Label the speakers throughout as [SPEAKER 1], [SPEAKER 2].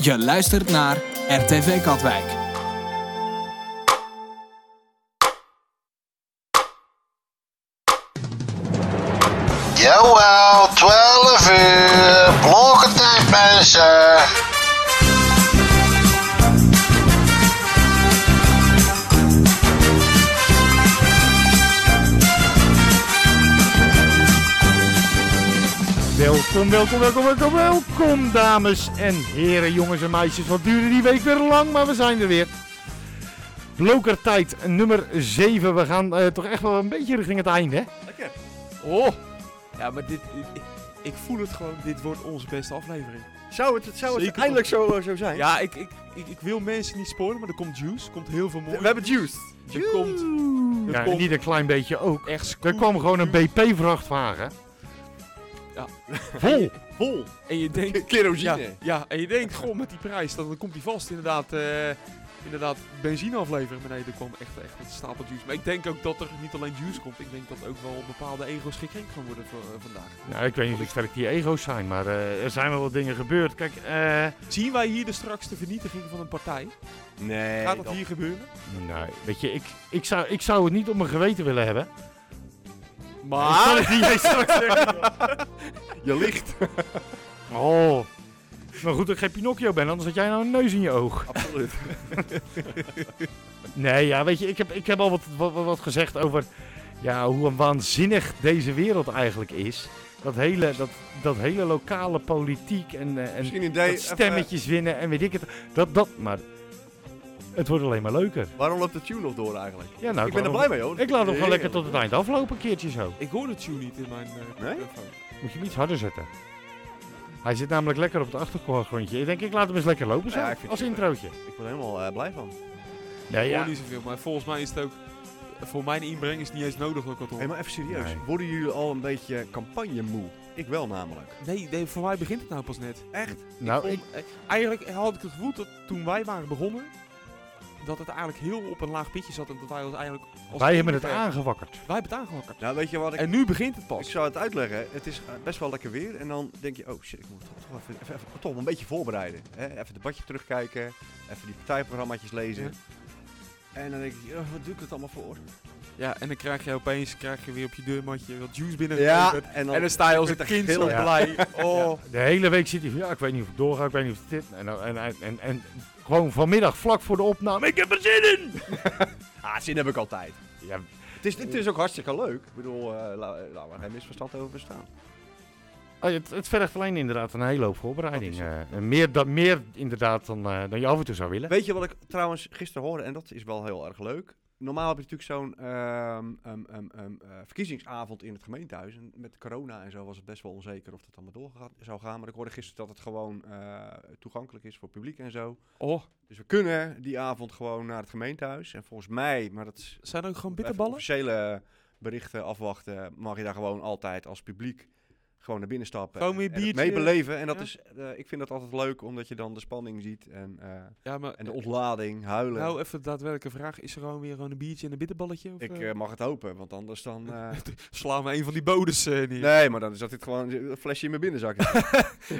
[SPEAKER 1] Je luistert naar RTV Katwijk.
[SPEAKER 2] Jawel, 12 uur. Blokkentijd, mensen.
[SPEAKER 3] Welkom, welkom, welkom, welkom, welkom, dames en heren, jongens en meisjes. Wat duurde die week weer lang, maar we zijn er weer. Blokertijd nummer 7. We gaan eh, toch echt wel een beetje richting het einde, hè?
[SPEAKER 4] Lekker.
[SPEAKER 3] Oh,
[SPEAKER 4] Ja, maar dit, ik, ik voel het gewoon, dit wordt onze beste aflevering.
[SPEAKER 5] Zou het, zou het
[SPEAKER 4] Zeker.
[SPEAKER 5] eindelijk zo, eh, zo zijn?
[SPEAKER 4] Ja, ik, ik, ik, ik wil mensen niet spoilen, maar er komt juice, er komt heel veel mooi.
[SPEAKER 5] We hebben juiced.
[SPEAKER 4] Er komt er
[SPEAKER 3] ja,
[SPEAKER 4] komt-
[SPEAKER 3] niet een klein beetje ook.
[SPEAKER 4] echt scoop.
[SPEAKER 3] Er kwam gewoon een BP-vrachtwagen.
[SPEAKER 4] Ja.
[SPEAKER 3] Vol.
[SPEAKER 5] Vol.
[SPEAKER 4] En je denkt, ja,
[SPEAKER 5] Kerosine.
[SPEAKER 4] ja, en je denkt, goh, met die prijs, dan, dan komt die vast inderdaad, eh, inderdaad benzine afleveren. Maar nee, er kwam echt, echt een stapel juice. Maar ik denk ook dat er niet alleen juice komt, ik denk dat ook wel bepaalde ego's gekrenkt gaan worden voor, eh, vandaag.
[SPEAKER 3] Nou, ik weet niet hoe sterk die ego's zijn, maar eh, er zijn wel wat dingen gebeurd. Kijk, eh...
[SPEAKER 4] Zien wij hier dus straks de vernietiging van een partij?
[SPEAKER 5] Nee.
[SPEAKER 4] Gaat dat,
[SPEAKER 5] dat-
[SPEAKER 4] hier gebeuren?
[SPEAKER 3] Nee, weet je, ik, ik, zou, ik zou het niet op mijn geweten willen hebben. Ik kan
[SPEAKER 4] Maar...
[SPEAKER 3] het niet eens straks eh, zeggen.
[SPEAKER 5] Je ligt.
[SPEAKER 3] Oh. Maar goed dat ik geen Pinocchio ben, anders had jij nou een neus in je oog.
[SPEAKER 5] Absoluut.
[SPEAKER 3] Nee, ja, weet je, ik heb, ik heb al wat, wat, wat- wat gezegd over ja, hoe een waanzinnig deze wereld eigenlijk is. Dat hele, dat, dat hele lokale politiek en, eh, en
[SPEAKER 5] Misschien een
[SPEAKER 3] dat
[SPEAKER 5] idee. even,
[SPEAKER 3] stemmetjes winnen en weet ik het. Dat, dat, maar het wordt alleen maar leuker.
[SPEAKER 5] eh, waarom loopt de tune nog door eigenlijk?
[SPEAKER 3] Ja, nou,
[SPEAKER 5] ik ben er
[SPEAKER 3] laat
[SPEAKER 5] blij mee hoor.
[SPEAKER 3] hem- Ik laat hem gewoon lekker
[SPEAKER 5] Heerlijk.
[SPEAKER 3] tot het eind aflopen, een keertje zo.
[SPEAKER 4] Ik hoor de tune niet in mijn eh,
[SPEAKER 5] Nee?
[SPEAKER 4] telefoon.
[SPEAKER 3] Moet je hem iets harder zetten. Hij zit namelijk lekker op het achtergrondje. Ik denk, ik laat hem eens lekker lopen zo,
[SPEAKER 5] Ja, ik vind
[SPEAKER 3] als
[SPEAKER 5] het-
[SPEAKER 3] introotje.
[SPEAKER 5] Ik ben er helemaal eh, blij van.
[SPEAKER 3] Nee,
[SPEAKER 4] Ik
[SPEAKER 3] ja.
[SPEAKER 4] hoor niet zoveel, maar volgens mij is het ook... Voor mijn inbreng is het niet eens nodig dat ik wat hoor.
[SPEAKER 5] Hé, maar even serieus.
[SPEAKER 3] Nee.
[SPEAKER 5] Worden jullie al een beetje campagne moe? Ik wel namelijk.
[SPEAKER 4] Nee, nee, voor mij begint het nou pas net.
[SPEAKER 5] Echt?
[SPEAKER 3] Nou, ik,
[SPEAKER 4] Om- eh, eigenlijk had ik het gevoel dat toen wij waren begonnen... dat het eigenlijk heel op een laag pitje zat en dat wij ons eigenlijk... Als
[SPEAKER 3] wij hebben het
[SPEAKER 4] enige-
[SPEAKER 3] aangewakkerd.
[SPEAKER 4] Wij hebben het aangewakkerd.
[SPEAKER 5] Nou, weet je wat ik...
[SPEAKER 4] En nu begint het
[SPEAKER 5] Ik
[SPEAKER 4] pas.
[SPEAKER 5] zou het uitleggen. Het is eh, best wel lekker weer. En dan denk je, oh shit, ik moet toch, toch even, even, even- toch een beetje voorbereiden. Hè? Even het debatje terugkijken. Even die partijprogramma's lezen.
[SPEAKER 4] Ja.
[SPEAKER 5] En dan denk ik, ja, wat doe ik het allemaal voor?
[SPEAKER 4] Ja, en dan krijg je opeens krijg je weer op je deurmatje wat juice binnen.
[SPEAKER 5] Ja, en dan,
[SPEAKER 4] En dan sta je als een
[SPEAKER 5] Dan
[SPEAKER 4] kind zo
[SPEAKER 5] gillen.
[SPEAKER 3] Ja.
[SPEAKER 4] blij. Oh.
[SPEAKER 3] De hele week zit hij van, ja, ik weet niet of ik doorga, ik weet niet of dit... En, dan- en, en, en, en gewoon vanmiddag vlak voor de opname, ik heb er zin in!
[SPEAKER 5] Ah, zin heb ik altijd.
[SPEAKER 3] Ja,
[SPEAKER 5] Het is, het is ook hartstikke leuk. Ik bedoel, eh laten we geen misverstand over bestaan.
[SPEAKER 3] oh, het, het vergt alleen inderdaad een hele hoop voorbereiding.
[SPEAKER 5] Dat is
[SPEAKER 3] eh. En meer, dan meer inderdaad dan, eh, dan je af en toe zou willen.
[SPEAKER 5] Weet je wat ik trouwens gisteren hoorde? En dat is wel heel erg leuk. Normaal heb je natuurlijk zo'n ehm, ehm, ehm, ehm, eh, verkiezingsavond in het gemeentehuis. En met corona en zo was het best wel onzeker of dat allemaal door gaat- zou gaan. Maar ik hoorde gisteren dat het gewoon eh, toegankelijk is voor publiek en zo.
[SPEAKER 4] oh,
[SPEAKER 5] Dus we kunnen die avond gewoon naar het gemeentehuis. En volgens mij, maar dat is
[SPEAKER 4] zijn er ook gewoon
[SPEAKER 5] Even
[SPEAKER 4] bitterballen?
[SPEAKER 5] officiële berichten afwachten, mag je daar gewoon altijd als publiek gewoon naar binnen stappen.
[SPEAKER 4] Gewoon
[SPEAKER 5] en-
[SPEAKER 4] weer
[SPEAKER 5] en het
[SPEAKER 4] biertje.
[SPEAKER 5] meebeleven. En dat
[SPEAKER 4] Ja.
[SPEAKER 5] is, eh, ik vind dat altijd leuk, omdat je dan de spanning ziet en, eh,
[SPEAKER 4] Ja, maar
[SPEAKER 5] en de ontlading, huilen.
[SPEAKER 4] nou even daadwerkelijke vraag. Is er gewoon weer gewoon een biertje en een bitterballetje? Of,
[SPEAKER 5] ik
[SPEAKER 4] eh?
[SPEAKER 5] eh, mag het hopen, want anders dan... eh,
[SPEAKER 4] Sla me een van die bodes eh, neer.
[SPEAKER 5] nee, maar dan is dat dit gewoon een flesje in mijn binnenzak.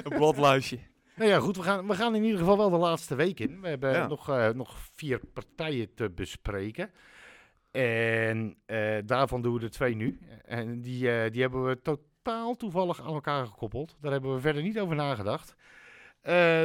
[SPEAKER 4] Een bladluisje.
[SPEAKER 3] Nou ja, goed, we gaan, we gaan in ieder geval wel de laatste week in. We hebben
[SPEAKER 5] Ja.
[SPEAKER 3] nog, eh, nog vier partijen te bespreken. En eh, daarvan doen we er twee nu. En die, eh, die hebben we totaal toevallig aan elkaar gekoppeld. Daar hebben we verder niet over nagedacht. Eh,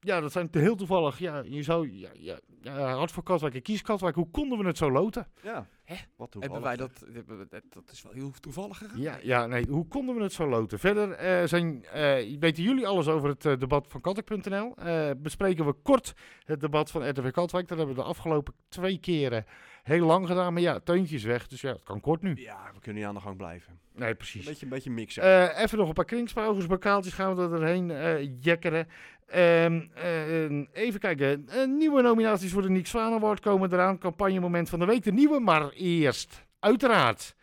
[SPEAKER 3] ja, dat zijn te heel toevallig. Ja, je zou, ja, ja, ja, Hart voor Katwijk en Kies Katwijk. Hoe konden we het zo loten?
[SPEAKER 5] ja,
[SPEAKER 4] Hè?
[SPEAKER 5] wat
[SPEAKER 4] Hebben
[SPEAKER 5] toevallig.
[SPEAKER 4] wij dat, hebben we- dat, dat is wel heel toevallig gegaan.
[SPEAKER 3] Ja, ja, nee, hoe konden we het zo loten? Verder eh, zijn, eh, weten jullie alles over het eh, debat van Katwijk.nl. Eh, bespreken we kort het debat van RTV Katwijk. Dat hebben we de afgelopen twee keren heel lang gedaan. Maar ja, Teuntje is weg, dus ja, het kan kort nu.
[SPEAKER 5] Ja, we kunnen niet aan de gang blijven.
[SPEAKER 3] Nee,
[SPEAKER 5] Een
[SPEAKER 3] precies.
[SPEAKER 5] beetje, een beetje mixen.
[SPEAKER 3] Eh, even nog een paar kringspauwers, bakaaltjes gaan we er doorheen eh, jekkeren. Ehm, eh, even kijken, Eh, nieuwe nominaties voor de Nick Zwaan Award komen eraan. Campagnemoment van de week, de nieuwe, maar eerst uiteraard...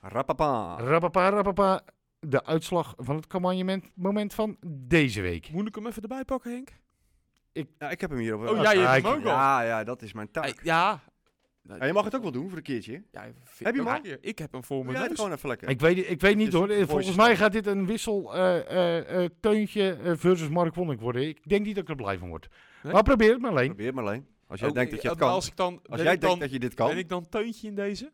[SPEAKER 5] Rapapa.
[SPEAKER 3] Rapapa, rapapa. De uitslag van het campagnement moment van deze week.
[SPEAKER 4] Moet ik hem even erbij pakken, Henk?
[SPEAKER 5] Ja, ik heb hem hier op.
[SPEAKER 4] Oh, jij hebt hem
[SPEAKER 3] kijk.
[SPEAKER 4] ook al.
[SPEAKER 5] ja, ja, dat is mijn taak.
[SPEAKER 4] Eh, ja,
[SPEAKER 5] Ja, je mag het ook wel doen voor een keertje.
[SPEAKER 4] Ja, vind-
[SPEAKER 5] Heb je hem
[SPEAKER 4] ja,
[SPEAKER 5] al?
[SPEAKER 4] Ik heb hem voor
[SPEAKER 5] Doe
[SPEAKER 4] mijn
[SPEAKER 5] jij het
[SPEAKER 4] neus.
[SPEAKER 5] gewoon even lekker.
[SPEAKER 3] Ik weet, ik weet niet
[SPEAKER 5] Dus
[SPEAKER 3] hoor.
[SPEAKER 5] voice
[SPEAKER 3] Volgens
[SPEAKER 5] style.
[SPEAKER 3] mij gaat dit een wissel eh, eh, eh, teuntje eh, versus Mark Wonnik worden. Ik denk niet dat ik er blij van word.
[SPEAKER 4] Nee?
[SPEAKER 3] Maar probeer het maar alleen.
[SPEAKER 5] Probeer maar alleen. Als jij
[SPEAKER 4] Ook-
[SPEAKER 5] denkt dat je het
[SPEAKER 4] maar
[SPEAKER 5] kan.
[SPEAKER 4] Oh, Als, ik dan,
[SPEAKER 5] Als
[SPEAKER 4] ben
[SPEAKER 5] jij
[SPEAKER 4] ik dan,
[SPEAKER 5] denkt dat je dit kan.
[SPEAKER 4] Ben ik dan teuntje in deze?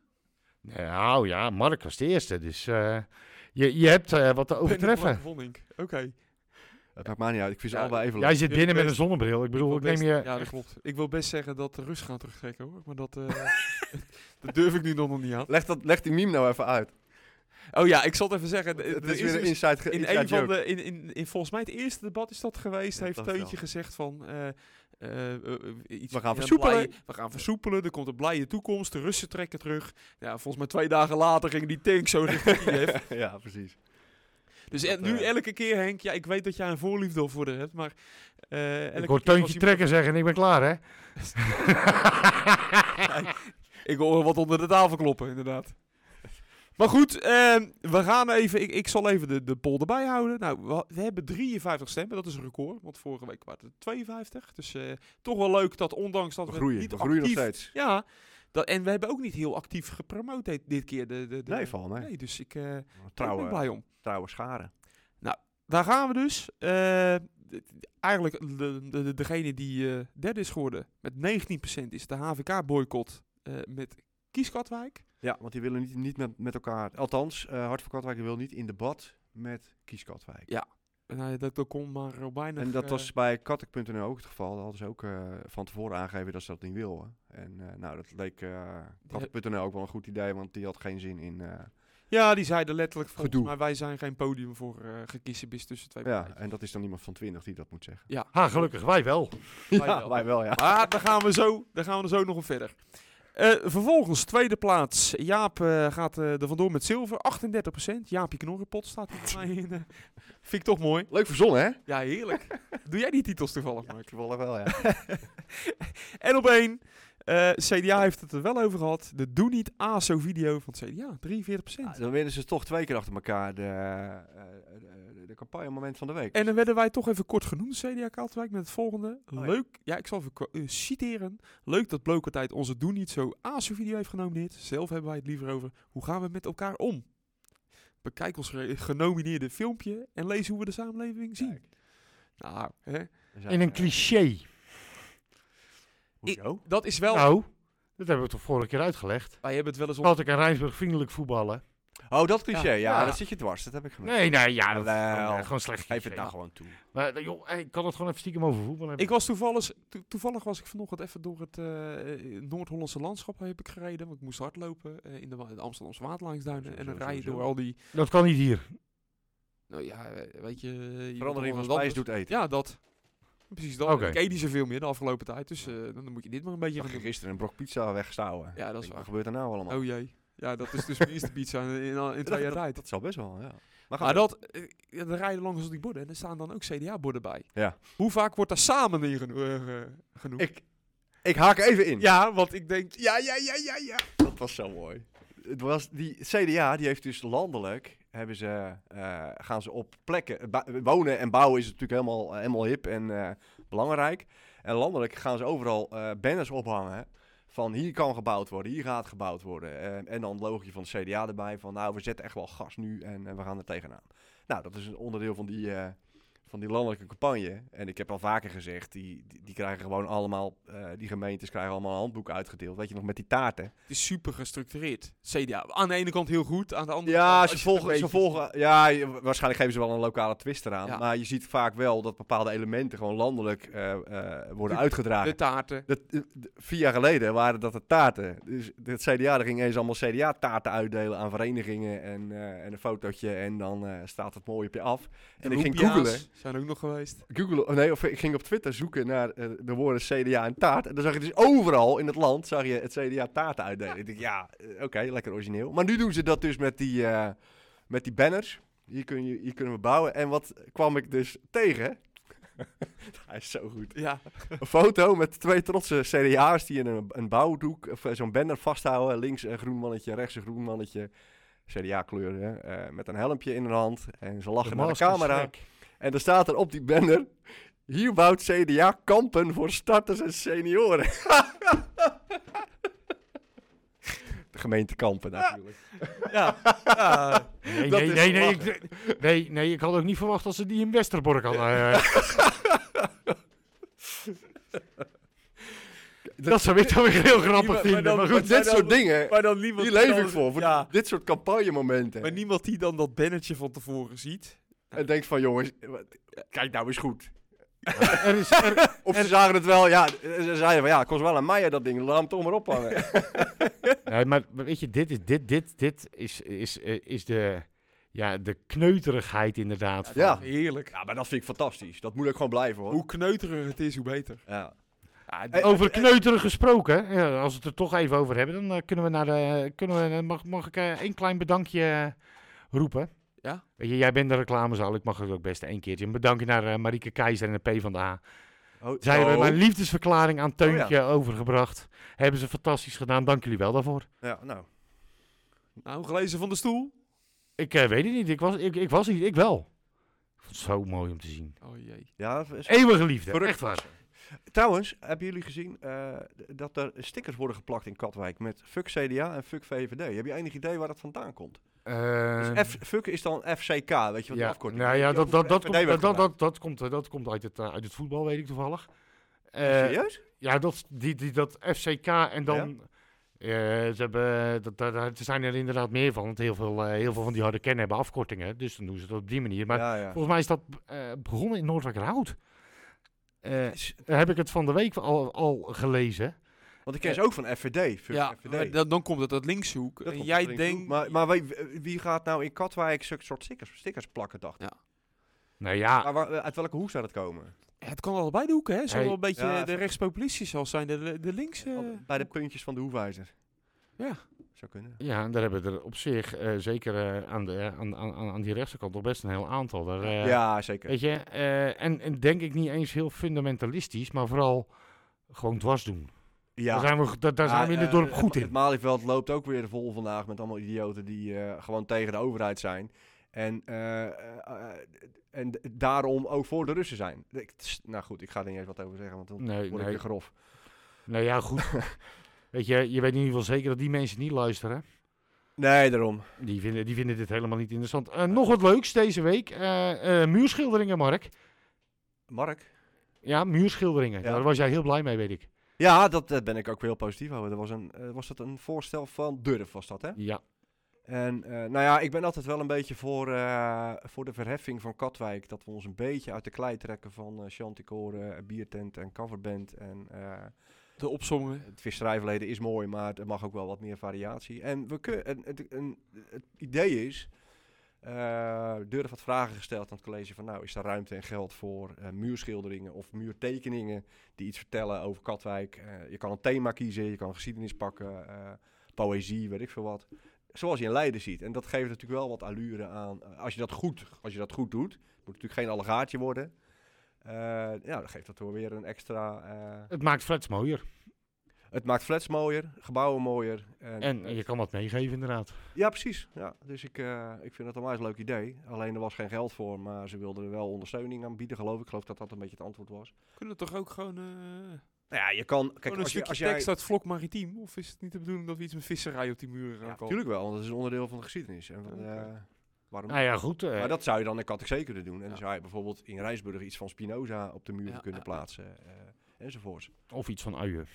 [SPEAKER 3] Nou ja, Mark was de eerste. Dus eh, je, je hebt eh, wat te
[SPEAKER 4] Ben ik
[SPEAKER 3] overtreffen.
[SPEAKER 4] Mark Vonink? Oké.
[SPEAKER 5] Het maakt mij niet uit. Ik vind ze
[SPEAKER 4] Ja,
[SPEAKER 5] allebei even
[SPEAKER 3] Jij
[SPEAKER 5] leuk.
[SPEAKER 3] zit
[SPEAKER 4] Ik
[SPEAKER 3] binnen met
[SPEAKER 4] best-
[SPEAKER 3] een zonnebril. Ik bedoel, ik
[SPEAKER 4] wil
[SPEAKER 3] neem
[SPEAKER 4] best-
[SPEAKER 3] je...
[SPEAKER 4] Ja, dat klopt. Ik wil best zeggen dat de Russen gaan terugtrekken hoor. Maar dat, eh, dat durf ik nu nog nog niet aan.
[SPEAKER 5] Leg, dat, leg die meme nou even uit.
[SPEAKER 4] Oh ja, ik zal het even zeggen. d-
[SPEAKER 5] Het
[SPEAKER 4] er
[SPEAKER 5] is weer een
[SPEAKER 4] dus-
[SPEAKER 5] inside, ge-
[SPEAKER 4] in,
[SPEAKER 5] inside
[SPEAKER 4] een van
[SPEAKER 5] joke.
[SPEAKER 4] de, in, in, in volgens mij het eerste debat is dat geweest,
[SPEAKER 5] Ja,
[SPEAKER 4] heeft
[SPEAKER 5] dat wel.
[SPEAKER 4] Teuntje gezegd van... eh, eh, eh, eh, iets
[SPEAKER 5] We gaan
[SPEAKER 4] ja,
[SPEAKER 5] versoepelen.
[SPEAKER 4] blije- we gaan versoepelen, er komt een blije toekomst, de Russen trekken terug. Ja, volgens mij twee dagen later ging die tank zo richting Kiev.
[SPEAKER 5] ja, precies.
[SPEAKER 4] Dus
[SPEAKER 5] Dat,
[SPEAKER 4] eh, nu
[SPEAKER 5] eh,
[SPEAKER 4] elke keer, Henk, ja, ik weet dat jij een voorliefde voor haar hebt, maar... eh,
[SPEAKER 3] Ik
[SPEAKER 4] elke
[SPEAKER 3] hoor
[SPEAKER 4] keer als
[SPEAKER 3] Teuntje
[SPEAKER 4] iemand-
[SPEAKER 3] trekken zeggen en ik ben klaar, hè?
[SPEAKER 4] Ik hoor wat onder de tafel kloppen, inderdaad. Maar goed, ehm, we gaan even. Ik, ik zal even de, de poll erbij houden. Nou, we, ha- we hebben 53 stemmen. Dat is een record. Want vorige week waren het 52. Dus eh, toch wel leuk dat ondanks dat
[SPEAKER 5] We
[SPEAKER 4] we,
[SPEAKER 5] groeien.
[SPEAKER 4] niet
[SPEAKER 5] We groeien nog
[SPEAKER 4] actief...
[SPEAKER 5] steeds.
[SPEAKER 4] Ja, dat, en we hebben ook niet heel actief gepromoot dit- dit keer. De, de, de,
[SPEAKER 5] Nee, val mee.
[SPEAKER 4] nee, dus ik eh, ben er ook
[SPEAKER 5] Trouwe,
[SPEAKER 4] blij om.
[SPEAKER 5] trouwe scharen.
[SPEAKER 4] Daar gaan we dus. Eh, d- d- eigenlijk de, de- de- degene die eh, derde is geworden met 19% is de HVK-boycott eh, met Kieskatwijk.
[SPEAKER 5] Ja, want die willen niet, niet met, met elkaar... Althans, eh Hart voor Katwijk wil niet in debat met Kies Katwijk.
[SPEAKER 4] Nou, ja, dat, dat kon maar op weinig...
[SPEAKER 5] En dat
[SPEAKER 4] eh,
[SPEAKER 5] was bij Kattek.nl ook het geval. Daar hadden ze ook eh, van tevoren aangegeven dat ze dat niet wilden. En eh, nou, dat leek eh Kattek.nl ook wel een goed idee, want die had geen zin in... eh,
[SPEAKER 4] ja, die zeiden letterlijk volgens
[SPEAKER 5] Gedoe.
[SPEAKER 4] mij, wij zijn geen podium voor eh gekiezenbis tussen twee
[SPEAKER 5] ja,
[SPEAKER 4] partijen.
[SPEAKER 5] en dat is dan iemand van 20 die dat moet zeggen.
[SPEAKER 3] Ha, gelukkig, wij wel.
[SPEAKER 4] Wij wel.
[SPEAKER 5] wij wel, ja.
[SPEAKER 4] Maar daar gaan we zo, daar gaan we er zo nog op verder. Eh, vervolgens, tweede plaats. Jaap eh, gaat eh er vandoor met zilver, 38%. Jaapje Knorrenpot staat hier bij mij in. eh. vind ik toch mooi.
[SPEAKER 5] Leuk verzonnen, hè?
[SPEAKER 4] Ja, heerlijk. Doe jij die titels toevallig, Mark?
[SPEAKER 5] Toevallig wel, ja.
[SPEAKER 4] En op één, eh, CDA heeft het er wel over gehad. De Doe Niet ASO-video van het CDA, 43%.
[SPEAKER 5] Ja, Ah, dan winnen ze toch twee keer achter elkaar de, eh, eh, de, de campagne-moment van de week.
[SPEAKER 4] En dan werden wij toch even kort genoemd, CDA Katwijk, met het volgende.
[SPEAKER 5] Oh ja.
[SPEAKER 4] Leuk, ja, ik zal even ko- eh, citeren. Leuk dat Blokertijd onze Doe Niet Zo ASO-video heeft genomineerd. Zelf hebben wij het liever over hoe gaan we met elkaar om. Bekijk ons re- genomineerde filmpje en lees hoe we de samenleving zien.
[SPEAKER 5] Kijk.
[SPEAKER 4] Nou, hè?
[SPEAKER 5] Dan zijn
[SPEAKER 3] In een
[SPEAKER 5] we-
[SPEAKER 3] cliché.
[SPEAKER 5] eh, Hoezo?
[SPEAKER 4] dat is wel...
[SPEAKER 3] Nou, dat hebben we toch vorige keer uitgelegd.
[SPEAKER 4] Wij hebben het wel eens op...
[SPEAKER 3] Altijd kan Rijnsburg vriendelijk voetballen.
[SPEAKER 5] Oh, dat cliché. Ja,
[SPEAKER 3] Ja.
[SPEAKER 5] dat zit je dwars. Dat heb ik gemerkt.
[SPEAKER 3] Nee, nee, ja, dat is
[SPEAKER 5] Wel.
[SPEAKER 3] gewoon, eh, gewoon slecht.
[SPEAKER 5] Geef het
[SPEAKER 3] cliché.
[SPEAKER 5] nou gewoon toe.
[SPEAKER 3] Maar eh, joh, eh, ik kan het gewoon even stiekem over voetbal
[SPEAKER 5] Oh.
[SPEAKER 3] hebben.
[SPEAKER 4] Ik was toevallig, to- toevallig was ik vanochtend even door het eh, eh, Noord-Hollandse landschap heb ik gereden. Want ik moest hardlopen eh, in de, wa- de Amsterdamse waterlijnsduinen.
[SPEAKER 5] Zo,
[SPEAKER 4] En
[SPEAKER 5] zo,
[SPEAKER 4] dan
[SPEAKER 5] zo,
[SPEAKER 4] rij je
[SPEAKER 5] zo.
[SPEAKER 4] door al die...
[SPEAKER 3] Dat kan niet hier.
[SPEAKER 4] Nou ja, eh, weet je... eh, je wordt
[SPEAKER 5] Verandering van
[SPEAKER 4] onder-
[SPEAKER 5] spijs doet eten.
[SPEAKER 4] dus- Ja, dat. Precies dat.
[SPEAKER 3] Oké.
[SPEAKER 4] Ik eet niet zoveel meer de afgelopen tijd, dus eh, dan moet je dit maar een beetje
[SPEAKER 5] Ik
[SPEAKER 4] gaan
[SPEAKER 5] ging
[SPEAKER 4] doen.
[SPEAKER 5] gisteren een brok pizza wegstouwen.
[SPEAKER 4] Ja, dat is
[SPEAKER 5] Ik,
[SPEAKER 4] waar.
[SPEAKER 5] Wat gebeurt er nou allemaal?
[SPEAKER 4] Oh jee. Ja, dat is dus mijn eerste pizza in, in, al- in twee jaar
[SPEAKER 5] dat, dat,
[SPEAKER 4] tijd.
[SPEAKER 5] dat zal best wel, ja. Maar
[SPEAKER 4] Maar dat, eh, ja, dan rijden langs die borden en er staan dan ook CDA-borden bij.
[SPEAKER 5] Ja.
[SPEAKER 4] Hoe vaak wordt daar samen in geno- eh, eh, genoemd?
[SPEAKER 5] ik, ik haak even in.
[SPEAKER 4] Ja, want ik denk, ja, ja, ja, ja, ja.
[SPEAKER 5] Dat was zo mooi. Het was die CDA, die heeft dus landelijk, hebben ze, eh, gaan ze op plekken, eh, ba- wonen en bouwen is natuurlijk helemaal, eh, helemaal hip en eh, belangrijk. En landelijk gaan ze overal eh, banners ophangen van hier kan gebouwd worden, hier gaat gebouwd worden. Eh, en dan het logotje van de CDA erbij van nou, we zetten echt wel gas nu en, eh, we gaan er tegenaan. Nou, dat is een onderdeel van die, eh, van die landelijke campagne. En ik heb al vaker gezegd, die, die, die krijgen gewoon allemaal, eh, die gemeentes krijgen allemaal een handboek uitgedeeld. Weet je nog, met die taarten.
[SPEAKER 4] Het is super gestructureerd. CDA, aan de ene kant heel goed, aan de andere
[SPEAKER 5] Ja,
[SPEAKER 4] kant...
[SPEAKER 5] ze
[SPEAKER 4] als je het een
[SPEAKER 5] volgen, ze
[SPEAKER 4] beetje-
[SPEAKER 5] volgen. Ja, je- waarschijnlijk geven ze wel een lokale twist eraan.
[SPEAKER 4] Ja.
[SPEAKER 5] Maar je ziet vaak wel dat bepaalde elementen gewoon landelijk eh, eh, worden
[SPEAKER 4] De-
[SPEAKER 5] uitgedragen.
[SPEAKER 4] De taarten.
[SPEAKER 5] dat, eh, d- vier jaar geleden waren dat de taarten. Dus het CDA er ging eens allemaal CDA-taarten uitdelen aan verenigingen en, eh, en een fotootje. En dan eh, staat het mooi op je af. En ik ging
[SPEAKER 4] Roempia's
[SPEAKER 5] googelen.
[SPEAKER 4] zijn ook nog geweest.
[SPEAKER 5] Google, oh nee, of ik ging op Twitter zoeken naar eh, de woorden CDA en taart. En dan zag je dus overal in het land zag je het CDA taarten uitdelen. Ik denk, ja, eh, oké, lekker origineel. Maar nu doen ze dat dus met die, eh, met die banners. Hier, kun je, hier kunnen we bouwen. En wat kwam ik dus tegen? Hij is zo goed.
[SPEAKER 4] Ja.
[SPEAKER 5] Een foto met twee trotse CDA's die in een, een bouwdoek, of eh, zo'n banner vasthouden. Links een groen mannetje, rechts een groen mannetje. CDA-kleuren, eh, met een helmpje in hun hand. En ze lachen naar de
[SPEAKER 3] masker is
[SPEAKER 5] camera.
[SPEAKER 3] gek.
[SPEAKER 5] En dan staat er op die banner... Hier bouwt CDA kampen voor starters en senioren. gemeente Kampen natuurlijk.
[SPEAKER 4] Ja, ja.
[SPEAKER 3] Nee,
[SPEAKER 5] Dat
[SPEAKER 3] nee,
[SPEAKER 5] is
[SPEAKER 3] nee, nee,
[SPEAKER 5] lachen.
[SPEAKER 3] ik, nee, nee, ik had ook niet verwacht dat ze die in Westerbork hadden. eh. dat zou ik dan weer heel grappig
[SPEAKER 4] maar
[SPEAKER 3] vinden.
[SPEAKER 4] dan-
[SPEAKER 3] Maar
[SPEAKER 5] Maar
[SPEAKER 3] goed,
[SPEAKER 5] dit
[SPEAKER 4] dan-
[SPEAKER 5] soort dingen,
[SPEAKER 4] maar dan niemand...
[SPEAKER 5] hier leef
[SPEAKER 4] dan-
[SPEAKER 5] ik voor. Voor
[SPEAKER 4] Ja,
[SPEAKER 5] dit soort campagnemomenten.
[SPEAKER 4] maar niemand die dan dat bannetje van tevoren ziet.
[SPEAKER 5] En denk van, jongens, wat- kijk nou eens goed.
[SPEAKER 3] er is, er,
[SPEAKER 5] Of ze zagen het wel, ja, ze zeiden van, ja, het kost wel een meier dat ding, laat hem toch maar ophangen.
[SPEAKER 3] nee, maar maar weet je, dit is, dit, dit, dit is, is, eh, is de, ja, de kneuterigheid inderdaad. van-
[SPEAKER 5] Ja.
[SPEAKER 4] Heerlijk.
[SPEAKER 5] Ja, maar dat vind ik fantastisch. Dat moet ook gewoon blijven, hoor.
[SPEAKER 4] Hoe kneuterig het is, hoe beter. Ah,
[SPEAKER 5] Ja.
[SPEAKER 3] Over kneuterig gesproken, ja, als we het er toch even over hebben, dan eh, kunnen we naar de. Kunnen we, mag, mag ik eh, één klein bedankje eh, roepen?
[SPEAKER 4] Ja.
[SPEAKER 3] Weet je, jij bent de reclamezaal, ik mag het ook best één keertje. Een bedankje naar eh, Marieke Keizer en de P van de A.
[SPEAKER 5] Oh,
[SPEAKER 3] Zij hebben
[SPEAKER 5] oh.
[SPEAKER 3] mijn liefdesverklaring aan Teuntje overgebracht. Hebben ze fantastisch gedaan, dank jullie wel daarvoor.
[SPEAKER 5] Ja, nou.
[SPEAKER 4] Nou, gelezen van de stoel.
[SPEAKER 3] Ik eh, weet het niet, ik was, ik, ik was niet, ik wel. Ik vond het zo mooi om te zien.
[SPEAKER 4] Oh jee.
[SPEAKER 5] Ja, is-
[SPEAKER 3] Eeuwige liefde,
[SPEAKER 5] Verrukt
[SPEAKER 3] echt waar.
[SPEAKER 5] Trouwens, hebben jullie gezien eh, d- dat er stickers worden geplakt in Katwijk met fuck CDA en fuck VVD? Heb je enig idee waar dat vandaan komt?
[SPEAKER 3] Eh,
[SPEAKER 5] Dus F, fuck is dan FCK, weet je wat de
[SPEAKER 3] ja,
[SPEAKER 5] afkorting
[SPEAKER 3] nou ja,
[SPEAKER 5] Die
[SPEAKER 3] dat, dat, dat,
[SPEAKER 5] over
[SPEAKER 3] komt, dat,
[SPEAKER 5] FVD
[SPEAKER 3] dat,
[SPEAKER 5] werd
[SPEAKER 3] dat, dat komt, eh, dat komt uit, het, eh, uit het voetbal, weet ik toevallig.
[SPEAKER 5] gedaan.
[SPEAKER 3] Eh,
[SPEAKER 5] Serieus?
[SPEAKER 3] Ja, dat, die, die, dat FCK en dan... eh, ze hebben, eh, dat, daar, daar- er zijn er inderdaad meer van, want heel veel, eh, heel veel van die harde kennen hebben afkortingen. Dus dan doen ze het op die manier. Maar
[SPEAKER 5] ja, ja.
[SPEAKER 3] volgens mij is dat eh, begonnen in Noordwijkerhout. Eh
[SPEAKER 5] Is-
[SPEAKER 3] daar heb ik het van de week al, al gelezen.
[SPEAKER 5] Want ik ken ze ook van FVD. Fuck
[SPEAKER 4] Ja,
[SPEAKER 5] FVD.
[SPEAKER 4] maar dan, dan komt het uit linkshoek.
[SPEAKER 5] Dat
[SPEAKER 4] en
[SPEAKER 5] komt
[SPEAKER 4] jij
[SPEAKER 5] erin toe.
[SPEAKER 4] denkt...
[SPEAKER 5] Maar, maar wie, wie gaat nou in Katwijk zulke soort stickers, stickers plakken, dacht ik?
[SPEAKER 3] Nou ja,
[SPEAKER 5] Maar waar- uit welke hoek zou dat komen?
[SPEAKER 4] Het kan allebei de hoeken, hè? Zowel
[SPEAKER 3] Hey.
[SPEAKER 4] een beetje
[SPEAKER 5] Ja,
[SPEAKER 4] de rechtspopulistische als zijn de, de, de links... eh,
[SPEAKER 5] Bij de puntjes van de hoefijzer.
[SPEAKER 4] Ja.
[SPEAKER 5] Zou kunnen.
[SPEAKER 3] ja, daar hebben er op zich, eh, zeker eh, aan, de, aan, aan, aan aan die rechterkant, nog best een heel aantal. Daar, eh,
[SPEAKER 5] ja, zeker.
[SPEAKER 3] Weet je, eh, en, en denk ik niet eens heel fundamentalistisch, maar vooral gewoon dwars doen.
[SPEAKER 5] Ja.
[SPEAKER 3] Daar zijn we, daar, daar zijn we in het
[SPEAKER 5] eh,
[SPEAKER 3] dorp goed
[SPEAKER 5] het,
[SPEAKER 3] in.
[SPEAKER 5] Het Malieveld loopt ook weer vol vandaag met allemaal idioten die eh, gewoon tegen de overheid zijn. En, eh, eh, eh, en d- daarom ook voor de Russen zijn. Ik, tss, nou goed, ik ga er niet eens wat over zeggen, want dan
[SPEAKER 3] Nee,
[SPEAKER 5] word ik
[SPEAKER 3] nee.
[SPEAKER 5] weer grof.
[SPEAKER 3] Nou ja, goed. Weet je, je weet in ieder geval zeker dat die mensen niet luisteren.
[SPEAKER 5] Nee, daarom.
[SPEAKER 3] Die vinden, die vinden dit helemaal niet interessant. Eh, nog wat leuks deze week. eh, eh, muurschilderingen, Mark.
[SPEAKER 5] Mark?
[SPEAKER 3] Ja, muurschilderingen.
[SPEAKER 5] Ja.
[SPEAKER 3] Daar was jij heel blij mee, weet ik.
[SPEAKER 5] Ja, dat, eh, ben ik ook weer heel positief over. Er was, een, eh, was dat een voorstel van Durf, was dat hè?
[SPEAKER 3] Ja.
[SPEAKER 5] En eh, nou ja, ik ben altijd wel een beetje voor, eh, voor de verheffing van Katwijk. Dat we ons een beetje uit de klei trekken van eh Chanticore, eh, Biertent en Coverband. En eh,
[SPEAKER 4] de opzongen.
[SPEAKER 5] het visserijverleden is mooi, maar er mag ook wel wat meer variatie. En we kun, en, het, en het idee is, eh Durf had vragen gesteld aan het college van... nou, is er ruimte en geld voor eh, muurschilderingen of muurtekeningen... die iets vertellen over Katwijk. Eh, je kan een thema kiezen, je kan geschiedenis pakken, eh, poëzie, weet ik veel wat. Zoals je in Leiden ziet. En dat geeft natuurlijk wel wat allure aan. eh, als, je dat goed, als je dat goed doet, moet het natuurlijk geen allegaatje worden... Eh, ja, dan geeft dat wel weer een extra... eh,
[SPEAKER 3] Het maakt flats mooier.
[SPEAKER 5] het maakt flats mooier, gebouwen mooier. En, eh,
[SPEAKER 3] En eh, je kan wat meegeven, inderdaad.
[SPEAKER 5] Ja, precies. Ja, dus ik, eh, ik vind dat een wijs leuk idee. Alleen er was geen geld voor, maar ze wilden er wel ondersteuning aan bieden, geloof ik. Ik geloof dat dat een beetje het antwoord was.
[SPEAKER 4] Kunnen toch ook gewoon... eh,
[SPEAKER 5] Nou ja, je kan... Kijk,
[SPEAKER 4] Kijk, een
[SPEAKER 5] als, je,
[SPEAKER 4] Oh, stukje
[SPEAKER 5] als jij...
[SPEAKER 4] tekst uit Vlok Maritiem? Of is het niet de bedoeling dat we iets met visserij op die muren gaan
[SPEAKER 5] Ja,
[SPEAKER 4] komen?
[SPEAKER 5] natuurlijk wel, want dat is een onderdeel van de geschiedenis. En van,
[SPEAKER 4] Oké.
[SPEAKER 5] eh, waarom
[SPEAKER 3] Nou ja, goed. eh,
[SPEAKER 5] Maar dat zou je dan in Katwijk zeker doen. En dan
[SPEAKER 4] Ja.
[SPEAKER 5] zou je bijvoorbeeld in Rijsburg iets van Spinoza op de muur
[SPEAKER 4] Ja,
[SPEAKER 5] kunnen
[SPEAKER 4] ja, ja.
[SPEAKER 5] plaatsen. eh, enzovoorts.
[SPEAKER 3] Of iets van uien.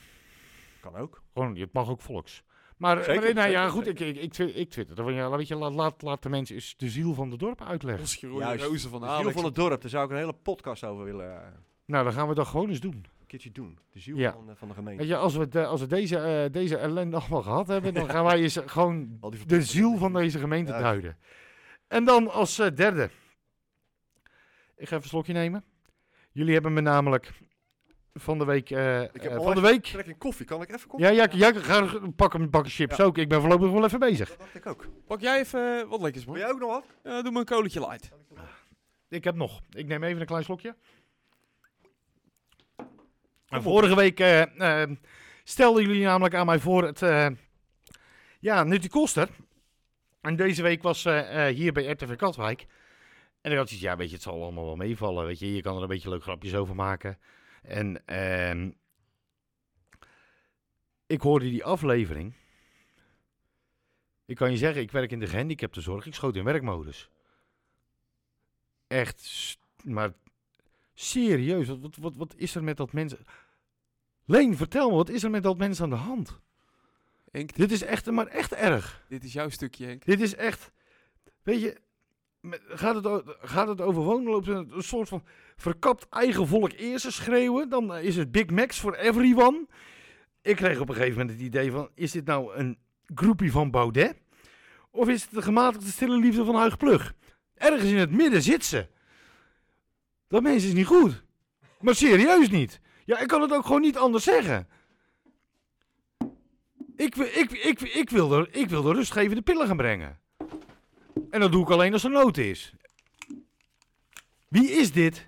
[SPEAKER 5] Kan ook.
[SPEAKER 3] Gewoon, het mag ook volks. Maar,
[SPEAKER 5] Zeker,
[SPEAKER 3] maar nou ja,
[SPEAKER 5] zeker,
[SPEAKER 3] goed, ik,
[SPEAKER 5] zeker.
[SPEAKER 3] ik, ik, twi- ik twitter. van, Ja, weet je, laat, laat, laat de mensen eens de ziel van het dorp uitleggen.
[SPEAKER 4] Ons Jeroen
[SPEAKER 5] Juist.
[SPEAKER 4] Rozen van
[SPEAKER 5] De ziel
[SPEAKER 4] Alex.
[SPEAKER 5] van het dorp, daar zou ik een hele podcast over willen eh,
[SPEAKER 3] Nou, dan gaan we dat gewoon eens doen.
[SPEAKER 5] een keertje doen. De ziel
[SPEAKER 3] Ja.
[SPEAKER 5] van, eh, van de gemeente.
[SPEAKER 3] Weet je, als we, de- als we deze, eh, deze ellende allemaal gehad hebben, dan gaan wij eens gewoon
[SPEAKER 5] Al die
[SPEAKER 3] de
[SPEAKER 5] vertellingen.
[SPEAKER 3] ziel van deze gemeente
[SPEAKER 5] Ja.
[SPEAKER 3] duiden. En dan als eh, derde. Ik ga even een slokje nemen. Jullie hebben me namelijk van de week... eh,
[SPEAKER 5] heb
[SPEAKER 3] eh,
[SPEAKER 5] al
[SPEAKER 3] van de
[SPEAKER 5] even-
[SPEAKER 3] week...
[SPEAKER 5] Trek een koffie, kan ik even koffie?
[SPEAKER 3] Ja, ja, ja, ik ga pakken een bakje chips
[SPEAKER 5] Ja.
[SPEAKER 3] ook. Ik ben voorlopig wel even bezig.
[SPEAKER 5] Dat dacht ik ook.
[SPEAKER 4] Pak jij even eh, wat lekkers, man.
[SPEAKER 5] Wil jij ook nog wat?
[SPEAKER 4] Eh, doe me een koletje light.
[SPEAKER 3] Ik heb nog. Ik neem even een klein slokje. En vorige week eh, eh, stelden jullie namelijk aan mij voor het. eh ja, Nutty Koster. En deze week was eh, eh, hier bij RTV Katwijk. En ik had zoiets, ja, weet je, het zal allemaal wel meevallen. Weet je, je kan er een beetje leuk grapjes over maken. En ehm, ik hoorde die aflevering. Ik kan je zeggen, ik werk in de gehandicaptenzorg. Ik schoot in werkmodus. Echt, s- maar serieus, wat, wat, wat, wat is er met dat mensen... Leen, vertel me, wat is er met dat mensen aan de hand?
[SPEAKER 4] Henk,
[SPEAKER 3] Dit is echt, maar echt erg.
[SPEAKER 4] dit is jouw stukje, Henk.
[SPEAKER 3] Dit is echt, weet je, me- gaat het, o- gaat het over woonloop, een een soort van verkapt eigen volk eerst eens schreeuwen, dan eh, is het Big Macs for everyone. Ik kreeg op een gegeven moment het idee van, is dit nou een groepie van Baudet? Of is het de gematigde stille liefde van Huig Plug? Ergens in het midden zit ze. Dat mensen is niet goed. Maar serieus niet. Ja, ik kan het ook gewoon niet anders zeggen. Ik, wi- ik, ik, ik, wil, de, ik wil de rustgevende pillen gaan brengen. En dat doe ik alleen als er nood is. Wie is dit?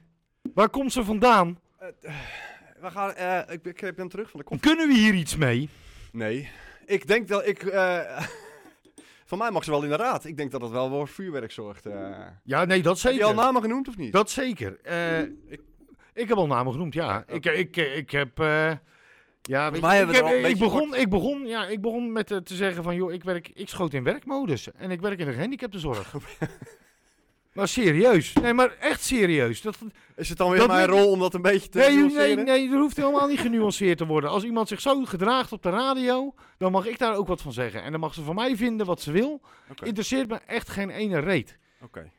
[SPEAKER 3] Waar komt ze vandaan?
[SPEAKER 5] We gaan, eh, ik, ik heb hem terug van de kop.
[SPEAKER 3] Kunnen we hier iets mee?
[SPEAKER 5] Nee. Ik denk dat ik... eh, van mij mag ze wel in de raad. Ik denk dat het wel voor vuurwerk zorgt. eh.
[SPEAKER 3] Ja, nee, dat
[SPEAKER 5] Heb je al
[SPEAKER 3] zeker.
[SPEAKER 5] namen genoemd of niet?
[SPEAKER 3] Dat zeker. Eh, ik, ik heb al namen genoemd, ja. Ik, ik, ik heb... eh, ja, weet je,
[SPEAKER 5] mij
[SPEAKER 3] ik,
[SPEAKER 5] hebben we er
[SPEAKER 3] heb-
[SPEAKER 5] al een
[SPEAKER 3] ik,
[SPEAKER 5] beetje
[SPEAKER 3] begon, ik, begon, ja, ik begon met eh, te zeggen van... joh, ik, werk, ik schoot in werkmodus. En ik werk in de gehandicaptenzorg. maar serieus. Nee, maar echt serieus. Dat,
[SPEAKER 5] Is het dan weer
[SPEAKER 3] Dat
[SPEAKER 5] mijn
[SPEAKER 3] weet
[SPEAKER 5] rol om dat een beetje te
[SPEAKER 3] Nee, nee,
[SPEAKER 5] nuanceren?
[SPEAKER 3] nee, er hoeft helemaal niet genuanceerd te worden. Als iemand zich zo gedraagt op de radio, dan mag ik daar ook wat van zeggen. En dan mag ze van mij vinden wat ze wil.
[SPEAKER 5] Oké.
[SPEAKER 3] Interesseert me echt geen ene reet.
[SPEAKER 5] Oké.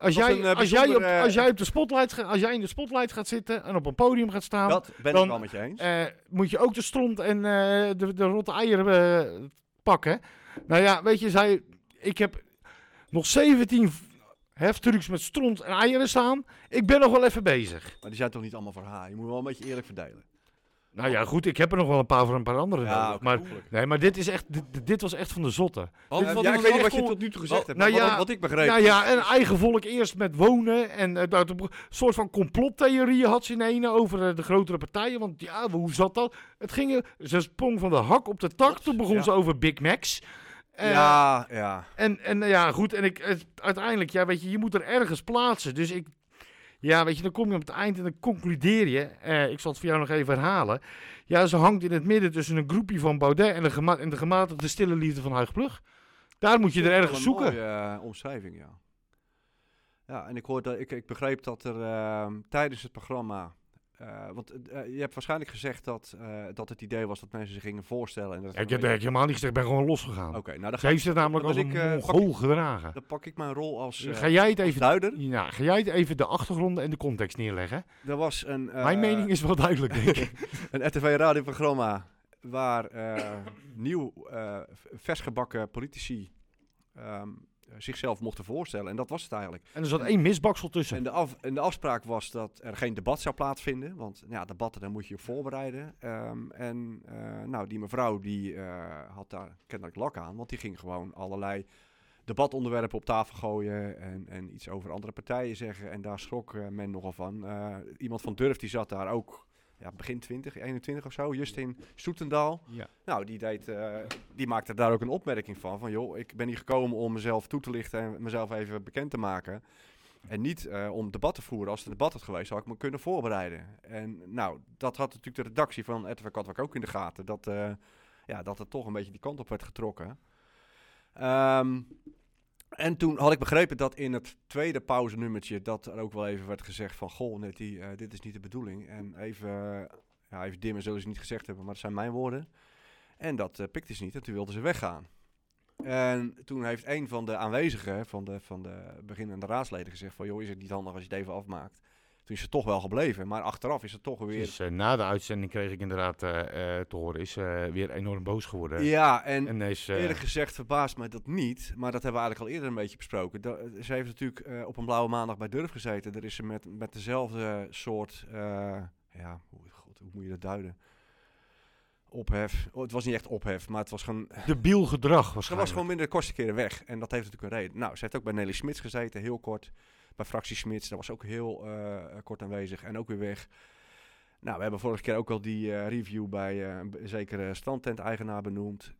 [SPEAKER 3] Als
[SPEAKER 5] was
[SPEAKER 3] jij,
[SPEAKER 5] een, eh,
[SPEAKER 3] als, jij op,
[SPEAKER 5] bijzonder, eh,
[SPEAKER 3] als, jij op de spotlight ga- als jij in de spotlight gaat zitten en op een podium gaat staan,
[SPEAKER 5] Dat ben
[SPEAKER 3] Dan-
[SPEAKER 5] ik wel met je eens.
[SPEAKER 3] eh, moet je ook de stront en eh, de, de rotte eieren eh, pakken. Nou ja, weet je, zij, ik heb nog 17 v- heftrucs met stront en eieren staan. Ik ben nog wel even bezig.
[SPEAKER 5] Maar die zijn toch niet allemaal voor haar? Je moet wel een beetje eerlijk verdelen.
[SPEAKER 3] Nou ja, goed, ik heb er nog wel een paar voor een paar anderen.
[SPEAKER 5] Ja,
[SPEAKER 3] nodig,
[SPEAKER 5] oké,
[SPEAKER 3] maar
[SPEAKER 5] tuurlijk.
[SPEAKER 3] Nee, maar dit is echt, dit, dit was echt van de zotte.
[SPEAKER 4] Alles
[SPEAKER 5] Eh,
[SPEAKER 4] wat
[SPEAKER 5] ja,
[SPEAKER 4] er
[SPEAKER 5] ik weet
[SPEAKER 4] vanaf
[SPEAKER 5] niet wat je
[SPEAKER 4] komt-
[SPEAKER 5] tot nu toe gezegd
[SPEAKER 4] Oh,
[SPEAKER 5] hebt.
[SPEAKER 3] nou
[SPEAKER 5] maar wat-
[SPEAKER 3] ja,
[SPEAKER 5] wat ik begreep.
[SPEAKER 3] Nou ja, en eigen volk eerst met wonen en eh, dat soort van complottheorieën had ze in ene over eh, de grotere partijen. Want ja, hoe zat dat? Het ging, eh, ze sprong van de hak op de tak, toen begon
[SPEAKER 5] ja.
[SPEAKER 3] ze over Big Macs. Eh,
[SPEAKER 5] ja, ja.
[SPEAKER 3] En, en nou ja, goed, en ik, het- uiteindelijk, ja, weet je, je moet er ergens plaatsen. Dus ik, ja, weet je, dan kom je op het eind en dan concludeer je. eh, ik zal het voor jou nog even herhalen. Ja, ze hangt in het midden tussen een groepje van Baudet en de, gema en de gematigde stille liefde van Huig Plug. Daar moet je er ergens
[SPEAKER 5] Wel een
[SPEAKER 3] zoeken.
[SPEAKER 5] mooie, eh, omschrijving, ja. Ja, en ik, hoorde, ik, ik begreep dat er ehm, tijdens het programma... eh, want eh, je hebt waarschijnlijk gezegd dat, eh, dat het idee was dat mensen zich gingen voorstellen. En dat
[SPEAKER 3] Ja, ik heb eigenlijk helemaal niet gezegd, ik ben gewoon losgegaan.
[SPEAKER 5] Oké, nou dan,
[SPEAKER 3] Ze
[SPEAKER 5] ga,
[SPEAKER 3] heeft het namelijk
[SPEAKER 5] Dan
[SPEAKER 3] als
[SPEAKER 5] ben
[SPEAKER 3] een
[SPEAKER 5] ik, eh,
[SPEAKER 3] mongool gedragen.
[SPEAKER 5] dan pak ik mijn rol als eh,
[SPEAKER 3] Ga jij het even...
[SPEAKER 5] duider.
[SPEAKER 3] Ja, ga jij het even de achtergronden en de context neerleggen?
[SPEAKER 5] Er was een, eh,
[SPEAKER 3] Mijn mening is wel duidelijk, denk ik.
[SPEAKER 5] een RTV-radioprogramma waar eh, nieuw, eh, v- versgebakken politici ehm, zichzelf mochten voorstellen. En dat was het eigenlijk.
[SPEAKER 3] En er zat één misbaksel tussen.
[SPEAKER 5] En de, af, en de afspraak was dat er geen debat zou plaatsvinden. Want nou ja, debatten, daar moet je je op voorbereiden. Ehm, en eh, nou, die mevrouw die eh, had daar kennelijk lak aan. Want die ging gewoon allerlei debatonderwerpen op tafel gooien. En, en iets over andere partijen zeggen. En daar schrok eh, men nogal van. Eh, iemand van Durf die zat daar ook. Ja, begin 20, 21 of zo. Justin Soetendaal.
[SPEAKER 3] Ja.
[SPEAKER 5] Nou, die, deed, eh, die maakte daar ook een opmerking van. Van joh, ik ben hier gekomen om mezelf toe te lichten en mezelf even bekend te maken. En niet eh, om debat te voeren. Als het een debat had geweest, had ik me kunnen voorbereiden. En nou, dat had natuurlijk de redactie van RTV Katwijk ook in de gaten. Dat, eh, ja, dat het toch een beetje die kant op werd getrokken. Ehm, en toen had ik begrepen dat in het tweede pauzenummertje... dat er ook wel even werd gezegd van... goh, net die, eh, dit is niet de bedoeling. En even, eh, ja, even dimmen zullen ze niet gezegd hebben, maar dat zijn mijn woorden. En dat eh, pikte ze niet en toen wilden ze weggaan. En toen heeft een van de aanwezigen, van de, van de beginnende raadsleden, gezegd van... joh, is het niet handig als je het even afmaakt? Toen is ze toch wel gebleven, maar achteraf is het toch weer...
[SPEAKER 3] Dus, eh, na de uitzending kreeg ik inderdaad eh, eh, te horen, is eh, weer enorm boos geworden.
[SPEAKER 5] Ja, en
[SPEAKER 3] En is, eh,
[SPEAKER 5] Eerlijk gezegd verbaast mij dat niet, maar dat hebben we eigenlijk al eerder een beetje besproken. Da- ze heeft natuurlijk eh, op een blauwe maandag bij Durf gezeten. Daar is ze met, met dezelfde soort, eh, ja, hoe, god, hoe moet je dat duiden? Ophef. Oh, het was niet echt ophef, maar het was gewoon,
[SPEAKER 3] debiel gedrag
[SPEAKER 5] ze
[SPEAKER 3] waarschijnlijk.
[SPEAKER 5] was gewoon minder de kortste keren weg. En dat heeft natuurlijk een reden. Nou, ze heeft ook bij Nelly Smits gezeten, heel kort. Bij Fractie Smits, daar was ook heel eh, kort aanwezig en ook weer weg. Nou, we hebben vorige keer ook al die eh, review bij eh, een b- zekere strandtent-eigenaar benoemd.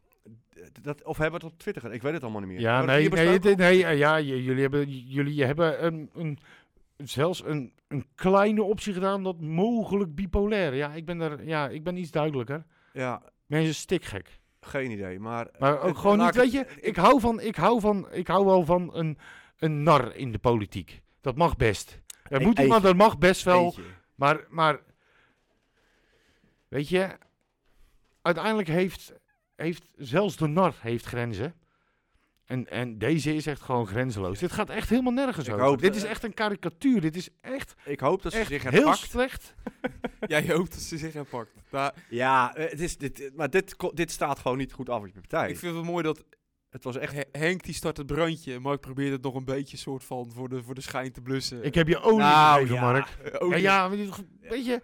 [SPEAKER 5] D- Dat, of hebben we het op Twitter gedaan? Ik weet het allemaal niet meer.
[SPEAKER 3] Ja,
[SPEAKER 5] Hebben we
[SPEAKER 3] nee,
[SPEAKER 5] het hier
[SPEAKER 3] nee,
[SPEAKER 5] besproken?
[SPEAKER 3] dit- nee eh, ja, j- jullie hebben, j- jullie hebben een, een, zelfs een, een kleine optie gedaan dat mogelijk bipolair. Ja, ik ben, er, ja, ik ben iets duidelijker.
[SPEAKER 5] Ja,
[SPEAKER 3] Mensen stikgek.
[SPEAKER 5] Geen idee, maar...
[SPEAKER 3] Maar ook gewoon niet,
[SPEAKER 5] laat
[SPEAKER 3] weet
[SPEAKER 5] ik-
[SPEAKER 3] je, ik hou, van, ik hou, van, ik hou wel van een, een nar in de politiek. Dat mag best. Er
[SPEAKER 5] E-
[SPEAKER 3] moet iemand,
[SPEAKER 5] eentje.
[SPEAKER 3] dat mag best wel.
[SPEAKER 5] Eentje.
[SPEAKER 3] Maar, maar weet je, uiteindelijk heeft, heeft zelfs de nar heeft grenzen. En, en deze is echt gewoon grenzeloos. Dit gaat echt helemaal nergens
[SPEAKER 5] Ik
[SPEAKER 3] over.
[SPEAKER 5] hoop-
[SPEAKER 3] Dit is echt een karikatuur. Dit is echt,
[SPEAKER 5] Ik hoop dat ze
[SPEAKER 3] echt
[SPEAKER 5] zich
[SPEAKER 3] heel
[SPEAKER 5] herpakt.
[SPEAKER 3] slecht.
[SPEAKER 4] Jij hoopt dat ze zich herpakt. Nou, Daar,
[SPEAKER 5] Ja, eh, het is dit, maar dit, ko- dit staat gewoon niet goed af op je partij.
[SPEAKER 4] Ik vind het wel mooi dat
[SPEAKER 5] het was echt...
[SPEAKER 4] He- Henk die start het brandje. en Mark probeert het nog een beetje soort van voor de, voor de schijn te blussen.
[SPEAKER 3] Ik heb je olie
[SPEAKER 5] Eh, Nou,
[SPEAKER 3] gegeven,
[SPEAKER 5] ja.
[SPEAKER 3] Mark.
[SPEAKER 4] Eh, oh,
[SPEAKER 3] Ja,
[SPEAKER 4] die-
[SPEAKER 3] ja, maar dit- weet je,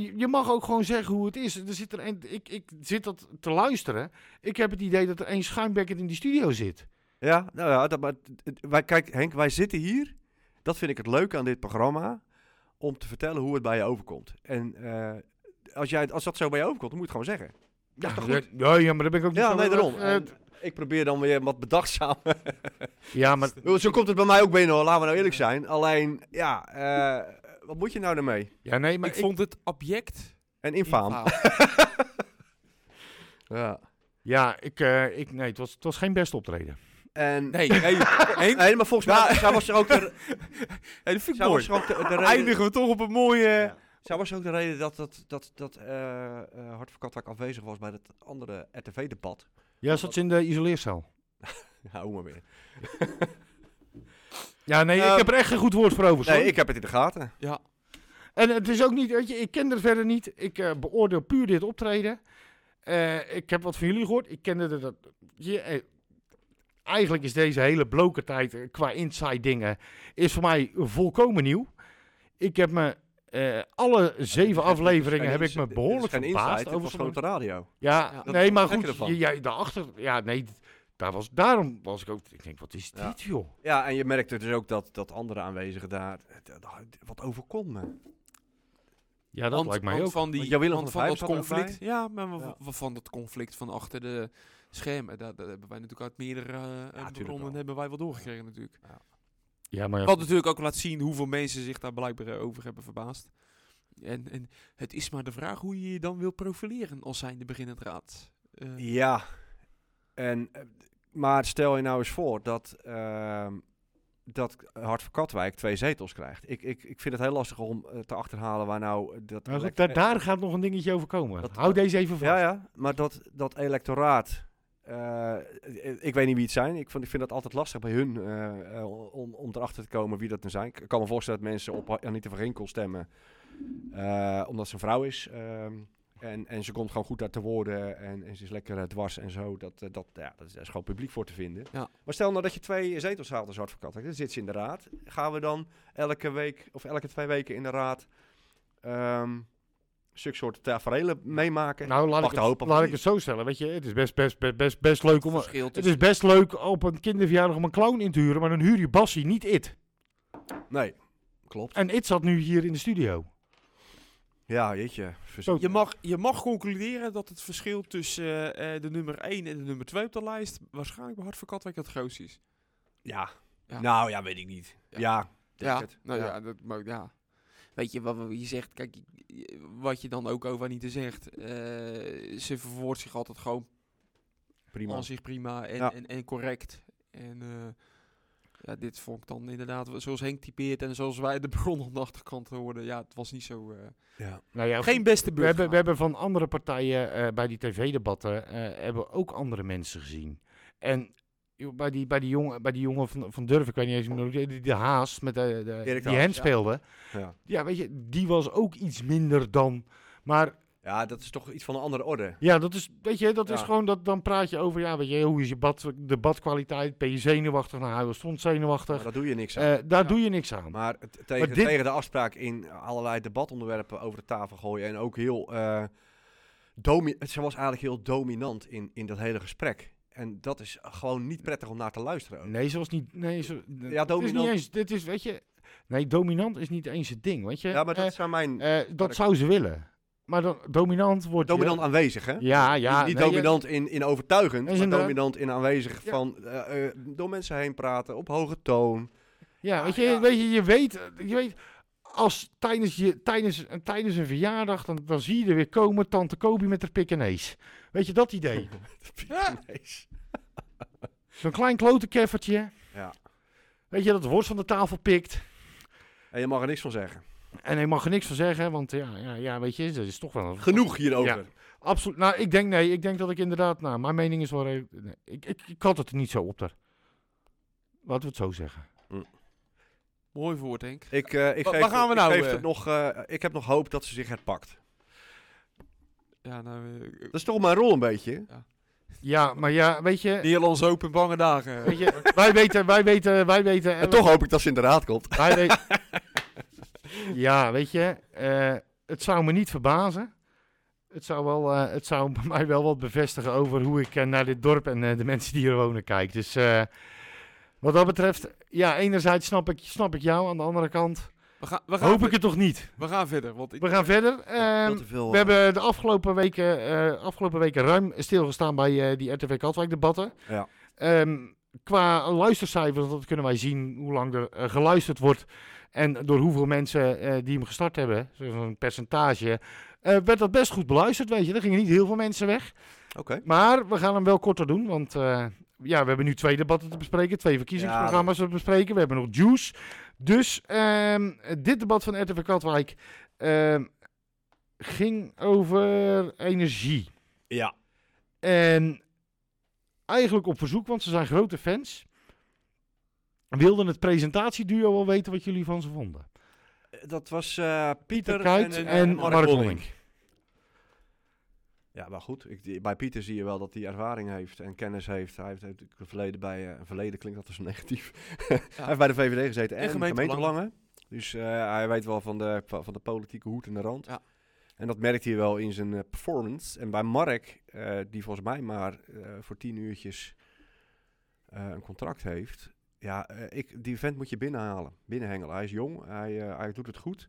[SPEAKER 3] je- je mag ook gewoon zeggen hoe het is. Er zit er een, ik, ik zit dat te luisteren. Ik heb het idee dat er één schuimbekkend in die studio zit.
[SPEAKER 5] Ja, nou ja, dat, maar, het- het- wij, kijk Henk, wij zitten hier. Dat vind ik het leuke aan dit programma. Om te vertellen hoe het bij je overkomt. En eh, als, jij, als dat zo bij je overkomt, dan moet je het gewoon zeggen.
[SPEAKER 3] Ja,
[SPEAKER 5] toch
[SPEAKER 3] ja,
[SPEAKER 5] goed?
[SPEAKER 3] ja, ja, maar daar ben ik ook niet
[SPEAKER 5] Ja,
[SPEAKER 3] zo
[SPEAKER 5] nee,
[SPEAKER 3] heel
[SPEAKER 5] daarom.
[SPEAKER 3] erg, eh,
[SPEAKER 5] En ik probeer dan weer wat bedachtzaam.
[SPEAKER 3] ja, maar
[SPEAKER 5] zo komt het bij mij ook binnen hoor, laten we nou eerlijk zijn. Alleen, ja, eh, wat moet je nou daarmee?
[SPEAKER 3] Ja, nee, maar
[SPEAKER 4] ik, vond het object.
[SPEAKER 5] En infaam.
[SPEAKER 4] infaam.
[SPEAKER 5] Ja.
[SPEAKER 3] Ja, ik, eh, ik, nee, het was, het was geen best optreden.
[SPEAKER 5] En,
[SPEAKER 4] Nee, nee, Henk,
[SPEAKER 5] Nee, maar volgens mij zij was er ook de,
[SPEAKER 4] hey, dat vind ik
[SPEAKER 5] zij
[SPEAKER 4] mooi.
[SPEAKER 5] was er ook de, de reden,
[SPEAKER 4] Eindigen we toch op een mooie...
[SPEAKER 5] zij was er ook de reden dat, dat, dat, dat eh, eh, Hart voor Katwijk afwezig was bij dat andere RTV-debat.
[SPEAKER 3] Ja, zat ze in de isoleercel.
[SPEAKER 5] Hou maar weer.
[SPEAKER 3] Ja, nee, ik
[SPEAKER 5] Ehm,
[SPEAKER 3] heb er echt geen goed woord voor over. sorry.
[SPEAKER 5] Nee, ik heb het in de gaten.
[SPEAKER 4] Ja,
[SPEAKER 3] En het is ook niet, weet je, ik ken er verder niet. Ik eh, beoordeel puur dit optreden. Eh, ik heb wat van jullie gehoord. Ik kende dat. dat je, eh, eigenlijk is deze hele bloke tijd eh, qua inside dingen is voor mij volkomen nieuw. Ik heb me eh, alle zeven afleveringen heb ik me behoorlijk verbaasd
[SPEAKER 5] over.
[SPEAKER 3] over.
[SPEAKER 5] was gewoon op de radio.
[SPEAKER 3] Ja,
[SPEAKER 4] Ja,
[SPEAKER 5] dat
[SPEAKER 3] nee, maar
[SPEAKER 5] merk je
[SPEAKER 3] goed,
[SPEAKER 5] ervan.
[SPEAKER 3] je, jij daarachter, ja, nee, d- daar was, daarom was ik ook. Ik denk, wat is dit,
[SPEAKER 5] Ja.
[SPEAKER 3] joh?
[SPEAKER 5] Ja, en je merkte dus ook dat, dat andere aanwezigen daar... eh, dat- dat- Wat overkomt me?
[SPEAKER 3] Ja, dat
[SPEAKER 4] want-
[SPEAKER 3] lijkt mij
[SPEAKER 4] want
[SPEAKER 3] ook.
[SPEAKER 4] Van die,
[SPEAKER 5] Want Jan Willem
[SPEAKER 4] want
[SPEAKER 5] van
[SPEAKER 4] van
[SPEAKER 5] der
[SPEAKER 4] dat
[SPEAKER 5] Vijf zat er ook
[SPEAKER 4] conflict. Ja, maar wa-
[SPEAKER 5] Ja.
[SPEAKER 4] wa- van dat conflict van achter de schermen. Daar, daar hebben wij natuurlijk uit meerdere eh,
[SPEAKER 5] tuurlijk
[SPEAKER 4] bronnen
[SPEAKER 5] wel.
[SPEAKER 4] hebben wij wel doorgekregen natuurlijk.
[SPEAKER 3] Ja, maar
[SPEAKER 4] Wat natuurlijk ook laat zien hoeveel mensen zich daar blijkbaar eh, over hebben verbaasd. En, en het is maar de vraag hoe je je dan wil profileren als zijnde beginnend raad. Eh,
[SPEAKER 5] Ja. En, eh, maar stel je nou eens voor dat, ehm, dat Hart voor Katwijk twee zetels krijgt. Ik, ik, ik vind het heel lastig om eh, te achterhalen waar nou dat...
[SPEAKER 3] Nou goed,
[SPEAKER 5] elect-
[SPEAKER 3] daar, daar gaat nog een dingetje over komen.
[SPEAKER 5] Dat-
[SPEAKER 3] Hou deze even vast.
[SPEAKER 5] Ja, ja. Maar dat, dat electoraat... eh, eh, ik weet niet wie het zijn. Ik, vond, ik vind dat altijd lastig bij hun eh, eh, om, om erachter te komen wie dat nou zijn. Ik kan me voorstellen dat mensen op Anita van Ginkel stemmen. eh, omdat ze een vrouw is. ehm, en, en ze komt gewoon goed uit te woorden. En, en ze is lekker eh, dwars en zo. Dat, eh, dat, ja, dat is, daar is gewoon publiek voor te vinden.
[SPEAKER 4] Ja.
[SPEAKER 5] Maar stel nou dat je twee zetels haalt als advocaat. Dan zit ze in de raad. Gaan we dan elke week of elke twee weken in de raad... ehm zulke soort tafereelen meemaken?
[SPEAKER 3] Nou, laat,
[SPEAKER 5] Mag
[SPEAKER 3] ik
[SPEAKER 5] de
[SPEAKER 3] het,
[SPEAKER 5] hoop op
[SPEAKER 3] laat
[SPEAKER 5] het
[SPEAKER 3] ik het zo stellen. Weet je, het is best, best, best, best, best leuk om.
[SPEAKER 4] verschil
[SPEAKER 3] Het is
[SPEAKER 4] tussen-
[SPEAKER 3] best leuk op een kinderverjaardag om een clown in te huren, maar dan huur je Bassie, niet It.
[SPEAKER 5] Nee, klopt.
[SPEAKER 3] En It zat nu hier in de studio.
[SPEAKER 5] Ja, jeetje. Vers-
[SPEAKER 3] Zo.
[SPEAKER 4] Je mag, je mag concluderen dat het verschil tussen eh, eh, de nummer 1 en de nummer 2 op de lijst waarschijnlijk bij Hart voor Katwijk het grootste is.
[SPEAKER 5] Ja.
[SPEAKER 4] Ja.
[SPEAKER 5] Nou, ja, weet ik niet.
[SPEAKER 4] Ja.
[SPEAKER 5] Ja, ja, denk
[SPEAKER 4] Ja,
[SPEAKER 5] het.
[SPEAKER 4] nou ja,
[SPEAKER 5] Ja.
[SPEAKER 4] dat mag, ja. Weet je wat je zegt, kijk, je- wat je dan ook over Anita zegt, eh, ze verwoordt zich altijd gewoon
[SPEAKER 5] prima.
[SPEAKER 4] aan zich prima en,
[SPEAKER 5] Ja.
[SPEAKER 4] en, en correct. En eh, ja, dit vond ik dan inderdaad, wel- zoals Henk typeert en zoals wij de bron aan de achterkant hoorden, ja, het was niet zo... eh,
[SPEAKER 5] Ja.
[SPEAKER 3] Nou ja,
[SPEAKER 4] geen beste
[SPEAKER 3] we, hebben,
[SPEAKER 4] burger.
[SPEAKER 3] we hebben van andere partijen eh, bij die tv-debatten eh, hebben we ook andere mensen gezien. En joh, bij die, bij die, jongen, bij die jongen van, van Durf, ik weet niet eens hoe die, die, die Haas, met eh, de, de-
[SPEAKER 5] Erik
[SPEAKER 3] die
[SPEAKER 5] Haas,
[SPEAKER 3] hen
[SPEAKER 5] ja.
[SPEAKER 3] speelde.
[SPEAKER 5] Ja.
[SPEAKER 3] Ja, weet je, die was ook iets minder dan. Maar
[SPEAKER 5] ja, dat is toch iets van een andere orde.
[SPEAKER 3] Ja, dat is, weet je, dat is
[SPEAKER 5] Ja.
[SPEAKER 3] gewoon, dat, dan praat je over, ja, weet je, hoe is je bad, de badkwaliteit, ben je zenuwachtig, nou, hij was stond
[SPEAKER 5] Maar
[SPEAKER 3] zenuwachtig,
[SPEAKER 5] daar doe je niks aan.
[SPEAKER 3] Eh, daar
[SPEAKER 4] Ja.
[SPEAKER 3] doe je niks aan.
[SPEAKER 5] maar het- tegen,
[SPEAKER 3] dit-
[SPEAKER 5] tegen de afspraak in allerlei debatonderwerpen over de tafel gooien. En ook heel... eh domi het- ze was eigenlijk heel dominant in, in dat hele gesprek. En dat is gewoon niet prettig om naar te luisteren. ook.
[SPEAKER 3] Nee, ze was niet, nee, ze,
[SPEAKER 5] Ja,
[SPEAKER 3] het is niet
[SPEAKER 5] dominant-
[SPEAKER 3] eens, dit is, weet je, nee, dominant is niet eens het ding, weet je.
[SPEAKER 5] Ja, maar dat
[SPEAKER 3] Eh,
[SPEAKER 5] zijn mijn...
[SPEAKER 3] eh, dat zou ze willen, maar dan, dominant wordt... je-
[SPEAKER 5] dominant aanwezig, hè?
[SPEAKER 3] Ja, ja.
[SPEAKER 5] niet niet
[SPEAKER 3] nee, je-
[SPEAKER 5] dominant in, in overtuigend,
[SPEAKER 3] Nee,
[SPEAKER 5] maar
[SPEAKER 3] inderdaad.
[SPEAKER 5] dominant in aanwezig
[SPEAKER 3] Ja.
[SPEAKER 5] van eh, eh, door mensen heen praten, op hoge toon.
[SPEAKER 3] Ja,
[SPEAKER 5] Ah,
[SPEAKER 3] weet je,
[SPEAKER 5] ja.
[SPEAKER 3] Weet je, je weet, je weet, als tijdens, je, tijdens, en tijdens een verjaardag, dan, dan zie je er weer komen tante Kobi met haar pik en nees. Weet je dat idee?
[SPEAKER 5] Jezus.
[SPEAKER 3] Zo'n klein klote keffertje.
[SPEAKER 5] Ja.
[SPEAKER 3] Weet je, dat de worst van de tafel pikt.
[SPEAKER 5] En je mag er niks van zeggen.
[SPEAKER 3] En hij mag er niks van zeggen, want ja, ja, ja weet je, dat is toch wel een...
[SPEAKER 5] Genoeg hierover.
[SPEAKER 3] Absoluut. Nou, ik denk nee. Ik denk dat ik inderdaad... Nou, mijn mening is wel... re- nee, ik, ik, ik had het er niet zo op daar. Laten we het zo zeggen.
[SPEAKER 4] Mooi woord, Henk.
[SPEAKER 5] Ik, eh, ik
[SPEAKER 4] Wa-
[SPEAKER 5] geef,
[SPEAKER 4] waar gaan we
[SPEAKER 5] ik
[SPEAKER 4] nou,
[SPEAKER 5] geef
[SPEAKER 4] eh?
[SPEAKER 5] het nog, eh, ik heb nog hoop dat ze zich herpakt.
[SPEAKER 4] Ja, nou... eh,
[SPEAKER 5] Dat is toch mijn rol een beetje.
[SPEAKER 3] Ja, maar ja, weet je...
[SPEAKER 4] Nederlands open bange dagen.
[SPEAKER 3] Weet je wij weten, wij weten, wij weten...
[SPEAKER 5] En toch hoop ik dat ze in de raad komt.
[SPEAKER 3] Wij weten- ja, weet je... eh, het zou me niet verbazen. Het zou, wel, eh, het zou bij mij wel wat bevestigen over hoe ik eh, naar dit dorp en eh, de mensen die hier wonen kijk. Dus eh, wat dat betreft... Ja, enerzijds snap ik, snap ik jou. Aan de andere kant
[SPEAKER 4] We gaan, we gaan,
[SPEAKER 3] hoop ik het toch niet.
[SPEAKER 4] we gaan verder, want ik,
[SPEAKER 3] We gaan verder. Ehm,
[SPEAKER 5] Veel te veel,
[SPEAKER 3] we hebben de afgelopen weken, eh, afgelopen weken ruim stilgestaan bij eh, die RTV Katwijk debatten.
[SPEAKER 5] Ja.
[SPEAKER 3] Ehm, qua luistercijfers, dat kunnen wij zien hoe lang er eh, geluisterd wordt en door hoeveel mensen eh, die hem gestart hebben, zo'n percentage, eh, werd dat best goed beluisterd, weet je. Er gingen niet heel veel mensen weg.
[SPEAKER 5] eh, Oké.
[SPEAKER 3] Maar we gaan hem wel korter doen, want eh, ja, we hebben nu twee debatten te bespreken, twee verkiezingsprogramma's te bespreken. We hebben nog Juice. Dus ehm, dit debat van RTV Katwijk ehm, ging over energie.
[SPEAKER 5] Ja.
[SPEAKER 3] En eigenlijk op verzoek, want ze zijn grote fans, wilden het presentatieduo wel weten wat jullie van ze vonden.
[SPEAKER 5] Dat was eh, Pieter,
[SPEAKER 3] Pieter Kuyt
[SPEAKER 5] en,
[SPEAKER 3] en,
[SPEAKER 5] eh,
[SPEAKER 3] Mark,
[SPEAKER 5] Lonning.
[SPEAKER 3] Lonning.
[SPEAKER 5] Ja, maar goed. Ik, die- bij Pieter zie je wel dat hij ervaring heeft en kennis heeft. Hij heeft, heeft een verleden bij... eh, een verleden klinkt altijd zo negatief. hij heeft bij de VVD gezeten en,
[SPEAKER 4] En
[SPEAKER 5] gemeentebelangen.
[SPEAKER 4] gemeentebelangen.
[SPEAKER 5] Dus eh, hij weet wel van de, van de politieke hoed en de rand.
[SPEAKER 4] Ja.
[SPEAKER 5] En dat merkt hij wel in zijn eh, performance. En bij Mark, eh, die volgens mij maar eh, voor tien uurtjes eh, een contract heeft... Ja, eh, ik, die vent moet je binnenhalen, binnenhengelen. Hij is jong, hij, eh, hij doet het goed.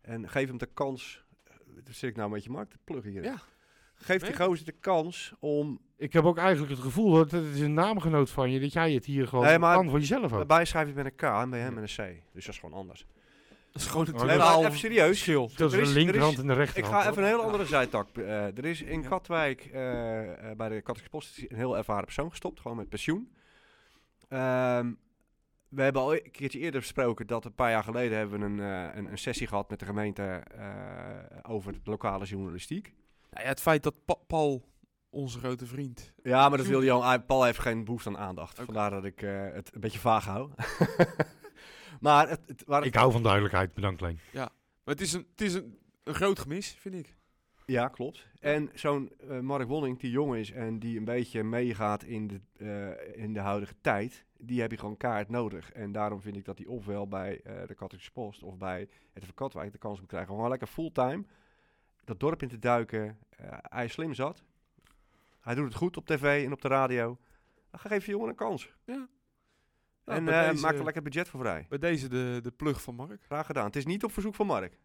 [SPEAKER 5] En geef hem de kans... Dan zit ik nou met je markt te pluggen hier.
[SPEAKER 4] Ja.
[SPEAKER 5] Geef die
[SPEAKER 4] Nee.
[SPEAKER 5] gozer de kans om
[SPEAKER 3] Ik heb ook eigenlijk het gevoel, dat het is een naamgenoot van je, dat jij het hier gewoon
[SPEAKER 5] Nee, maar-
[SPEAKER 3] kan voor
[SPEAKER 4] Oh.
[SPEAKER 3] jezelf ook.
[SPEAKER 5] Daarbij schrijf je met een K en bij hem met een C. Dus dat is gewoon anders.
[SPEAKER 4] dat is gewoon een
[SPEAKER 3] Maar
[SPEAKER 5] Nee,
[SPEAKER 4] totaal
[SPEAKER 5] maar even serieus.
[SPEAKER 4] verschil.
[SPEAKER 3] Dat
[SPEAKER 5] Er
[SPEAKER 3] is
[SPEAKER 5] is-
[SPEAKER 3] de
[SPEAKER 5] er is-
[SPEAKER 3] linkerhand en de
[SPEAKER 5] Ik
[SPEAKER 3] rechterhand.
[SPEAKER 5] ga even een heel
[SPEAKER 4] Ja.
[SPEAKER 5] andere zijtak. eh, er is in
[SPEAKER 4] Ja.
[SPEAKER 5] Katwijk eh, eh, bij de Katwijkse Post is een heel ervaren persoon gestopt, gewoon met pensioen. Ehm, we hebben al een keertje eerder besproken dat een paar jaar geleden hebben we een, eh, een, een sessie gehad met de gemeente eh, over de lokale journalistiek.
[SPEAKER 4] Nou ja, het feit dat Pa- Paul, onze grote vriend...
[SPEAKER 5] Ja, maar dat wil Jan. hij- Paul heeft geen behoefte aan aandacht.
[SPEAKER 4] Oké.
[SPEAKER 5] Vandaar dat ik eh, het een beetje vaag hou. maar het, het, waar het-
[SPEAKER 3] Ik hou van duidelijkheid, bedankt Leen.
[SPEAKER 4] Maar het is een, het is een, een groot gemis, vind ik.
[SPEAKER 5] Ja, klopt. En zo'n eh, Mark Wonning, die jong is en die een beetje meegaat in de, eh, in de huidige tijd, die heb je gewoon kaart nodig. En daarom vind ik dat hij ofwel bij eh, de Katholische Post of bij het van Katwijk de kans moet krijgen om gewoon lekker fulltime dat dorp in te duiken. Eh, hij is slim zat. Hij doet het goed op tv en op de radio. Dan geef je jongen een kans.
[SPEAKER 4] Nou,
[SPEAKER 5] en
[SPEAKER 4] bij
[SPEAKER 5] eh,
[SPEAKER 4] deze-
[SPEAKER 5] maak er lekker budget voor vrij.
[SPEAKER 4] Bij deze de, de plug van Mark.
[SPEAKER 5] Graag gedaan. Het is niet op verzoek van Mark. Ik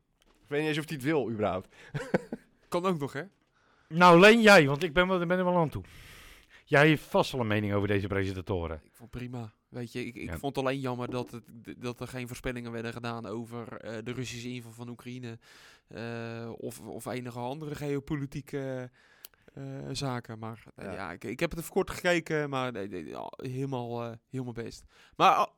[SPEAKER 5] weet niet eens of hij het wil, überhaupt.
[SPEAKER 4] Kan ook nog, hè?
[SPEAKER 3] Nou Leen, jij, want ik ben, wel- ben er wel aan toe. Jij heeft vast wel een mening over deze presentatoren.
[SPEAKER 4] Ik vond prima. Weet je, ik, ik
[SPEAKER 3] Ja.
[SPEAKER 4] vond alleen jammer dat, het, d- dat er geen voorspellingen werden gedaan over eh, de Russische inval van Oekraïne. eh, of, of enige andere geopolitieke eh, eh, zaken. Maar eh,
[SPEAKER 5] Ja.
[SPEAKER 4] ja, ik, ik heb het even kort gekeken, maar nee, nee, ja, helemaal, eh, helemaal best. Maar a-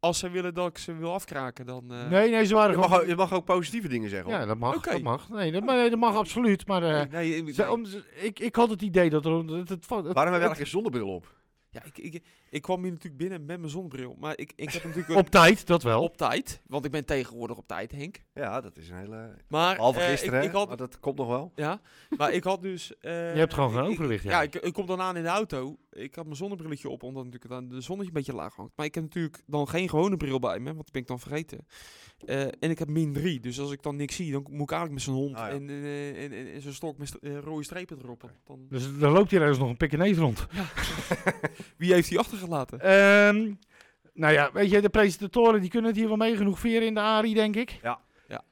[SPEAKER 4] als ze willen dat ik ze wil afkraken, dan... eh,
[SPEAKER 3] nee, nee, ze waren
[SPEAKER 5] Je
[SPEAKER 3] gewoon...
[SPEAKER 5] mag, ook- je mag ook positieve dingen zeggen. hoor.
[SPEAKER 3] Ja, dat mag,
[SPEAKER 4] Oké.
[SPEAKER 3] dat mag. Nee, dat, maar nee, dat mag absoluut, maar... eh,
[SPEAKER 4] nee, ik-
[SPEAKER 3] ze- om- ze- ik, ik had het idee dat er... Dat het, het,
[SPEAKER 5] Waarom hebben we eigenlijk geen zonnebril op?
[SPEAKER 4] ja, ik, ik, ik kwam hier natuurlijk binnen met mijn zonnebril. Maar ik, ik heb natuurlijk
[SPEAKER 3] op tijd, dat wel.
[SPEAKER 4] op tijd, want ik ben tegenwoordig op tijd, Henk.
[SPEAKER 5] Ja, dat is een hele.
[SPEAKER 4] Maar
[SPEAKER 5] Behalve
[SPEAKER 4] eh, ik-
[SPEAKER 5] gisteren,
[SPEAKER 4] ik,
[SPEAKER 5] hè,
[SPEAKER 4] had
[SPEAKER 5] maar dat komt nog wel.
[SPEAKER 4] Ja, maar ik had dus... eh,
[SPEAKER 3] Je hebt gewoon geen
[SPEAKER 4] ik- ik-
[SPEAKER 3] overwicht, ja.
[SPEAKER 4] Ja, ik, ik kom dan aan in de auto. Ik had mijn zonnebrilletje op, omdat natuurlijk dan de zonnetje een beetje laag hangt. Maar ik heb natuurlijk dan geen gewone bril bij me, want die ben ik dan vergeten. Eh, en ik heb min 3, dus als ik dan niks zie, dan moet ik eigenlijk met zo'n hond
[SPEAKER 5] Ah, ja.
[SPEAKER 4] en, eh, en, en, en zo'n stok met st- eh, rode strepen erop. Want Dan,
[SPEAKER 3] Dus dan loopt hier ergens nog een pikkenees rond.
[SPEAKER 4] wie heeft die achtergelaten?
[SPEAKER 3] Ehm, nou ja, weet je, de presentatoren die kunnen het hier wel mee genoeg veren in de ARI, denk ik.
[SPEAKER 5] Ja.
[SPEAKER 4] Ja.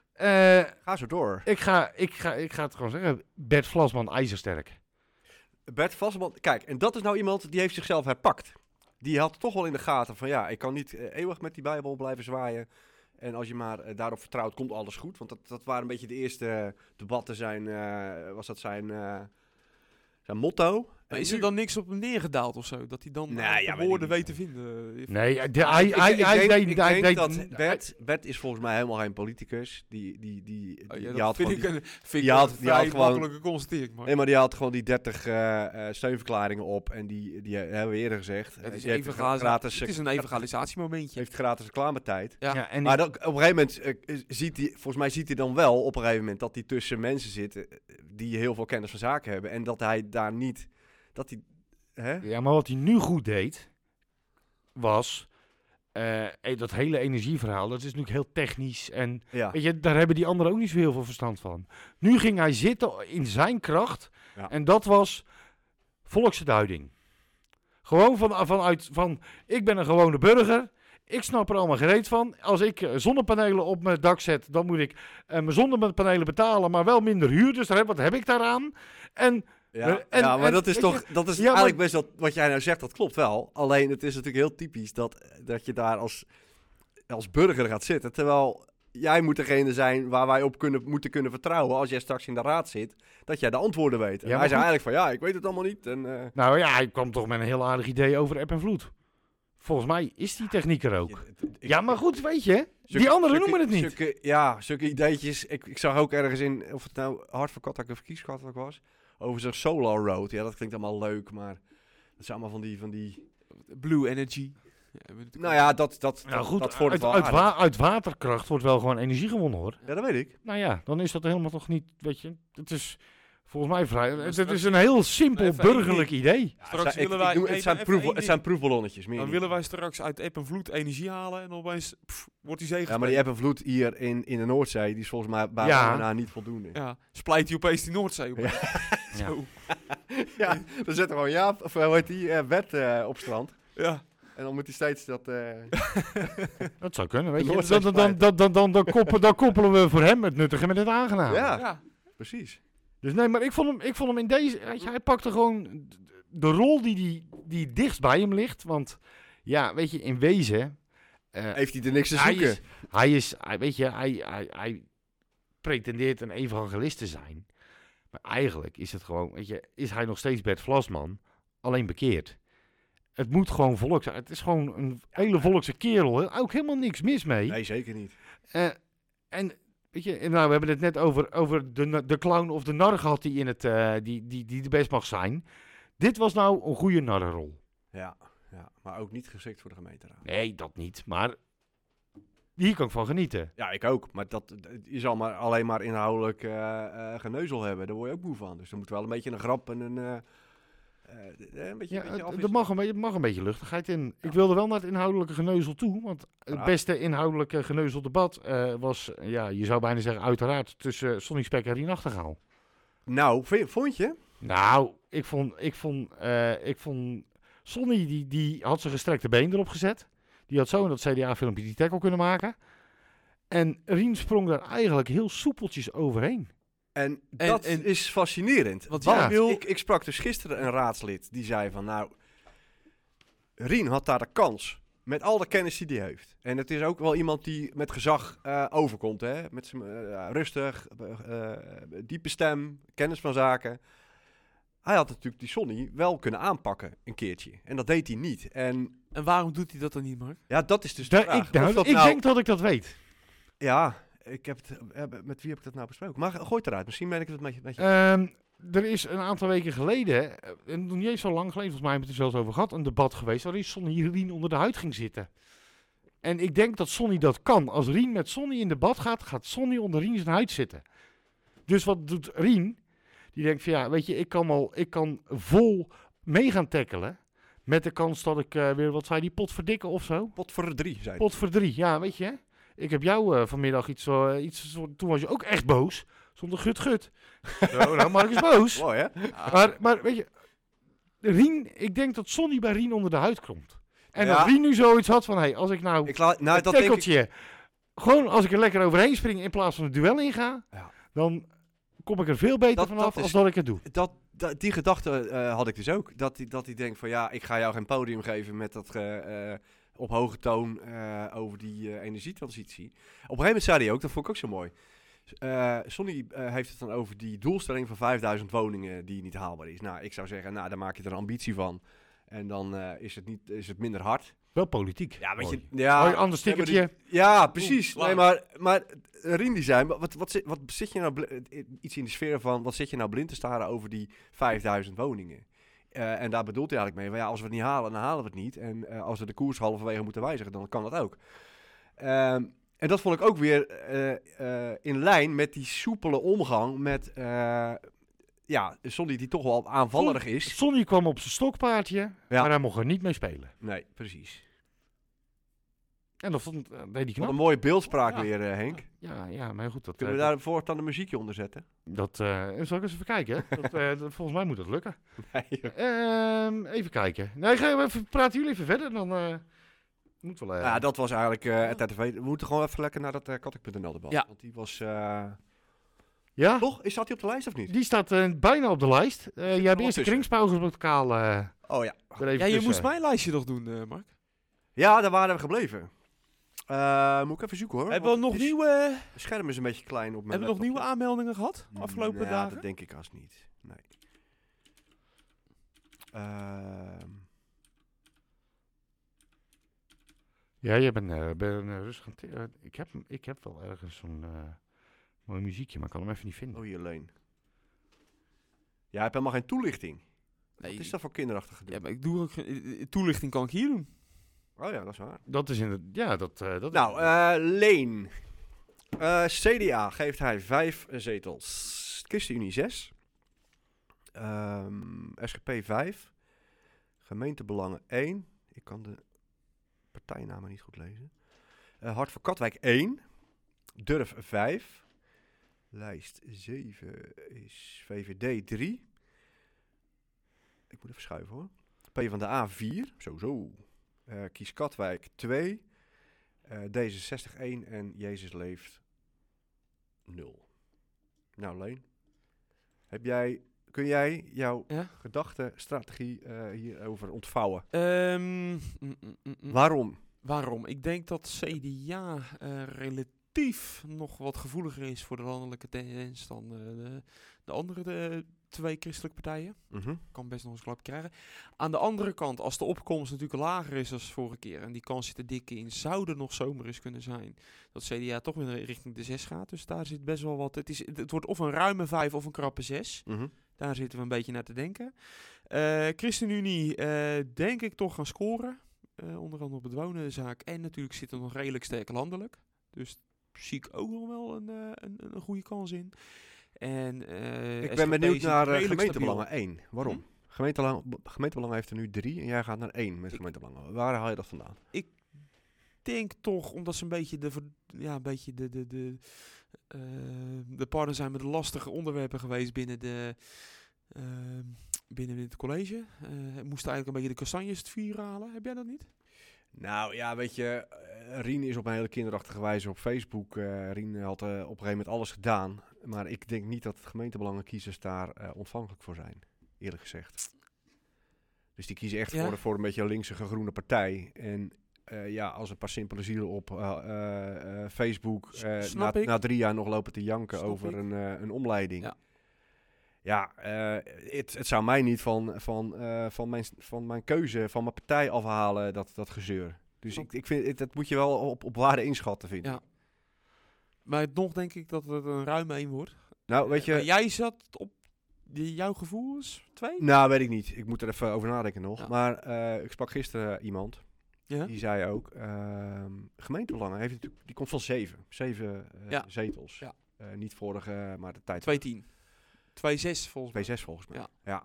[SPEAKER 3] Eh,
[SPEAKER 5] Ga zo door.
[SPEAKER 3] ik, ga, ik, ga, ik ga het gewoon zeggen. Bert Vlasman, ijzersterk.
[SPEAKER 5] Bert Vasselman, kijk, en dat is nou iemand die heeft zichzelf herpakt. Die had toch wel in de gaten van ja, ik kan niet eh, eeuwig met die Bijbel blijven zwaaien. En als je maar eh, daarop vertrouwt, komt alles goed. Want dat, dat waren een beetje de eerste debatten zijn, eh, was dat zijn, eh, zijn motto.
[SPEAKER 4] Maar
[SPEAKER 5] En
[SPEAKER 4] is
[SPEAKER 5] nu-
[SPEAKER 4] er dan niks op hem neergedaald of zo? Dat hij dan
[SPEAKER 5] Nee,
[SPEAKER 4] eh,
[SPEAKER 5] ja,
[SPEAKER 4] de
[SPEAKER 5] weet
[SPEAKER 4] woorden
[SPEAKER 5] ik
[SPEAKER 4] weet te vinden? Eh,
[SPEAKER 3] Nee, de- hij-
[SPEAKER 5] Ik-
[SPEAKER 3] hij-
[SPEAKER 5] ik
[SPEAKER 3] hij
[SPEAKER 5] denk-
[SPEAKER 3] deed-
[SPEAKER 5] ik
[SPEAKER 3] hij
[SPEAKER 5] denk
[SPEAKER 3] deed-
[SPEAKER 5] dat
[SPEAKER 3] hij-
[SPEAKER 5] Bert, Bert is volgens mij helemaal geen politicus. Die, die, die, die,
[SPEAKER 4] Oh, ja,
[SPEAKER 5] die
[SPEAKER 4] dat
[SPEAKER 5] had
[SPEAKER 4] vind
[SPEAKER 5] gewoon
[SPEAKER 4] ik
[SPEAKER 5] die,
[SPEAKER 4] een vind
[SPEAKER 5] die
[SPEAKER 4] ik een
[SPEAKER 5] had- die
[SPEAKER 4] vrij
[SPEAKER 5] had gewoon-
[SPEAKER 4] makkelijke constatering. Maar
[SPEAKER 5] nee, maar die had gewoon die 30 eh, eh, steunverklaringen op. En die, die hebben we eerder gezegd.
[SPEAKER 4] het,
[SPEAKER 5] Eh,
[SPEAKER 4] is
[SPEAKER 5] die heeft
[SPEAKER 4] even
[SPEAKER 5] gratis,
[SPEAKER 4] het is een evangelisatiemomentje.
[SPEAKER 5] heeft gratis reclametijd.
[SPEAKER 4] Ja.
[SPEAKER 3] Ja, en
[SPEAKER 5] Maar dan, op een gegeven moment eh, ziet hij, volgens mij ziet hij dan wel op een gegeven moment dat hij tussen mensen zit eh, die heel veel kennis van zaken hebben. En dat hij daar niet, dat hij, hè?
[SPEAKER 3] Ja, maar wat hij nu goed deed, was eh, eh, dat hele energieverhaal. Dat is natuurlijk heel technisch en
[SPEAKER 5] Ja.
[SPEAKER 3] weet je, daar hebben die anderen ook niet zo heel veel verstand van. Nu ging hij zitten in zijn kracht
[SPEAKER 5] Ja.
[SPEAKER 3] en dat was volksduiding. Gewoon van, vanuit van, ik ben een gewone burger. Ik snap er allemaal gereed van. Als ik eh, zonnepanelen op mijn dak zet, dan moet ik eh, mijn zonnepanelen betalen, maar wel minder huur. Dus daar heb, wat heb ik daaraan? En
[SPEAKER 5] Ja,
[SPEAKER 3] En-
[SPEAKER 5] ja, maar
[SPEAKER 3] en-
[SPEAKER 5] dat is
[SPEAKER 3] weet je-
[SPEAKER 5] toch, dat is
[SPEAKER 3] Ja, maar-
[SPEAKER 5] eigenlijk best wel, wat jij nou zegt, dat klopt wel. Alleen het is natuurlijk heel typisch dat, dat je daar als, als burger gaat zitten. Terwijl jij moet degene zijn waar wij op kunnen, moeten kunnen vertrouwen als jij straks in de raad zit, dat jij de antwoorden weet. En
[SPEAKER 3] Ja, maar
[SPEAKER 5] hij zei
[SPEAKER 3] goed.
[SPEAKER 5] eigenlijk van, ja, ik weet het allemaal niet. En, eh,
[SPEAKER 3] Nou ja, hij kwam toch met een heel aardig idee over app en vloed. Volgens mij is die techniek er ook. Ja, maar goed, weet je. Die anderen
[SPEAKER 5] Zulke-
[SPEAKER 3] noemen het niet.
[SPEAKER 5] zulke- ja, zulke ideetjes. Ik, ik zag ook ergens in, of het nou Hart voor Katak of Kieskatak was, over zo'n Solar Road. Ja, dat klinkt allemaal leuk, maar dat zijn allemaal van die... Van die
[SPEAKER 4] Blue Energy. Ja, we natuurlijk
[SPEAKER 5] nou ja, dat, dat,
[SPEAKER 3] Nou
[SPEAKER 5] dat,
[SPEAKER 3] goed,
[SPEAKER 5] dat wordt
[SPEAKER 3] uit,
[SPEAKER 5] wel
[SPEAKER 3] uit,
[SPEAKER 5] aardig.
[SPEAKER 3] wa- uit waterkracht wordt wel gewoon energie gewonnen hoor.
[SPEAKER 5] Ja, dat weet ik.
[SPEAKER 3] Nou ja, dan is dat helemaal toch niet, weet je. Het is volgens mij vrij.
[SPEAKER 4] Maar
[SPEAKER 5] dus
[SPEAKER 3] Het, het
[SPEAKER 4] straks-
[SPEAKER 3] is een heel simpel
[SPEAKER 4] Even één
[SPEAKER 3] burgerlijk idee.
[SPEAKER 4] Straks
[SPEAKER 5] Het zijn- ik-
[SPEAKER 4] willen wij-
[SPEAKER 5] ik noem-
[SPEAKER 4] nee,
[SPEAKER 5] het, zijn
[SPEAKER 4] maar even
[SPEAKER 5] proef,
[SPEAKER 4] één
[SPEAKER 5] het
[SPEAKER 4] ding.
[SPEAKER 5] zijn proefballonnetjes, meer
[SPEAKER 4] Dan
[SPEAKER 5] niet.
[SPEAKER 4] willen wij straks uit eb en vloed energie halen en opeens pff, wordt die zee
[SPEAKER 5] Ja, maar die
[SPEAKER 4] gespeeld.
[SPEAKER 5] app en vloed hier in, in de Noordzee, die is volgens mij bij
[SPEAKER 3] Ja.
[SPEAKER 5] daarna niet voldoende. Ja,
[SPEAKER 4] Ja, splijt die opeens die Noordzee op.
[SPEAKER 3] Ja.
[SPEAKER 4] Zo.
[SPEAKER 5] dan zet er gewoon ja, of eh, hoe heet die, eh, wet eh, op strand.
[SPEAKER 4] Ja.
[SPEAKER 5] En dan moet hij steeds dat... eh,
[SPEAKER 3] Dat zou kunnen, weet
[SPEAKER 5] De
[SPEAKER 3] je. Dan,
[SPEAKER 5] Noordzee
[SPEAKER 3] dan, dan, dan, dan, dan koppelen, dan koppelen we voor hem het nuttige met het aangename.
[SPEAKER 5] ja,
[SPEAKER 4] ja.
[SPEAKER 5] precies.
[SPEAKER 3] Dus nee, maar ik vond hem, ik vond hem in deze. weet je, hij pakte gewoon d- de rol die, die, die dichtst bij hem ligt. Want ja, weet je, in wezen. eh,
[SPEAKER 5] Heeft hij er niks te
[SPEAKER 3] hij
[SPEAKER 5] zoeken?
[SPEAKER 3] is, hij is, hij- weet je, hij, hij, hij pretendeert een evangelist te zijn. Maar eigenlijk is het gewoon, weet je, is hij nog steeds Bert Vlasman, alleen bekeerd. Het moet gewoon volks Het is gewoon een hele volkse kerel. hè. Ook helemaal niks mis mee.
[SPEAKER 5] Nee, zeker niet.
[SPEAKER 3] Eh, en weet je, en nou, we hebben het net over, over de, na- de clown of de nar gehad die, in het, eh, die, die, die de best mag zijn. Dit was nou een goede narrenrol.
[SPEAKER 5] Ja, ja, maar ook niet geschikt voor de gemeenteraad.
[SPEAKER 3] Nee, dat niet. Maar hier kan ik van genieten.
[SPEAKER 5] Ja, ik ook. Maar dat, dat- je zal maar alleen maar inhoudelijk eh, eh, geneuzel hebben. Daar word je ook moe van. Dus er moet wel een beetje een grap en een... eh, eh, een beetje,
[SPEAKER 3] Ja,
[SPEAKER 5] een beetje
[SPEAKER 3] het- er
[SPEAKER 5] afwisseling.
[SPEAKER 3] mag een, beetje- er mag een beetje luchtigheid in. Ik wilde wel naar het inhoudelijke geneuzel toe. Want het
[SPEAKER 5] Ja.
[SPEAKER 3] beste inhoudelijke geneuzeldebat eh was, ja, je zou bijna zeggen, uiteraard tussen Sonny Spek en Rien Nachtegaal.
[SPEAKER 5] Nou, vind- vond je?
[SPEAKER 3] Nou, ik vond, ik vond, eh, ik vond Sonny, die, die had zijn gestrekte been erop gezet. Die had zo in dat CDA-filmpje die tackle kunnen maken. En Rien sprong daar eigenlijk heel soepeltjes overheen.
[SPEAKER 5] En,
[SPEAKER 4] En-
[SPEAKER 5] dat
[SPEAKER 4] en-
[SPEAKER 5] is fascinerend.
[SPEAKER 4] Want
[SPEAKER 5] Want
[SPEAKER 4] ja.
[SPEAKER 5] ik, ik sprak dus gisteren een raadslid die zei van nou, Rien had daar de kans met al de kennis die hij heeft. En het is ook wel iemand die met gezag eh, overkomt. Hè? Met zijn eh, ja, rustig, eh, eh, diepe stem, kennis van zaken. Hij had natuurlijk die Sonny wel kunnen aanpakken een keertje. En dat deed hij niet. En
[SPEAKER 4] En waarom doet hij dat dan niet, Mark?
[SPEAKER 5] ja, dat is dus de
[SPEAKER 3] Daar-
[SPEAKER 5] vraag.
[SPEAKER 3] ik nou,
[SPEAKER 5] Of dat
[SPEAKER 3] ik
[SPEAKER 5] nou-
[SPEAKER 3] denk dat ik dat weet.
[SPEAKER 5] Ja, ik heb het, eh, met wie heb ik dat nou besproken? Maar gooi het eruit. Misschien ben ik het met je... Met je
[SPEAKER 3] Ehm, er is een aantal weken geleden, eh, en nog niet eens zo lang geleden, volgens mij hebben we het er zelfs over gehad, een debat geweest waarin Sonny Rien onder de huid ging zitten. En ik denk dat Sonny dat kan. Als Rien met Sonny in debat gaat, gaat Sonny onder Rien zijn huid zitten. Dus wat doet Rien? Die denkt van ja, weet je, ik kan, al, ik kan vol mee gaan tackelen. Met de kans dat ik eh, weer, wat zei die, pot verdikken of zo.
[SPEAKER 5] Pot voor de drie, zei hij.
[SPEAKER 3] Pot voor drie, ja, weet je. Ik heb jou eh, vanmiddag iets, eh, iets, zo- toen was je ook echt boos. Zonder gut-gut. Zo, nou, Mark is boos.
[SPEAKER 5] Mooi, hè?
[SPEAKER 3] Maar, maar weet je, Rien, ik denk dat Sonny bij Rien onder de huid komt. En
[SPEAKER 5] Ja.
[SPEAKER 3] dat Rien nu zoiets had van, hé, hey, als ik nou
[SPEAKER 5] Ik laat, nou,
[SPEAKER 3] het
[SPEAKER 5] dat denk ik,
[SPEAKER 3] tackeltje, gewoon als ik er lekker overheen spring in plaats van het duel inga,
[SPEAKER 5] Ja.
[SPEAKER 3] dan kom ik er veel beter
[SPEAKER 5] Dat-
[SPEAKER 3] vanaf
[SPEAKER 5] dat is-
[SPEAKER 3] als dat ik het doe.
[SPEAKER 5] dat, dat- die gedachte eh, had ik dus ook. Dat hij dat die denkt van ja, ik ga jou geen podium geven met dat eh, eh, op hoge toon eh, over die eh, energietransitie. Op een gegeven moment zei hij ook, dat vond ik ook zo mooi. Eh Sonny eh, heeft het dan over die doelstelling van 5000 woningen die niet haalbaar is. Nou, ik zou zeggen, nou, daar maak je er een ambitie van. En dan eh, is, het niet, is het minder hard.
[SPEAKER 3] Wel politiek.
[SPEAKER 5] Ja, weet je,
[SPEAKER 3] Mooi.
[SPEAKER 5] ja,
[SPEAKER 3] Mooi, anders
[SPEAKER 5] nee, maar die-
[SPEAKER 3] stickertje.
[SPEAKER 5] ja, precies.
[SPEAKER 4] Oeh,
[SPEAKER 5] nee,
[SPEAKER 4] laag.
[SPEAKER 5] maar, maar Rien die zei, maar wat, wat, zit- wat zit je nou, bl- eh, iets in de sfeer van, wat zit je nou blind te staren over die 5000 woningen? Eh, en daar bedoelt hij eigenlijk mee, van ja, als we het niet halen, dan halen we het niet. En eh, als we de koers halverwege moeten wijzigen, dan kan dat ook. Ehm, en dat vond ik ook weer eh, eh, in lijn met die soepele omgang met, eh ja, Sonny die toch wel aanvallerig is.
[SPEAKER 3] Sonny kwam op zijn stokpaardje, maar hij mocht er niet mee spelen.
[SPEAKER 5] Nee, precies.
[SPEAKER 3] En dat vond, eh, deed hij
[SPEAKER 5] Wat
[SPEAKER 3] knap.
[SPEAKER 5] een mooie beeldspraak
[SPEAKER 3] Ja.
[SPEAKER 5] weer, eh, Henk.
[SPEAKER 3] Ja, ja, maar goed, dat...
[SPEAKER 5] Kunnen we
[SPEAKER 3] eh,
[SPEAKER 5] daar voortaan een muziekje onder zetten?
[SPEAKER 3] dat eh, zal ik eens even kijken? hè? Dat, eh, dat- volgens mij moet dat lukken.
[SPEAKER 5] Nee,
[SPEAKER 3] Ehm, even kijken. Nee, ga even, praten jullie even verder, dan eh moet wel... eh,
[SPEAKER 5] Ja, dat was eigenlijk eh het RTV. We moeten gewoon even lekker naar dat eh katik.nl debat.
[SPEAKER 4] Ja.
[SPEAKER 5] Want die was... eh,
[SPEAKER 3] ja?
[SPEAKER 5] Toch? Is dat die op de lijst of niet?
[SPEAKER 3] Die staat eh, bijna op de lijst. Eh, jij hebt eerst de
[SPEAKER 5] tussen.
[SPEAKER 3] kringspauwgrootlokaal eh
[SPEAKER 5] Oh ja.
[SPEAKER 3] er even
[SPEAKER 4] Ja, je
[SPEAKER 3] tussen.
[SPEAKER 4] moest mijn lijstje nog doen, eh, Mark.
[SPEAKER 5] Ja, daar waren we gebleven. Eh, moet ik even zoeken hoor.
[SPEAKER 4] Hebben we nog
[SPEAKER 5] want het is-
[SPEAKER 4] nieuwe,
[SPEAKER 5] Het scherm is een beetje klein op mijn
[SPEAKER 4] hebben we nog nieuwe
[SPEAKER 5] laptop.
[SPEAKER 4] aanmeldingen gehad afgelopen
[SPEAKER 5] Nou,
[SPEAKER 4] dagen?
[SPEAKER 5] dat denk ik als niet. Nee. Ehm,
[SPEAKER 3] Ja, je bent, eh, ben, eh, rustig aan het- eh, ik, heb, hem- ik heb wel ergens zo'n eh, mooi muziekje, maar ik kan hem even niet vinden.
[SPEAKER 5] oh, hier Leen. Ja, ik heb helemaal geen toelichting.
[SPEAKER 4] nee,
[SPEAKER 5] Wat is dat voor kinderachtig gedoe?
[SPEAKER 4] ja, maar ik doe ook, geen- eh, eh, toelichting kan ik hier doen.
[SPEAKER 5] Oh ja, dat is waar.
[SPEAKER 3] Dat is inderdaad... Ja, dat... eh, dat
[SPEAKER 5] Nou, eh, Leen. Eh, CDA geeft hij vijf zetels. ChristenUnie zes. Ehm, SGP vijf. Gemeentebelangen één. Ik kan de partijnamen niet goed lezen. Eh Hart voor Katwijk één. Durf vijf. Lijst zeven is VVD drie. Ik moet even schuiven hoor. P van de A 4, sowieso. Eh kies Katwijk 2. Eh, D66 1 en Jezus leeft 0. Nou, Leen. Heb jij, kun jij jouw
[SPEAKER 4] Ja.
[SPEAKER 5] gedachtenstrategie eh, hierover ontvouwen?
[SPEAKER 4] Ehm, mm, mm, mm, mm.
[SPEAKER 5] Waarom?
[SPEAKER 4] Waarom? Ik denk dat CDA eh, relatief nog wat gevoeliger is voor de landelijke tendens dan eh, de, de andere eh, twee christelijke partijen.
[SPEAKER 5] Mhm,
[SPEAKER 4] Kan best nog eens klap krijgen. Aan de andere kant, als de opkomst natuurlijk lager is dan vorige keer en die kans zit er dik in, zou er nog zomer eens kunnen zijn dat CDA toch weer richting de 6 gaat. Dus daar zit best wel wat. Het, is, het- het wordt of een ruime 5 of een krappe 6.
[SPEAKER 5] Mhm.
[SPEAKER 4] Daar zitten we een beetje naar te denken. Eh, ChristenUnie, eh, denk ik toch gaan scoren. Eh, onder andere op het wonenzaak. En natuurlijk zit er nog redelijk sterk landelijk. Dus zie ik ook nog wel een, eh, een, een goede kans in. En, eh,
[SPEAKER 5] Ik
[SPEAKER 4] SGP
[SPEAKER 5] ben benieuwd
[SPEAKER 4] zit
[SPEAKER 5] naar eh,
[SPEAKER 4] redelijk
[SPEAKER 5] gemeentebelangen
[SPEAKER 4] stabiel. Hm?
[SPEAKER 5] 1. Waarom? Gemeentebelang, b- gemeentebelangen heeft er nu 3 en jij gaat naar 1 met
[SPEAKER 4] Ik-
[SPEAKER 5] gemeentebelangen. Waar haal je dat vandaan?
[SPEAKER 4] Ik denk toch, omdat ze een beetje de, ver- ja, een beetje de, de, de, eh, de partner zijn met de lastige onderwerpen geweest binnen de... eh, binnen het college. Eh moesten eigenlijk een beetje de kastanjes het vuur halen. Heb jij dat niet?
[SPEAKER 5] Nou ja, weet je, eh, Rien is op een hele kinderachtige wijze op Facebook. eh Rien had eh, op een gegeven moment alles gedaan. Maar ik denk niet dat gemeentebelangenkiezers daar eh, ontvankelijk voor zijn, eerlijk gezegd. Dus die kiezen echt
[SPEAKER 4] Ja.
[SPEAKER 5] voor, voor een beetje een linkse groene partij. En eh, ja, als een paar simpele zielen op eh, eh, eh, Facebook
[SPEAKER 4] S-
[SPEAKER 5] eh,
[SPEAKER 4] snap
[SPEAKER 5] na,
[SPEAKER 4] ik.
[SPEAKER 5] na drie jaar nog lopen te janken
[SPEAKER 4] Snap
[SPEAKER 5] over
[SPEAKER 4] ik.
[SPEAKER 5] een, eh, een omleiding.
[SPEAKER 4] Ja.
[SPEAKER 5] Ja, eh, het, het zou mij niet van, van, eh, van, mijn, van mijn keuze, van mijn partij afhalen, dat, dat gezeur. Dus
[SPEAKER 4] Snap
[SPEAKER 5] ik, ik vind, het- dat moet je wel op, op waarde inschatten, vind ik.
[SPEAKER 4] Ja. Maar nog denk ik dat het een ruime 1 wordt.
[SPEAKER 5] Nou, weet je,
[SPEAKER 4] Eh, Maar jij zat op die, jouw gevoel is 2?
[SPEAKER 5] nou weet ik niet. Ik moet er even over nadenken nog.
[SPEAKER 4] Ja.
[SPEAKER 5] Maar eh, ik sprak gisteren iemand,
[SPEAKER 4] Ja.
[SPEAKER 5] die zei ook, ehm gemeentebelangen, heeft natuurlijk, die komt van zeven. Zeven eh,
[SPEAKER 4] Ja.
[SPEAKER 5] zetels.
[SPEAKER 4] Ja.
[SPEAKER 5] Eh, niet vorige, maar de tijd
[SPEAKER 4] 2-10. 2-6 volgens mij.
[SPEAKER 5] 2-6 volgens mij.
[SPEAKER 4] Ja.
[SPEAKER 5] Ja.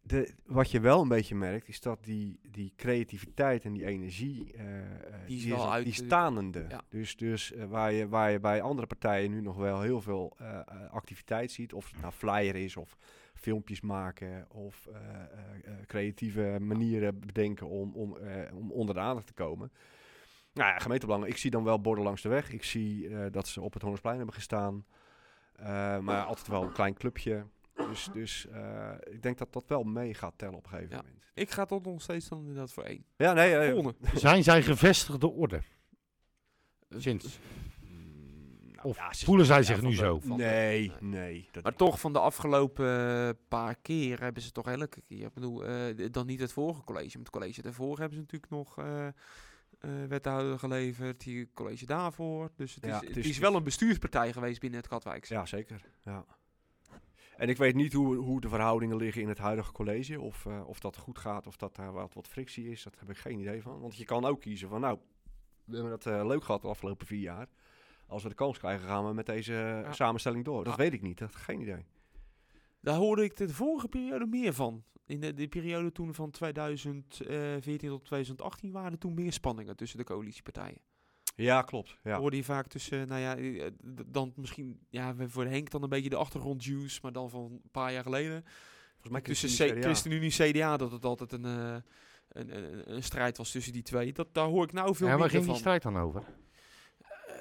[SPEAKER 5] De, wat je wel een beetje merkt, is dat die, die creativiteit en die energie, eh, eh,
[SPEAKER 4] Die is wel
[SPEAKER 5] al-
[SPEAKER 4] uit
[SPEAKER 5] die
[SPEAKER 4] de-
[SPEAKER 5] stanende.
[SPEAKER 4] ja.
[SPEAKER 5] Dus, dus eh, waar, je, waar je bij andere partijen nu nog wel heel veel eh, eh, activiteit ziet, of het nou flyer is, of filmpjes maken, of eh, eh, eh, creatieve manieren bedenken om, om, eh, om onder de aandacht te komen. Nou ja, gemeentebelangen. Ik zie dan wel borden langs de weg. Ik zie eh, dat ze op het Hoornsplein hebben gestaan. Eh, maar altijd wel een klein clubje. Eh, Dus, dus eh, ik denk dat dat wel mee gaat tellen op een gegeven
[SPEAKER 4] Ja.
[SPEAKER 5] moment.
[SPEAKER 4] Ik ga tot nog steeds dan inderdaad voor één.
[SPEAKER 5] Ja, nee. eh,
[SPEAKER 4] Volgende.
[SPEAKER 3] Zijn zij gevestigde orde? Sinds.
[SPEAKER 5] mm, nou
[SPEAKER 3] Of
[SPEAKER 5] ja, Eh, ze-
[SPEAKER 3] voelen zij
[SPEAKER 5] ja,
[SPEAKER 3] zich
[SPEAKER 5] van
[SPEAKER 3] nu
[SPEAKER 5] de-
[SPEAKER 3] zo?
[SPEAKER 5] van de- Nee, nee. dat
[SPEAKER 4] Maar
[SPEAKER 5] niet.
[SPEAKER 4] toch, van de afgelopen eh, paar keer hebben ze toch elke keer. Ik bedoel, eh, d- dan niet het vorige college. Maar het college daarvoor hebben ze natuurlijk nog eh eh, wethouder geleverd. Die college daarvoor. Dus het,
[SPEAKER 5] Ja,
[SPEAKER 4] is,
[SPEAKER 5] het
[SPEAKER 4] het,
[SPEAKER 5] is-
[SPEAKER 4] is, wel een bestuurspartij geweest binnen het Katwijkse.
[SPEAKER 5] Ja, zeker. Ja. En ik weet niet hoe, hoe de verhoudingen liggen in het huidige college. Of, eh, of dat goed gaat, of dat daar wat, wat frictie is. Dat heb ik geen idee van. Want je kan ook kiezen van, nou, we hebben het eh, leuk gehad de afgelopen vier jaar. Als we de kans krijgen, gaan we met deze eh,
[SPEAKER 4] Ja.
[SPEAKER 5] samenstelling door. Dat
[SPEAKER 4] Ja.
[SPEAKER 5] weet ik niet. Dat, geen idee.
[SPEAKER 4] Daar hoorde ik de vorige periode meer van. In de, de periode toen van 2014 tot 2018 waren er toen meer spanningen tussen de coalitiepartijen.
[SPEAKER 5] Ja, klopt. Ja.
[SPEAKER 4] hoorde je vaak tussen, nou ja, eh, eh, d- dan misschien, ja, we- voor Henk dan een beetje de achtergrondjuice, maar dan van een paar jaar geleden.
[SPEAKER 5] Volgens mij
[SPEAKER 4] Tussen
[SPEAKER 5] ChristenUnie,
[SPEAKER 4] C-
[SPEAKER 5] CDA.
[SPEAKER 4] ChristenUnie CDA, dat het altijd een, eh, een, een, een strijd was tussen die twee. Dat, daar hoor ik nou veel
[SPEAKER 3] Ja, waar
[SPEAKER 4] minder
[SPEAKER 3] ging
[SPEAKER 4] van.
[SPEAKER 3] die strijd dan over?
[SPEAKER 4] Eh,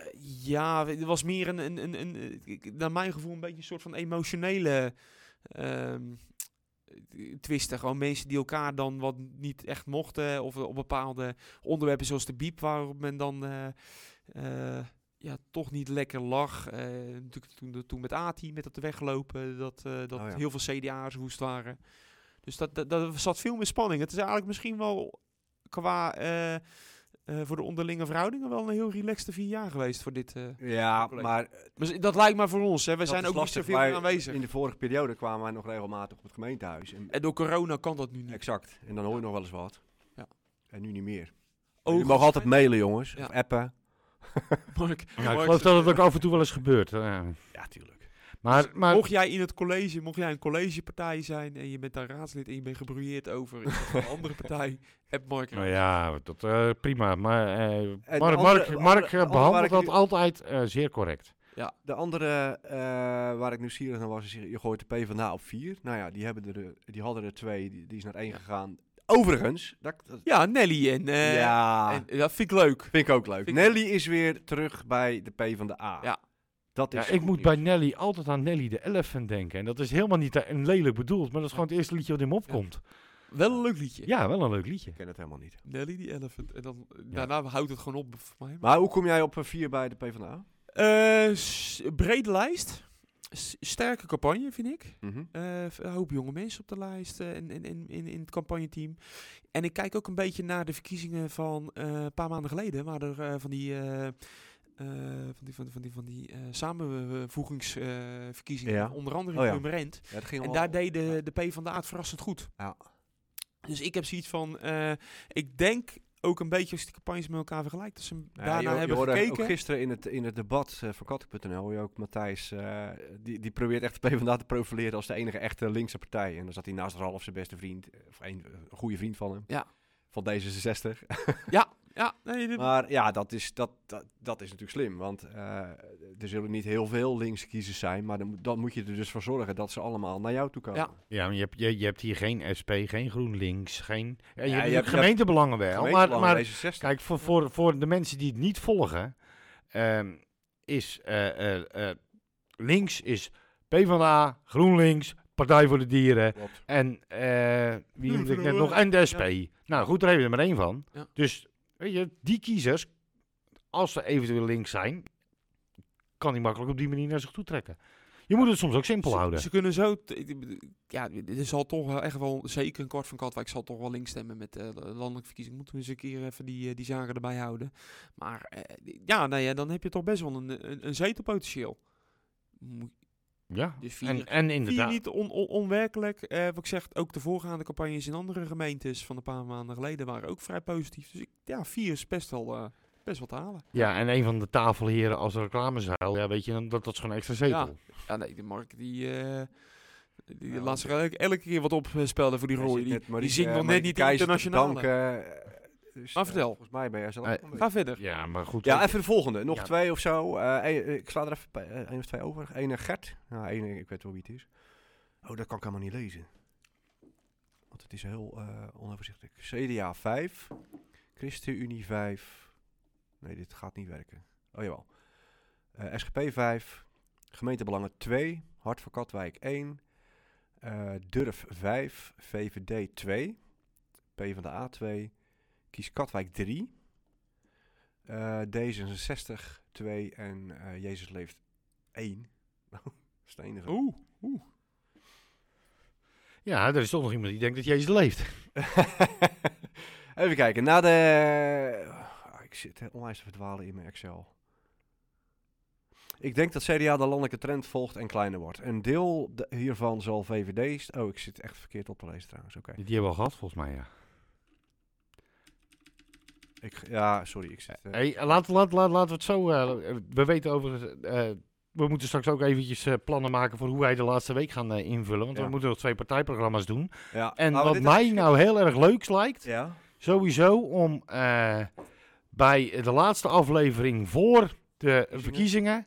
[SPEAKER 4] ja, we- er was meer een, een, een, een, eh, ik- ik- naar mijn gevoel, een beetje een soort van emotionele ehm eh, twisten. Gewoon mensen die elkaar dan wat niet echt mochten. eh, Of op bepaalde onderwerpen zoals de biep, waarop men dan eh, eh, ja, toch niet lekker lag. Eh, natuurlijk toen, toen met ATI, met dat weglopen, dat, eh, dat
[SPEAKER 5] Oh ja.
[SPEAKER 4] heel veel CDA's woest waren. Dus dat, dat, dat zat veel meer spanning. Het is eigenlijk misschien wel qua... eh, eh, voor de onderlinge verhoudingen wel een heel relaxte vier jaar geweest voor dit. eh.
[SPEAKER 5] Ja,
[SPEAKER 4] College.
[SPEAKER 5] maar
[SPEAKER 4] Maar z- dat lijkt maar voor ons. Hè. We zijn
[SPEAKER 5] is
[SPEAKER 4] ook
[SPEAKER 5] lastig.
[SPEAKER 4] niet zoveel
[SPEAKER 5] Wij-
[SPEAKER 4] meer aanwezig.
[SPEAKER 5] in de vorige periode kwamen wij nog regelmatig op het gemeentehuis. En,
[SPEAKER 4] En door corona kan dat nu niet.
[SPEAKER 5] exact. En dan hoor je nog wel eens wat.
[SPEAKER 4] Ja.
[SPEAKER 5] En nu niet meer.
[SPEAKER 4] Ook
[SPEAKER 5] je mag altijd mailen, jongens.
[SPEAKER 4] Ja.
[SPEAKER 5] Of appen.
[SPEAKER 4] Mark,
[SPEAKER 3] Ja, ik
[SPEAKER 4] Mark,
[SPEAKER 3] geloof dat het ook af en toe wel eens gebeurt. eh.
[SPEAKER 5] Ja, tuurlijk. Dus
[SPEAKER 3] Maar, maar
[SPEAKER 4] Mocht jij in het college, mocht jij een collegepartij zijn en je bent daar raadslid en je bent gebrouilleerd over iets van een andere partij, app Mark.
[SPEAKER 3] Nou ja, dat, eh, prima. Maar eh,
[SPEAKER 5] de
[SPEAKER 3] Mark,
[SPEAKER 5] andere-
[SPEAKER 3] Mark,
[SPEAKER 5] de
[SPEAKER 3] Mark
[SPEAKER 5] andere-
[SPEAKER 3] eh,
[SPEAKER 5] waar ik
[SPEAKER 3] behandelt dat
[SPEAKER 5] nu-
[SPEAKER 3] altijd eh, zeer correct.
[SPEAKER 5] De andere eh, waar ik nieuwsgierig naar was, is je je gooit de PvdA op 4. Nou ja, die, hebben er, eh, die hadden er twee, die, die is naar 1 gegaan. Overigens, dat, dat-
[SPEAKER 4] Ja, Nelly en, eh,
[SPEAKER 5] ja,
[SPEAKER 4] en- dat vind ik leuk.
[SPEAKER 5] vind ik ook leuk.
[SPEAKER 4] vind ik-
[SPEAKER 5] Nelly is weer terug bij de PvdA.
[SPEAKER 4] Ja.
[SPEAKER 5] Dat
[SPEAKER 3] Ja,
[SPEAKER 5] is
[SPEAKER 3] ik
[SPEAKER 5] goed
[SPEAKER 3] moet
[SPEAKER 5] nieuws.
[SPEAKER 3] bij Nelly altijd aan Nelly de Elephant denken. En dat is helemaal niet eh, een lelijk bedoeld, maar dat is gewoon het eerste liedje wat in me opkomt.
[SPEAKER 4] Wel een leuk liedje.
[SPEAKER 3] Ja, wel een leuk liedje.
[SPEAKER 5] Ik ken het helemaal niet.
[SPEAKER 4] Nelly die elephant. En dan, daarna houdt het gewoon op voor mij.
[SPEAKER 5] Maar hoe kom jij op 4 bij de PvdA?
[SPEAKER 4] Eh, s- brede lijst. S- sterke campagne, vind ik.
[SPEAKER 5] Mhm.
[SPEAKER 4] Eh, v- een hoop jonge mensen op de lijst eh, en in, in, in, in het campagneteam. En ik kijk ook een beetje naar de verkiezingen van eh, een paar maanden geleden, waar er eh, van die. eh, eh, van die, van die, van die, van die eh, samenvoegingsverkiezingen,
[SPEAKER 5] Ja.
[SPEAKER 4] onder andere
[SPEAKER 5] Oh
[SPEAKER 4] in
[SPEAKER 5] ja.
[SPEAKER 4] Purmerend.
[SPEAKER 5] Ja, dat ging
[SPEAKER 4] En
[SPEAKER 5] al-
[SPEAKER 4] daar deed de, de P van de Aad verrassend goed.
[SPEAKER 5] Ja.
[SPEAKER 4] Dus ik heb zoiets van, eh, ik denk ook een beetje als ik die campagnes met elkaar vergelijk, dat ze hem
[SPEAKER 5] Ja,
[SPEAKER 4] daarna
[SPEAKER 5] Nou, je,
[SPEAKER 4] hebben
[SPEAKER 5] je hoorde
[SPEAKER 4] gekeken.
[SPEAKER 5] Ook gisteren in het, in het debat eh, van Katten.nl hoor je ook Matthijs, eh, die, die probeert echt de PvdA te profileren als de enige echte linkse partij. En dan zat hij naast Ralf, zijn beste vriend, eh, of een, een goede vriend van hem.
[SPEAKER 4] Ja.
[SPEAKER 5] Van D66.
[SPEAKER 4] Ja, nee, dit-
[SPEAKER 5] Maar ja, dat is, dat, dat, dat is natuurlijk slim. Want eh, er zullen niet heel veel linkse kiezers zijn. Maar dan, moet- dan moet je er dus voor zorgen dat ze allemaal naar jou toe komen.
[SPEAKER 4] Ja.
[SPEAKER 3] Ja, maar je hebt, je, je hebt hier geen SP, geen GroenLinks, geen... Ja, je hebt
[SPEAKER 5] je
[SPEAKER 3] natuurlijk
[SPEAKER 5] hebt- je
[SPEAKER 3] gemeentebelangen wel, maar,
[SPEAKER 5] Gemeentebelang
[SPEAKER 3] maar
[SPEAKER 5] D66.
[SPEAKER 3] Kijk, voor, voor, voor de mensen die het niet volgen, ehm, is eh, eh, eh, links is PvdA, GroenLinks, Partij voor de Dieren
[SPEAKER 5] Klopt.
[SPEAKER 3] en eh, wie
[SPEAKER 4] Doe
[SPEAKER 3] noemde ik net
[SPEAKER 4] verloren.
[SPEAKER 3] nog? En de SP. Nou goed, daar hebben we er maar één van.
[SPEAKER 4] Ja.
[SPEAKER 3] Dus weet je, die kiezers, als ze eventueel links zijn, kan die makkelijk op die manier naar zich toe trekken. Je moet het soms ook simpel
[SPEAKER 4] Ze-
[SPEAKER 3] houden.
[SPEAKER 4] Ze, kunnen zo. t- ik bedoel, Ja, er zal toch wel echt wel. Zeker een kwart van Katwijk zal toch wel links stemmen met eh, de landelijke verkiezing. Moeten we eens een keer even die, eh, die zaken erbij houden. Maar eh, ja, nou ja, dan heb je toch best wel een, een, een zetelpotentieel. Moet-
[SPEAKER 3] Ja.
[SPEAKER 4] Dus vier-
[SPEAKER 3] En, en
[SPEAKER 4] Vier
[SPEAKER 3] inderdaad.
[SPEAKER 4] niet on, on- onwerkelijk. Eh, wat ik zeg, ook de voorgaande campagnes in andere gemeentes van een paar maanden geleden waren ook vrij positief. Dus ik, ja, vier is best wel, eh, best wel te halen.
[SPEAKER 3] Ja, en een van de tafelheren als reclamezaal, ja, weet je, dan, dat, dat is gewoon een extra zetel.
[SPEAKER 4] Ja. Ja, nee, de Mark die. eh, die laat zich elke, elke keer wat opspelden voor die
[SPEAKER 5] Nou, Hij zit
[SPEAKER 4] rode. Die,
[SPEAKER 5] net Marieke-
[SPEAKER 4] zingt nog net
[SPEAKER 5] Marieke
[SPEAKER 4] niet
[SPEAKER 5] Keizer te
[SPEAKER 4] internationale.
[SPEAKER 5] bedanken. Eh, dus,
[SPEAKER 4] Maar
[SPEAKER 5] eh,
[SPEAKER 4] vertel.
[SPEAKER 5] volgens mij ben jij zelf
[SPEAKER 3] Eh,
[SPEAKER 5] ook een beetje-
[SPEAKER 4] Ga verder.
[SPEAKER 3] Ja, maar goed.
[SPEAKER 5] Ja,
[SPEAKER 3] weet je-
[SPEAKER 5] even de volgende. Nog
[SPEAKER 3] Ja.
[SPEAKER 5] twee of zo. Eh, eh, ik sla er even bij- eh, één of twee over. Ene Gert. Nou, ene, ik weet wel wie het is. Oh, dat kan ik helemaal niet lezen. Want het is heel eh, onoverzichtelijk. CDA 5. ChristenUnie 5. Nee, dit gaat niet werken. Oh, jawel. Eh, SGP 5. Gemeentebelangen 2. Hart voor Katwijk 1. eh, Durf 5, VVD 2, PvdA 2, Kies Katwijk 3, eh, D66 2 en eh, Jezus Leeft 1. Nou, stenigen.
[SPEAKER 4] Oeh.
[SPEAKER 3] Ja, er is toch nog iemand die denkt dat Jezus leeft.
[SPEAKER 5] Even kijken, na de... Ah, ik zit hè, onwijs te verdwalen in mijn Excel. Ik denk dat CDA de landelijke trend volgt en kleiner wordt. Een deel de- hiervan zal VVD... st- Oh, ik zit echt verkeerd op te lezen trouwens. Oké.
[SPEAKER 3] Die hebben we al gehad, volgens mij, ja.
[SPEAKER 5] Ik- Ja, sorry. Ik zit, eh,
[SPEAKER 3] Hey, laat, laat, laat, laten we het zo... eh, we weten over... we moeten straks ook eventjes eh, plannen maken voor hoe wij de laatste week gaan eh, invullen. Want
[SPEAKER 5] Ja.
[SPEAKER 3] we moeten nog twee partijprogramma's doen.
[SPEAKER 5] ja.
[SPEAKER 3] En
[SPEAKER 5] Nou,
[SPEAKER 3] wat
[SPEAKER 5] dit is-
[SPEAKER 3] mij nou heel erg leuks lijkt,
[SPEAKER 5] Ja?
[SPEAKER 3] sowieso om eh, bij de laatste aflevering voor de verkiezingen...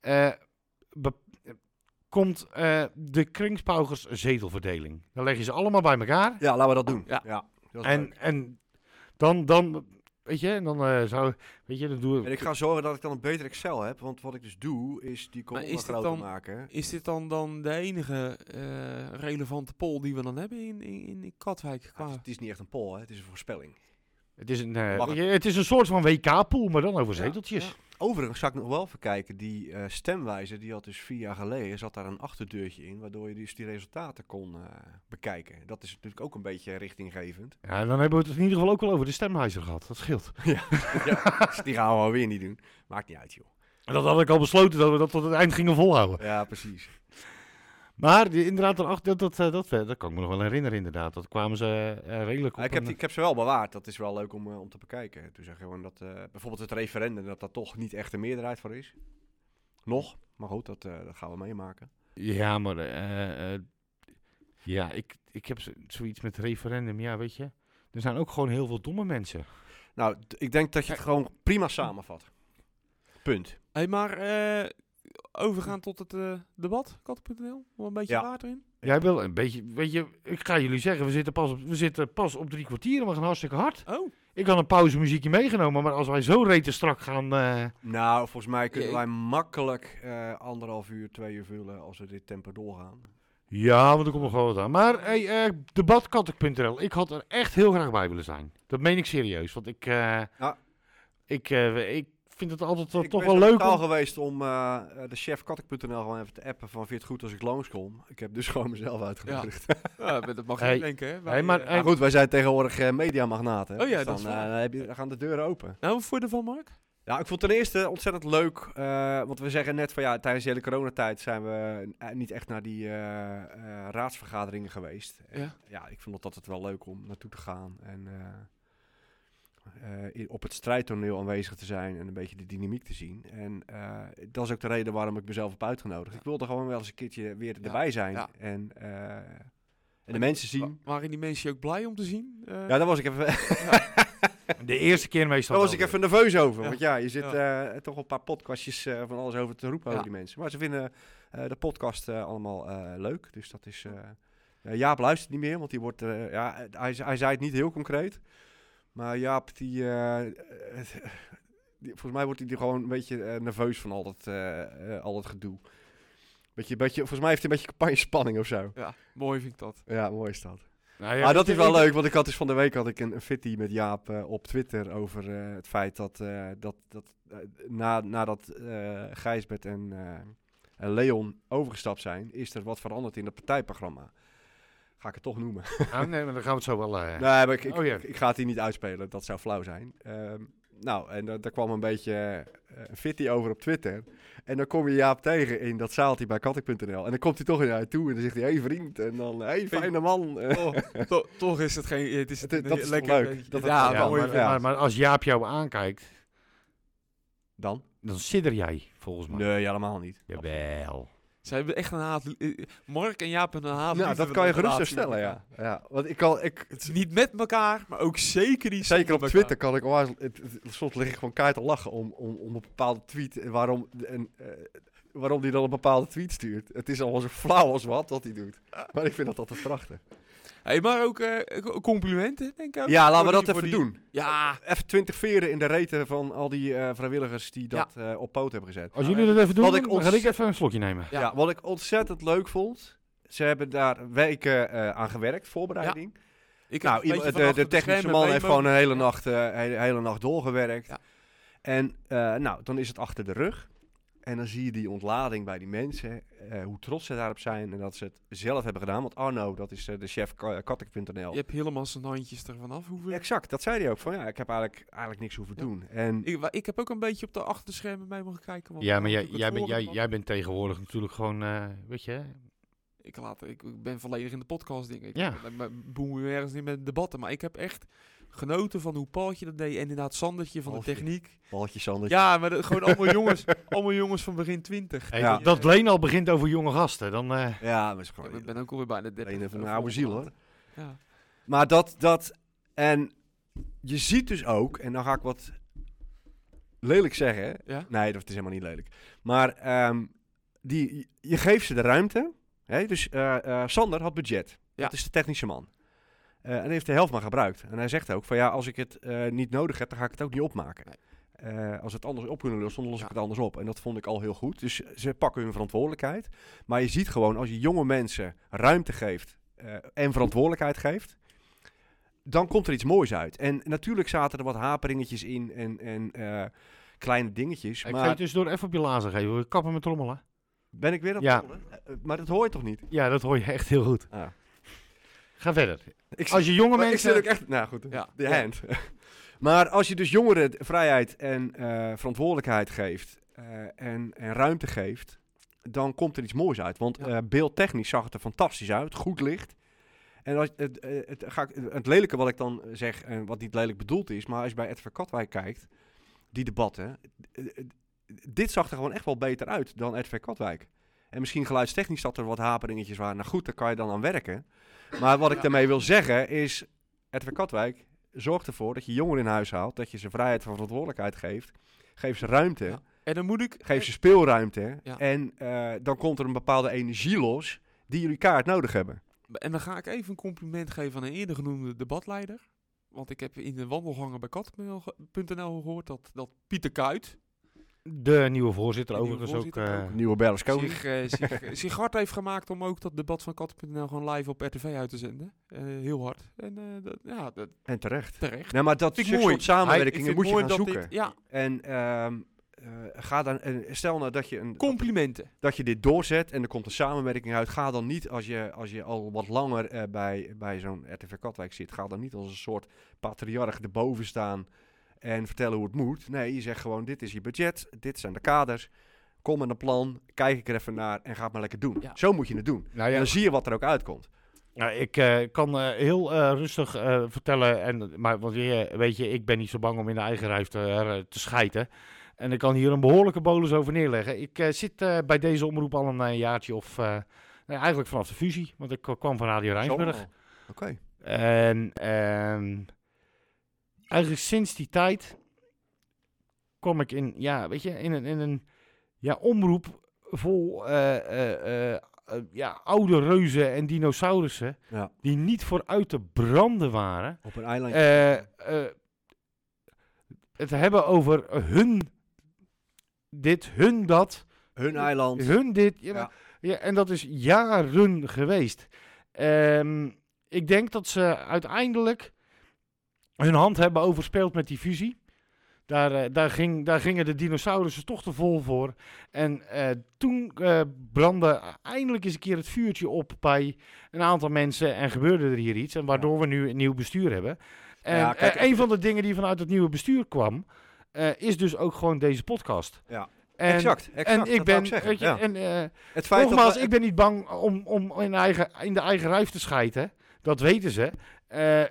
[SPEAKER 3] eh, be- eh, komt eh, de Kringspaugers zetelverdeling. Dan leggen ze allemaal bij elkaar.
[SPEAKER 5] ja, laten we dat doen.
[SPEAKER 4] Ja.
[SPEAKER 5] Ja. dat is leuk.
[SPEAKER 3] En, en dan, dan, weet je, en dan eh, zou, weet je, dan doe
[SPEAKER 5] En ik ga zorgen dat ik dan een beter Excel heb. Want wat ik dus doe, is die
[SPEAKER 4] Maar
[SPEAKER 5] kolom
[SPEAKER 4] is dit
[SPEAKER 5] groter
[SPEAKER 4] dan-
[SPEAKER 5] maken.
[SPEAKER 4] Is dit dan, dan de enige eh, relevante poll die we dan hebben in, in, in- in Katwijk?
[SPEAKER 5] Ja, het, is,
[SPEAKER 4] Qua...
[SPEAKER 5] het is niet echt een poll, hè. het is een voorspelling.
[SPEAKER 3] Het is, een, eh,
[SPEAKER 5] Mag
[SPEAKER 3] weet je, het is een soort van WK-pool, maar dan over zeteltjes.
[SPEAKER 4] ja.
[SPEAKER 5] Overigens zou ik nog wel even kijken, die eh, stemwijzer, die had dus vier jaar geleden, zat daar een achterdeurtje in, waardoor je dus die resultaten kon eh, bekijken. Dat is natuurlijk ook een beetje richtinggevend.
[SPEAKER 3] Ja, dan hebben we het in ieder geval ook wel over de stemwijzer gehad. Dat scheelt.
[SPEAKER 5] Dus die gaan we wel weer niet doen. Maakt niet uit, joh.
[SPEAKER 3] En dat had ik al besloten dat we dat tot het eind gingen volhouden.
[SPEAKER 5] Ja, precies.
[SPEAKER 3] Maar die, inderdaad, daarachter, dat, dat, dat, eh, dat kan ik me nog wel herinneren inderdaad. Dat kwamen ze eh, redelijk op.
[SPEAKER 5] Maar ik, heb
[SPEAKER 3] een-
[SPEAKER 5] die, ik heb ze wel bewaard, dat is wel leuk om, eh, om te bekijken. Toen zeg je gewoon dat eh, bijvoorbeeld het referendum, dat daar toch niet echt een meerderheid voor is. Nog, maar goed, dat, eh, dat gaan we meemaken.
[SPEAKER 3] Ja, maar eh, eh, ja, ik, ik heb z- zoiets met referendum, ja, weet je. Er zijn ook gewoon heel veel domme mensen.
[SPEAKER 5] Nou, d- ik denk dat je het gewoon prima samenvat. Punt.
[SPEAKER 4] Hey, maar eh, overgaan tot het eh, debat, kat.nl. Nog een beetje
[SPEAKER 5] Ja.
[SPEAKER 4] water in.
[SPEAKER 3] Jij wil een beetje, weet je, ik ga jullie zeggen, we zitten pas op, we zitten pas op drie kwartier en we gaan hartstikke hard.
[SPEAKER 4] Oh,
[SPEAKER 3] Ik had een pauzemuziekje meegenomen, maar als wij zo reten strak gaan, eh,
[SPEAKER 5] Nou, volgens mij kunnen
[SPEAKER 4] Ja,
[SPEAKER 5] wij makkelijk eh, anderhalf uur, twee uur vullen als we dit tempo doorgaan.
[SPEAKER 3] ja, want er komt nog wel wat aan. Maar hey, eh debatkatok.nl, ik had er echt heel graag bij willen zijn. Dat meen ik serieus, want ik, eh,
[SPEAKER 5] Ja.
[SPEAKER 3] ik, eh, ik vind het altijd wel-
[SPEAKER 5] ik
[SPEAKER 3] toch
[SPEAKER 5] ben
[SPEAKER 3] wel
[SPEAKER 5] zo
[SPEAKER 3] leuk.
[SPEAKER 5] brutaal
[SPEAKER 3] om-
[SPEAKER 5] geweest om eh, eh, de chef kattek.nl gewoon even te appen van vind je het goed als ik langskom? Ik heb dus gewoon mezelf uitgenodigd.
[SPEAKER 4] ja, dat mag je
[SPEAKER 3] Hey.
[SPEAKER 4] niet denken, hè? Wij,
[SPEAKER 3] Hey, maar,
[SPEAKER 4] eh,
[SPEAKER 3] hey,
[SPEAKER 5] Maar goed, wij zijn tegenwoordig eh, mediamagnaten. hè.
[SPEAKER 4] Oh ja,
[SPEAKER 5] Dus
[SPEAKER 4] dat
[SPEAKER 5] dan,
[SPEAKER 4] is waar.
[SPEAKER 5] eh, dan heb je, dan gaan de deuren
[SPEAKER 3] eh,
[SPEAKER 5] open.
[SPEAKER 4] Nou, voor de van Mark?
[SPEAKER 5] Ja, Nou, ik vond ten eerste ontzettend leuk, eh, want we zeggen net van ja, tijdens de hele coronatijd zijn we eh, niet echt naar die eh, eh, raadsvergaderingen geweest. En
[SPEAKER 4] Ja.
[SPEAKER 5] ja, ik vond het altijd wel leuk om naartoe te gaan en eh, eh, i- op het strijdtoneel aanwezig te zijn en een beetje de dynamiek te zien. En eh, dat is ook de reden waarom ik mezelf heb uitgenodigd. Ik wilde gewoon wel eens een keertje weer
[SPEAKER 4] Ja,
[SPEAKER 5] erbij zijn
[SPEAKER 4] ja.
[SPEAKER 5] en, eh, en de mensen zien.
[SPEAKER 4] Wa- waren die mensen je ook blij om te zien? Eh,
[SPEAKER 5] Ja, daar was ik even,
[SPEAKER 3] de eerste keer meestal.
[SPEAKER 5] daar was
[SPEAKER 3] wel
[SPEAKER 5] ik
[SPEAKER 3] weer.
[SPEAKER 5] even nerveus over.
[SPEAKER 4] Ja.
[SPEAKER 5] Want ja, je zit eh, toch wel een paar podcastjes eh, van alles over te roepen
[SPEAKER 4] Ja.
[SPEAKER 5] over die mensen. Maar ze vinden eh, de podcast eh, allemaal eh, leuk. Dus dat is... eh ja, Jaap luistert niet meer, want die wordt... eh, ja, eh, hij, hij zei het niet heel concreet. Maar Jaap, die... eh, die- volgens mij wordt hij er gewoon een beetje eh, nerveus van al dat, eh, eh, al dat gedoe. Beetje, beetje, volgens mij heeft hij een beetje campagne-spanning of zo.
[SPEAKER 4] ja, mooi vind ik dat.
[SPEAKER 5] Ja, mooi is dat.
[SPEAKER 3] Nou ja,
[SPEAKER 5] Maar Ah, dat
[SPEAKER 3] ik-
[SPEAKER 5] is wel
[SPEAKER 3] ik-
[SPEAKER 5] leuk, want ik had dus van de week had ik een, een fitty met Jaap eh, op Twitter over eh, het feit dat, eh, dat, dat eh, na, nadat eh Gijsbert en, eh, en Leon overgestapt zijn, is er wat veranderd in het partijprogramma. Ga ik het toch noemen.
[SPEAKER 3] Ah, nee, maar dan gaan we het zo wel... eh,
[SPEAKER 5] Nee, maar ik, ik,
[SPEAKER 3] Oh ja.
[SPEAKER 5] ik, ik ga het hier niet uitspelen, dat zou flauw zijn. Ehm, nou, en da- daar kwam een beetje eh, een fitty over op Twitter. En dan kom je Jaap tegen in dat zaaltje bij kattek.nl. En dan komt hij toch naar je toe en dan zegt hij, hey vriend. En dan, hey fijne man. Eh,
[SPEAKER 4] Oh, to- toch is het geen... Het is,
[SPEAKER 5] Het-
[SPEAKER 4] een
[SPEAKER 5] dat is
[SPEAKER 4] lekker
[SPEAKER 5] toch leuk,
[SPEAKER 4] beetje-
[SPEAKER 5] dat het
[SPEAKER 4] ja,
[SPEAKER 5] kan,
[SPEAKER 3] ja,
[SPEAKER 4] mooi.
[SPEAKER 3] maar,
[SPEAKER 5] ja.
[SPEAKER 3] maar, maar als Jaap jou aankijkt,
[SPEAKER 5] Dan?
[SPEAKER 3] dan sidder jij, volgens mij.
[SPEAKER 5] Nee, helemaal niet.
[SPEAKER 3] Jawel.
[SPEAKER 4] Ze hebben echt een haat... eh, Mark en Jaap hebben een haat...
[SPEAKER 5] Nou, dat kan je gerust zo stellen, ja. ja. Want ik kan, ik,
[SPEAKER 4] Het is niet met elkaar, maar ook zeker niet
[SPEAKER 5] zeker
[SPEAKER 4] zonder
[SPEAKER 5] op
[SPEAKER 4] elkaar.
[SPEAKER 5] Twitter kan ik onwijs, het, het- soms lig ik gewoon keihard te lachen om, om, om een bepaalde tweet en waarom, en, eh, waarom die dan een bepaalde tweet stuurt. Het is allemaal zo flauw als wat wat hij doet. Maar ik vind dat altijd prachtig.
[SPEAKER 4] Hey, maar ook eh, co- complimenten, denk ik ook.
[SPEAKER 5] Ja, laten we
[SPEAKER 4] Voor
[SPEAKER 5] dat
[SPEAKER 4] die-
[SPEAKER 5] even
[SPEAKER 4] voor die-
[SPEAKER 5] doen.
[SPEAKER 4] Ja,
[SPEAKER 5] Even twintig veren in de reten van al die eh, vrijwilligers die dat eh, op poot hebben gezet.
[SPEAKER 3] Als
[SPEAKER 4] Ja,
[SPEAKER 3] jullie dat even doen,
[SPEAKER 5] Wat ik
[SPEAKER 3] dan ga
[SPEAKER 5] ons-
[SPEAKER 3] ik even een slokje nemen.
[SPEAKER 5] Ja.
[SPEAKER 4] Ja.
[SPEAKER 5] wat ik ontzettend leuk vond, Ze hebben daar weken eh, aan gewerkt, voorbereiding.
[SPEAKER 4] Ik
[SPEAKER 5] nou,
[SPEAKER 4] heb een beetje
[SPEAKER 5] iemand- de,
[SPEAKER 4] van
[SPEAKER 5] de
[SPEAKER 4] achter
[SPEAKER 5] technische
[SPEAKER 4] schermen
[SPEAKER 5] man
[SPEAKER 4] mee
[SPEAKER 5] heeft
[SPEAKER 4] mogen-
[SPEAKER 5] gewoon een hele nacht, eh, hele, hele nacht doorgewerkt.
[SPEAKER 4] Ja.
[SPEAKER 5] En eh, nou, dan is het achter de rug. En dan zie je die ontlading bij die mensen, eh, hoe trots ze daarop zijn en dat ze het zelf hebben gedaan. Want Arno, dat is eh, de chef ka- kattek.nl.
[SPEAKER 4] Je hebt helemaal zijn handjes ervan af hoeven. Ik,
[SPEAKER 5] Exact, dat zei hij ook. Van ja, ik heb eigenlijk, eigenlijk niks hoeven
[SPEAKER 4] Ja.
[SPEAKER 5] doen. En
[SPEAKER 4] wa- ik heb ook een beetje op de achter de schermen mee mogen kijken. want
[SPEAKER 3] Ja,
[SPEAKER 4] ik
[SPEAKER 3] maar
[SPEAKER 4] had
[SPEAKER 3] jij, jij,
[SPEAKER 4] natuurlijk het
[SPEAKER 3] bent, jij,
[SPEAKER 4] volgende
[SPEAKER 3] jij bent tegenwoordig natuurlijk gewoon, eh, weet je, hè?
[SPEAKER 4] plan. Ik, laat, ik, ik ben volledig in de podcast dingen. Ik
[SPEAKER 3] Ja.
[SPEAKER 4] ik ben- boem me ergens niet met debatten. Maar ik heb echt genoten van hoe Paultje dat deed. En inderdaad Sandertje van
[SPEAKER 5] Paultje.
[SPEAKER 4] de techniek.
[SPEAKER 5] baltjes Sander.
[SPEAKER 4] Ja, maar dat- gewoon allemaal jongens, allemaal jongens van begin twintig.
[SPEAKER 3] Hey,
[SPEAKER 5] Ja.
[SPEAKER 3] dat- Dat Leen al begint over jonge gasten, dan... eh,
[SPEAKER 5] Oh, Ja, maar is
[SPEAKER 4] Ja,
[SPEAKER 5] gewoon
[SPEAKER 4] ik ben ook alweer bijna 30.
[SPEAKER 5] een van
[SPEAKER 4] eh,
[SPEAKER 5] een oude ziel
[SPEAKER 4] volgende
[SPEAKER 5] hoor.
[SPEAKER 4] maand. Ja.
[SPEAKER 5] Maar dat, dat, en je ziet dus ook, en dan ga ik wat lelijk zeggen.
[SPEAKER 4] Ja?
[SPEAKER 5] Nee, dat is helemaal niet lelijk. Maar ehm, die, je geeft ze de ruimte. Hè? Dus eh, eh, Sander had budget.
[SPEAKER 4] Ja.
[SPEAKER 5] Dat is de technische man. Eh, en hij heeft de helft maar gebruikt. En hij zegt ook van ja, als ik het eh, niet nodig heb, dan ga ik het ook niet opmaken.
[SPEAKER 4] Nee.
[SPEAKER 5] Eh, als we het anders op kunnen lossen, dan los ik
[SPEAKER 4] Ja.
[SPEAKER 5] het anders op. En dat vond ik al heel goed. Dus ze pakken hun verantwoordelijkheid. Maar je ziet gewoon, als je jonge mensen ruimte geeft eh, en verantwoordelijkheid geeft, dan komt er iets moois uit. En natuurlijk zaten er wat haperingetjes in en, en eh, kleine dingetjes.
[SPEAKER 3] Ik ga je
[SPEAKER 5] maar
[SPEAKER 3] tussendoor even op je lazen geven. hoor. Ik Kappen met trommelen.
[SPEAKER 5] ben ik weer dat
[SPEAKER 3] Ja.
[SPEAKER 5] Eh, Maar dat hoor je toch niet?
[SPEAKER 3] Ja, dat hoor je echt heel goed.
[SPEAKER 5] Ah.
[SPEAKER 3] Ga verder.
[SPEAKER 5] Ik
[SPEAKER 3] Als je jonge
[SPEAKER 5] maar ik zit
[SPEAKER 3] mensen...
[SPEAKER 5] ook echt... Nou goed,
[SPEAKER 4] Ja.
[SPEAKER 5] de hand. maar als je dus jongeren de vrijheid en eh, verantwoordelijkheid geeft eh, en, en ruimte geeft, dan komt er iets moois uit. Want
[SPEAKER 4] Ja.
[SPEAKER 5] eh, beeldtechnisch zag het er fantastisch uit, goed licht. En als, het, eh, het, ga ik, het lelijke wat ik dan zeg, en wat niet lelijk bedoeld is, maar als je bij Edward Katwijk kijkt, die debatten, eh, eh, dit zag er gewoon echt wel beter uit dan Edward Katwijk. En misschien geluidstechnisch dat er wat haperingetjes waren. Nou goed, daar kan je dan aan werken. Maar wat ik
[SPEAKER 4] Ja.
[SPEAKER 5] daarmee wil zeggen is, Edwin Katwijk, zorg ervoor dat je jongeren in huis haalt, dat je ze vrijheid van verantwoordelijkheid geeft. Geef ze ruimte,
[SPEAKER 4] Ja. En dan moet ik...
[SPEAKER 5] geef ze speelruimte.
[SPEAKER 4] Ja.
[SPEAKER 5] En eh, dan komt er een bepaalde energie los die jullie kaart nodig hebben.
[SPEAKER 4] En dan ga ik even een compliment geven aan een eerder genoemde debatleider. Want ik heb in de wandelgangen bij kat.nl gehoord dat, dat Pieter Kuit
[SPEAKER 3] De nieuwe voorzitter
[SPEAKER 4] De nieuwe
[SPEAKER 3] overigens
[SPEAKER 4] voorzitter
[SPEAKER 3] ook. eh,
[SPEAKER 4] ook.
[SPEAKER 5] Nieuwe Berlusconi.
[SPEAKER 4] zich, eh, zich, eh, zich hard heeft gemaakt om ook dat debat van kat.nl gewoon live op RTV uit te zenden. Eh, heel hard. En eh, dat, ja, dat,
[SPEAKER 5] En terecht.
[SPEAKER 4] terecht.
[SPEAKER 5] Nee, maar dat
[SPEAKER 4] Vind ik
[SPEAKER 5] soort
[SPEAKER 4] mooi.
[SPEAKER 5] samenwerkingen
[SPEAKER 4] Hij- ik vind
[SPEAKER 5] moet je
[SPEAKER 4] mooi
[SPEAKER 5] gaan
[SPEAKER 4] dat
[SPEAKER 5] zoeken.
[SPEAKER 4] dit- ja,
[SPEAKER 5] En ehm, eh, ga dan, en stel nou dat je, een,
[SPEAKER 4] complimenten.
[SPEAKER 5] dat je dit doorzet en er komt een samenwerking uit. Ga dan niet, als je, als je al wat langer eh, bij, bij zo'n RTV Katwijk zit, ga dan niet als een soort patriarch erboven staan en vertellen hoe het moet. Nee, je zegt gewoon, dit is je budget, dit zijn de kaders. Kom met een plan, kijk ik er even naar en ga het maar lekker doen.
[SPEAKER 4] Ja.
[SPEAKER 5] Zo moet je het doen.
[SPEAKER 3] nou
[SPEAKER 5] En
[SPEAKER 3] ja,
[SPEAKER 5] dan zie je wat er ook uitkomt.
[SPEAKER 3] nou, ik eh, kan eh, heel eh, rustig eh, vertellen. En, maar want, je- weet je, ik ben niet zo bang om in de eigen rijf te, eh, te schijten. En ik kan hier een behoorlijke bolus over neerleggen. Ik eh, zit eh, bij deze omroep al een, eh, jaartje of... eh, nou, eigenlijk vanaf de fusie, want ik eh, kwam van Radio Rijnsburg.
[SPEAKER 5] Zo. Oké.
[SPEAKER 3] En ehm, eigenlijk sinds die tijd kwam ik in, ja, weet je, in een, in een ja, omroep vol eh, eh, eh, eh, ja, oude reuzen en dinosaurussen
[SPEAKER 5] Ja.
[SPEAKER 3] die niet vooruit te branden waren.
[SPEAKER 5] Op een eilandje.
[SPEAKER 3] Eh, eh, het hebben over hun dit, hun dat.
[SPEAKER 5] Hun eiland.
[SPEAKER 3] Hun dit. Ja, maar- ja. en dat is jaren geweest. Ehm, ik denk dat ze uiteindelijk hun hand hebben overspeeld met die fusie. Daar, eh, daar, ging, daar gingen de dinosaurussen toch te vol voor. En eh, toen eh, brandde eindelijk eens een keer het vuurtje op bij een aantal mensen. En gebeurde er hier iets. En waardoor we nu een nieuw bestuur hebben. En
[SPEAKER 5] Ja, kijk,
[SPEAKER 3] eh, een van de dingen die vanuit het nieuwe bestuur kwam, eh, is dus ook gewoon deze podcast.
[SPEAKER 5] Ja.
[SPEAKER 3] En-
[SPEAKER 5] exact, exact.
[SPEAKER 3] en ik
[SPEAKER 5] dat
[SPEAKER 3] ben,
[SPEAKER 5] wou zeggen,
[SPEAKER 3] weet je,
[SPEAKER 5] ja.
[SPEAKER 3] en, eh,
[SPEAKER 5] Het feit
[SPEAKER 3] nogmaals,
[SPEAKER 5] dat we-
[SPEAKER 3] ik ben niet bang om, om in, eigen, in de eigen ruif te schijten. Dat weten ze. Eh,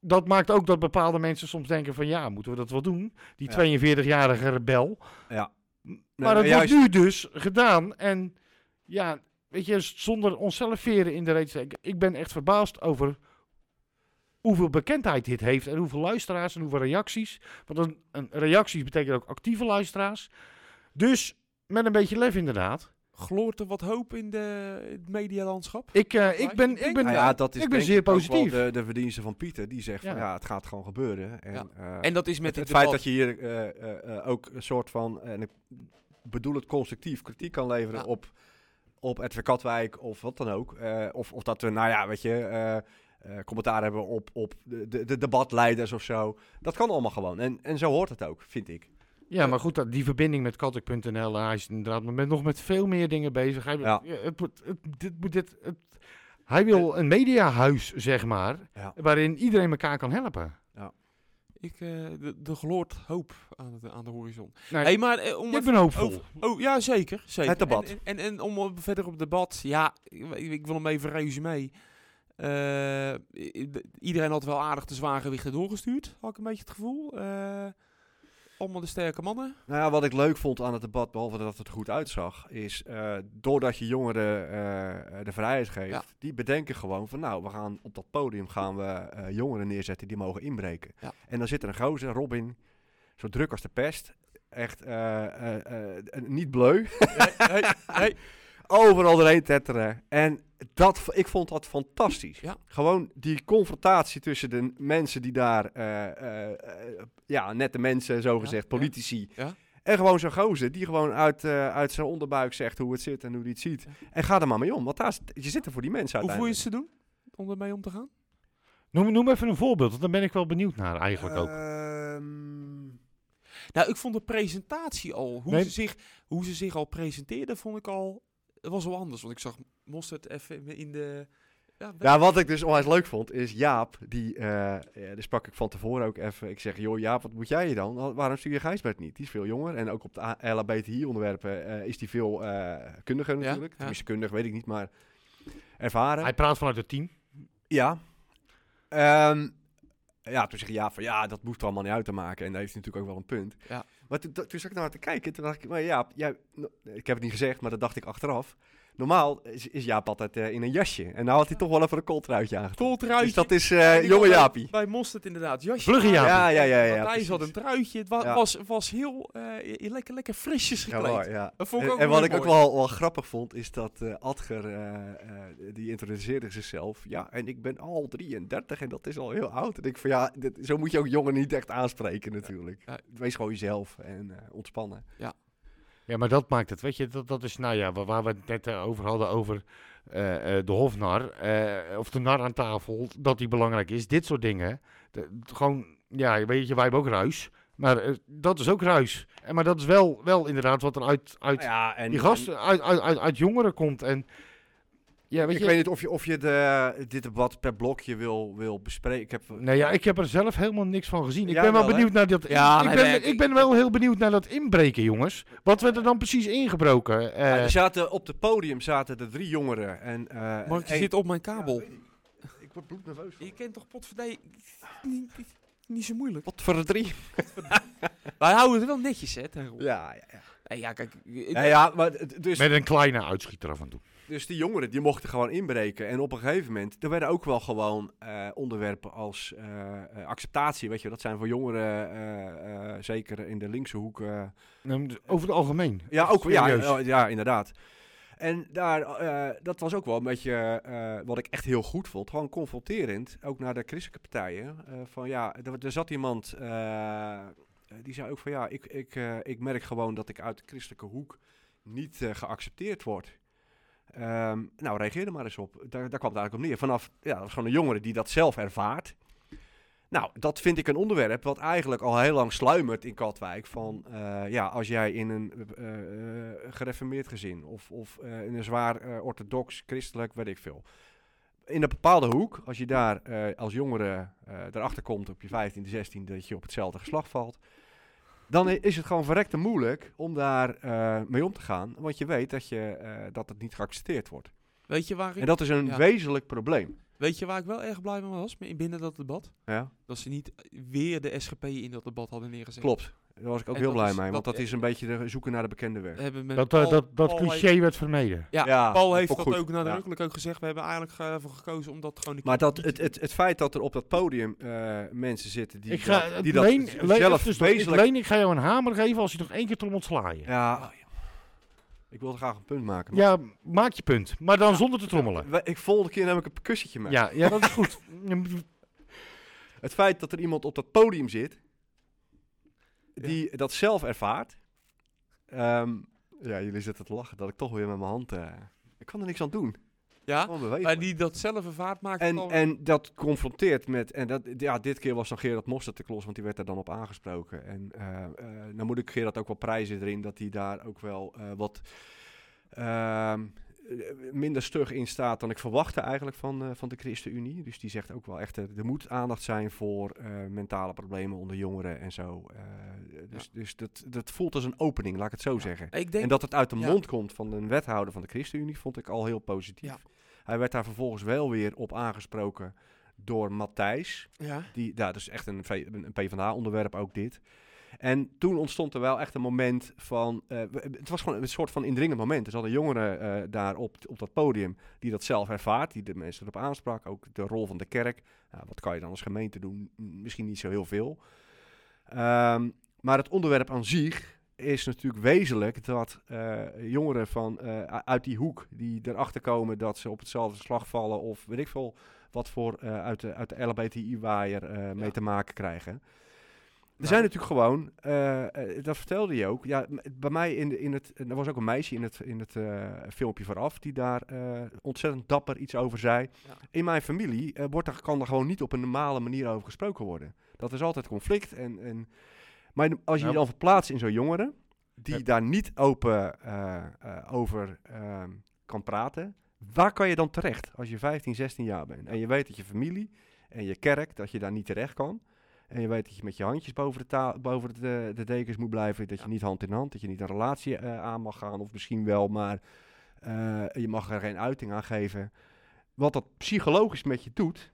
[SPEAKER 3] dat maakt ook dat bepaalde mensen soms denken van ja, moeten we dat wel doen? Die
[SPEAKER 5] Ja.
[SPEAKER 3] 42-jarige rebel.
[SPEAKER 5] Ja. Nee,
[SPEAKER 3] maar dat
[SPEAKER 5] juist-
[SPEAKER 3] wordt nu dus gedaan. En ja, weet je, z- zonder onszelf veren in de reet. te steken. Ik ben echt verbaasd over hoeveel bekendheid dit heeft. En hoeveel luisteraars en hoeveel reacties. Want een, een reacties betekent ook actieve luisteraars. Dus met een beetje lef inderdaad.
[SPEAKER 4] Gloort er wat hoop in, de, in het medialandschap?
[SPEAKER 3] Ik, eh,
[SPEAKER 4] Ja,
[SPEAKER 3] ik ben,
[SPEAKER 4] ik
[SPEAKER 3] ik
[SPEAKER 4] denk-
[SPEAKER 3] ben,
[SPEAKER 5] Nou ja, dat is
[SPEAKER 3] ik ben
[SPEAKER 5] denk
[SPEAKER 3] zeer
[SPEAKER 5] ook wel
[SPEAKER 3] positief.
[SPEAKER 5] De, de verdienste van Pieter, die zegt van
[SPEAKER 3] Ja.
[SPEAKER 5] ja, het gaat gewoon gebeuren. En,
[SPEAKER 4] Ja.
[SPEAKER 5] eh,
[SPEAKER 4] En dat is met
[SPEAKER 5] het,
[SPEAKER 4] dit
[SPEAKER 5] het feit
[SPEAKER 4] debat.
[SPEAKER 5] dat je hier eh, eh, eh, ook een soort van, en ik bedoel het constructief, kritiek kan leveren
[SPEAKER 4] Ja.
[SPEAKER 5] op, op RTV Katwijk of wat dan ook. Eh, of, of dat we, nou ja, weet je, eh, eh, commentaar hebben op, op de, de, de debatleiders of zo. Dat kan allemaal gewoon. En, en zo hoort het ook, vind ik.
[SPEAKER 3] Ja, maar goed, dat- die verbinding met Kattek.nl, hij is inderdaad met, nog met veel meer dingen bezig. Hij, wil-
[SPEAKER 5] Ja. Eh,
[SPEAKER 3] ja, het, moet- het, dit, moet- dit, het- hij wil een mediahuis, zeg maar,
[SPEAKER 5] Ja.
[SPEAKER 3] waarin iedereen elkaar kan helpen.
[SPEAKER 4] Ik, eh, de, de gloort hoop aan, het, aan de horizon.
[SPEAKER 3] Nou,
[SPEAKER 4] hey, maar eh, om
[SPEAKER 3] ik
[SPEAKER 4] even-
[SPEAKER 3] ben hoopvol.
[SPEAKER 4] over- Oh, ja, zeker. zeker.
[SPEAKER 5] Het debat.
[SPEAKER 4] En, en, en om op- verder op het debat. Ja, ik, ik wil hem even resume. Eh, i- de- iedereen had wel aardig de zwaargewichten doorgestuurd, had ik een beetje het gevoel. Eh, allemaal de sterke mannen.
[SPEAKER 5] Nou ja, wat ik leuk vond aan het debat, behalve dat het er goed uitzag, is eh, doordat je jongeren eh, de vrijheid geeft,
[SPEAKER 4] Ja.
[SPEAKER 5] die bedenken gewoon van nou, we gaan op dat podium gaan we eh, jongeren neerzetten die mogen inbreken.
[SPEAKER 4] Ja.
[SPEAKER 5] En dan zit er een gozer, Robin, zo druk als de pest, echt eh, eh, eh, niet bleu,
[SPEAKER 4] hey, hey.
[SPEAKER 5] overal doorheen tetteren. En dat, v- ik vond dat fantastisch.
[SPEAKER 4] Ja.
[SPEAKER 5] Gewoon die confrontatie tussen de mensen die daar, eh, eh, eh, ja, nette mensen, zogezegd,
[SPEAKER 4] ja.
[SPEAKER 5] politici.
[SPEAKER 4] Ja.
[SPEAKER 5] En gewoon zo'n gozer die gewoon uit, eh, uit zijn onderbuik zegt hoe het zit en hoe hij het ziet. En ga er maar mee om, want daar, zit- je zit er voor die mensen
[SPEAKER 4] Hoe voel je
[SPEAKER 5] uiteindelijk.
[SPEAKER 4] ze doen om ermee om te gaan?
[SPEAKER 3] Noem, noem even een voorbeeld, want daar ben ik wel benieuwd naar eigenlijk
[SPEAKER 5] Eh,
[SPEAKER 3] ook.
[SPEAKER 5] Ehm,
[SPEAKER 4] Nou, ik vond de presentatie al, hoe,
[SPEAKER 3] Nee.
[SPEAKER 4] ze, zich, hoe ze zich al presenteerden, vond ik al, het was wel anders. Want ik zag Mostert even in de... Ja,
[SPEAKER 5] Ja, wat ik dus onwijs leuk vond, is Jaap, die, eh ja, die sprak ik van tevoren ook even. Ik zeg, joh Jaap, wat moet jij hier dan? Wa- Waarom stuur je Gijsbert niet? Die is veel jonger en ook op de LHBTI-onderwerpen is die veel eh, kundiger natuurlijk.
[SPEAKER 4] ja.
[SPEAKER 5] Tenminste, kundig weet ik niet, maar ervaren.
[SPEAKER 3] Hij praat vanuit het team.
[SPEAKER 5] Ja. Ehm, ja, toen zeg je ja van ja, dat hoeft er allemaal niet uit te maken. En daar heeft hij natuurlijk ook wel een punt.
[SPEAKER 4] Ja.
[SPEAKER 5] Maar toen, toen toen zat ik naar haar te kijken. Toen dacht ik, maar Jaap, jij, no- ik heb het niet gezegd, maar dat dacht ik achteraf. Normaal is, is Jaap altijd eh, in een jasje. En nou had hij toch wel even een kooltruitje aangetrokken.
[SPEAKER 4] Kooltruitje.
[SPEAKER 5] Dus dat is eh jonge Jaapie.
[SPEAKER 4] Bij Mostert inderdaad, jasje.
[SPEAKER 3] Vlugge
[SPEAKER 4] aan.
[SPEAKER 3] Jaapie.
[SPEAKER 5] Ja, ja, ja. ja,
[SPEAKER 4] Want hij zat een
[SPEAKER 5] precies.
[SPEAKER 4] truitje. Het wa-
[SPEAKER 5] Ja.
[SPEAKER 4] was, was heel eh, i- lekker, lekker frisjes
[SPEAKER 5] Ja,
[SPEAKER 4] gekleed.
[SPEAKER 5] mooi, ja.
[SPEAKER 4] Dat vond ik
[SPEAKER 5] En-
[SPEAKER 4] ook
[SPEAKER 5] en
[SPEAKER 4] wel
[SPEAKER 5] wat ik ook
[SPEAKER 4] mooi.
[SPEAKER 5] wel, wel grappig vond, is dat eh, Adger, eh, eh, die introduceerde zichzelf. Ja, en ik ben al 33 en dat is al heel oud. En ik van ja, dit, zo moet je ook jongeren niet echt aanspreken natuurlijk.
[SPEAKER 4] Ja.
[SPEAKER 5] Wees gewoon jezelf en eh, ontspannen.
[SPEAKER 3] Ja, maar dat maakt het. Weet je, dat, dat is nou ja, wa- waar we het net eh, over hadden over eh, eh, de hofnar. eh, of de nar aan tafel, dat die belangrijk is. Dit soort dingen. De- d- gewoon, ja, weet je, wij hebben ook ruis. Maar eh, dat is ook ruis. En, maar dat is wel, wel inderdaad wat er uit, uit
[SPEAKER 5] Nou Ja, en,
[SPEAKER 3] die gasten, uit, uit, uit, uit jongeren komt. En ja, weet
[SPEAKER 5] ik
[SPEAKER 3] je.
[SPEAKER 5] weet niet of je, of je de, dit debat per blokje wil, wil bespreken. Ik heb,
[SPEAKER 3] nou ja, ik heb er zelf helemaal niks van gezien. Ik
[SPEAKER 5] Jij
[SPEAKER 3] ben wel,
[SPEAKER 5] wel, hè?
[SPEAKER 3] benieuwd naar dat.
[SPEAKER 4] Ja,
[SPEAKER 3] ik,
[SPEAKER 4] nee,
[SPEAKER 3] ben,
[SPEAKER 4] nee, ik-
[SPEAKER 3] ik ben wel heel benieuwd naar dat inbreken, jongens. Wat werd er dan precies ingebroken?
[SPEAKER 5] Ja, dus-
[SPEAKER 3] Eh,
[SPEAKER 5] er zaten, op het podium zaten er drie jongeren. En, eh,
[SPEAKER 4] Mark, je
[SPEAKER 5] één-
[SPEAKER 4] zit op mijn kabel.
[SPEAKER 5] Ik word bloednerveus. van.
[SPEAKER 4] je kent toch potverdij... Niet, niet- niet zo moeilijk.
[SPEAKER 5] Wat voor drie?
[SPEAKER 4] Wij houden het wel netjes, hè, ten Roel.
[SPEAKER 5] Ja, ja, ja.
[SPEAKER 4] Nee, ja, kijk... ik-
[SPEAKER 5] ja, ja maar d- dus,
[SPEAKER 3] met een kleine uitschieter af en toe.
[SPEAKER 5] Dus die jongeren die mochten gewoon inbreken. En op een gegeven moment, er werden ook wel gewoon eh, onderwerpen als eh, eh, acceptatie. Weet je, dat zijn voor jongeren, eh, eh, zeker in de linkse hoek. eh,
[SPEAKER 3] Nou, dus Over het algemeen.
[SPEAKER 5] ja, ook, ja,
[SPEAKER 3] serieus.
[SPEAKER 5] ja, ja, inderdaad. En daar, eh, dat was ook wel een beetje eh, wat ik echt heel goed vond. Gewoon confronterend, ook naar de christelijke partijen. eh, van ja, er, er zat iemand eh, die zei ook van ja, ik, ik, eh, ik merk gewoon dat ik uit de christelijke hoek niet eh, geaccepteerd word. Ehm, nou, reageer er maar eens op. Daar, daar kwam het eigenlijk op neer. Vanaf, ja, dat was gewoon een jongere die dat zelf ervaart. Nou, dat vind ik een onderwerp wat eigenlijk al heel lang sluimert in Katwijk. Van eh, ja, als jij in een eh, eh, gereformeerd gezin of, of eh, in een zwaar eh, orthodox, christelijk, weet ik veel. In een bepaalde hoek, als je daar eh, als jongere eh, erachter komt op je 15e, 16e, dat je op hetzelfde geslacht valt. Dan i- is het gewoon verrekte moeilijk om daar eh, mee om te gaan. Want je weet dat, je, eh, dat het niet geaccepteerd wordt.
[SPEAKER 4] Weet je waar ik...
[SPEAKER 5] En dat is een
[SPEAKER 4] Ja.
[SPEAKER 5] wezenlijk probleem.
[SPEAKER 4] Weet je waar ik wel erg blij mee was m- binnen dat debat?
[SPEAKER 5] Ja?
[SPEAKER 4] Dat ze niet weer de SGP in dat debat hadden neergezet.
[SPEAKER 5] Klopt. Daar was ik ook
[SPEAKER 4] En
[SPEAKER 5] heel
[SPEAKER 4] dat
[SPEAKER 5] blij
[SPEAKER 4] is-
[SPEAKER 5] mee. Want
[SPEAKER 4] dat- e-
[SPEAKER 5] dat is een beetje de zoeken naar de bekende weg.
[SPEAKER 4] We hebben met
[SPEAKER 3] Dat, eh,
[SPEAKER 4] Paul-
[SPEAKER 3] dat, dat
[SPEAKER 4] Paul
[SPEAKER 3] cliché
[SPEAKER 4] heeft-
[SPEAKER 3] werd vermeden.
[SPEAKER 4] ja,
[SPEAKER 5] Ja,
[SPEAKER 4] Paul
[SPEAKER 5] dat
[SPEAKER 4] heeft
[SPEAKER 5] vond
[SPEAKER 4] dat
[SPEAKER 5] ik goed.
[SPEAKER 4] ook nadrukkelijk ook gezegd. We hebben eigenlijk eh, voor gekozen om dat gewoon... een
[SPEAKER 5] Maar
[SPEAKER 4] keer
[SPEAKER 5] dat,
[SPEAKER 4] niet
[SPEAKER 5] het,
[SPEAKER 4] te doen.
[SPEAKER 5] het, het feit dat er op dat podium eh, mensen zitten die,
[SPEAKER 3] Ik ga,
[SPEAKER 5] dat, die dat
[SPEAKER 3] Leen,
[SPEAKER 5] z-
[SPEAKER 3] Leen,
[SPEAKER 5] zelf
[SPEAKER 3] even tussendoor.
[SPEAKER 5] wezenlijk...
[SPEAKER 3] Leen, ik ga jou een hamer geven als je nog één keer erom ontslaan. je.
[SPEAKER 5] Ja, ik wilde graag een punt maken. maar-
[SPEAKER 3] Ja, maak je punt. Maar dan zonder te trommelen.
[SPEAKER 5] We- Ik volgende keer neem ik een percussietje mee.
[SPEAKER 3] Ja, ja dat is goed.
[SPEAKER 5] Het feit dat er iemand op dat podium zit die dat zelf ervaart. Ehm, ja, jullie zitten te lachen dat ik toch weer met mijn hand... eh, Ik kan er niks aan doen.
[SPEAKER 4] Ja?
[SPEAKER 5] Gewoon bewegen.
[SPEAKER 4] Maar die dat zelf ervaart maakt het
[SPEAKER 5] En,
[SPEAKER 4] al-
[SPEAKER 5] en dat confronteert met, en dat, ja, dit keer was dan Gerard Mostert de klos, want die werd daar dan op aangesproken. En eh, eh, dan moet ik Gerard ook wel prijzen erin dat hij daar ook wel eh, wat ehm, eh, minder stug in staat dan ik verwachtte eigenlijk van, eh, van de ChristenUnie. Dus die zegt ook wel echt, eh, er moet aandacht zijn voor eh, mentale problemen onder jongeren en zo. Eh, dus dus dat, dat voelt als een opening, laat ik het zo zeggen.
[SPEAKER 4] ik denk
[SPEAKER 5] En dat het uit de
[SPEAKER 4] Ja.
[SPEAKER 5] mond komt van een wethouder van de ChristenUnie vond ik al heel positief.
[SPEAKER 4] Ja.
[SPEAKER 5] Hij werd daar vervolgens wel weer op aangesproken door Matthijs.
[SPEAKER 4] ja.
[SPEAKER 5] Die, nou, dat is echt een, V- een PvdA-onderwerp ook dit. En toen ontstond er wel echt een moment van... eh, we- het was gewoon een soort van indringend moment. Er zat een jongere eh, daar op, op dat podium die dat zelf ervaart. Die de mensen erop aansprak. Ook de rol van de kerk. Nou, wat kan je dan als gemeente doen? M- Misschien niet zo heel veel. Ehm, maar het onderwerp aan zich is natuurlijk wezenlijk dat eh, jongeren van, eh, u- uit die hoek die erachter komen dat ze op hetzelfde slag vallen of weet ik veel wat voor eh, uit de, uit de LBTI-waaier eh, mee
[SPEAKER 4] Ja. Nou.
[SPEAKER 5] te maken krijgen. Er zijn natuurlijk gewoon, eh, eh, dat vertelde je ook. Ja, m- bij mij in, de- in het, en er was ook een meisje in het, in het eh, filmpje vooraf die daar eh, ontzettend dapper iets over zei.
[SPEAKER 4] Ja.
[SPEAKER 5] In mijn familie eh, wordt er, kan er gewoon niet op een normale manier over gesproken worden. Dat is altijd conflict. En, en, maar als je
[SPEAKER 4] Nou.
[SPEAKER 3] Ja.
[SPEAKER 5] je dan verplaatst in zo'n jongere, die
[SPEAKER 3] Ja.
[SPEAKER 5] daar niet open eh, eh, over ehm, kan praten, waar kan je dan terecht als je 15, 16 jaar bent? En je weet dat je familie en je kerk, dat je daar niet terecht kan. En je weet dat je met je handjes boven de, ta- boven de, de dekens moet blijven. Dat je niet hand in hand, dat je niet een relatie eh, aan mag gaan. Of misschien wel, maar eh, je mag er geen uiting aan geven. Wat dat psychologisch met je doet,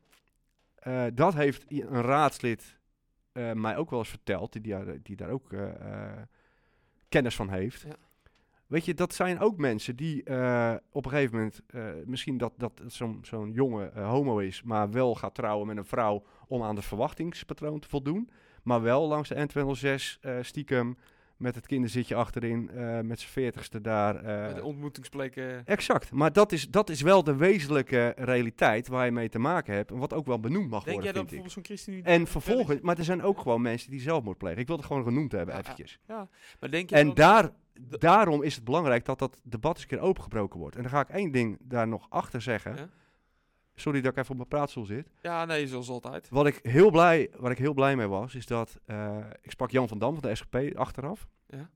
[SPEAKER 5] eh, dat heeft i- een raadslid eh, mij ook wel eens verteld. Die, daar- die daar ook eh, eh, kennis van heeft.
[SPEAKER 4] Ja.
[SPEAKER 5] Weet je, dat zijn ook mensen die eh, op een gegeven moment eh, misschien dat, dat zo'n zo'n jongen eh, homo is, maar wel gaat trouwen met een vrouw om aan het verwachtingspatroon te voldoen. Maar wel langs de N206 eh, stiekem met het kinderzitje achterin, eh, met z'n veertigste daar. eh,
[SPEAKER 4] Bij de ontmoetingsplekken.
[SPEAKER 5] exact, maar dat is, dat is wel de wezenlijke realiteit waar je mee te maken hebt. en Wat ook wel benoemd mag
[SPEAKER 4] Denk jij
[SPEAKER 5] worden,
[SPEAKER 4] dat
[SPEAKER 5] vind ik.
[SPEAKER 4] bijvoorbeeld zo'n ChristenUnie...
[SPEAKER 5] En vervolgens, maar er zijn ook gewoon mensen die zelfmoord plegen. Ik wil het gewoon genoemd hebben,
[SPEAKER 4] Ja, ja.
[SPEAKER 5] eventjes.
[SPEAKER 4] Maar denk je
[SPEAKER 5] En
[SPEAKER 4] dan-
[SPEAKER 5] daar, daarom is het belangrijk dat dat debat eens een keer opengebroken wordt. En dan ga ik één ding daar nog achter zeggen.
[SPEAKER 4] Ja?
[SPEAKER 5] Sorry dat ik even op mijn praatstoel zit.
[SPEAKER 4] Ja, nee, zoals altijd.
[SPEAKER 5] Wat ik heel blij, waar ik heel blij mee was, is dat... eh, ik sprak Jan van Dam van de SGP achteraf.
[SPEAKER 4] Ja.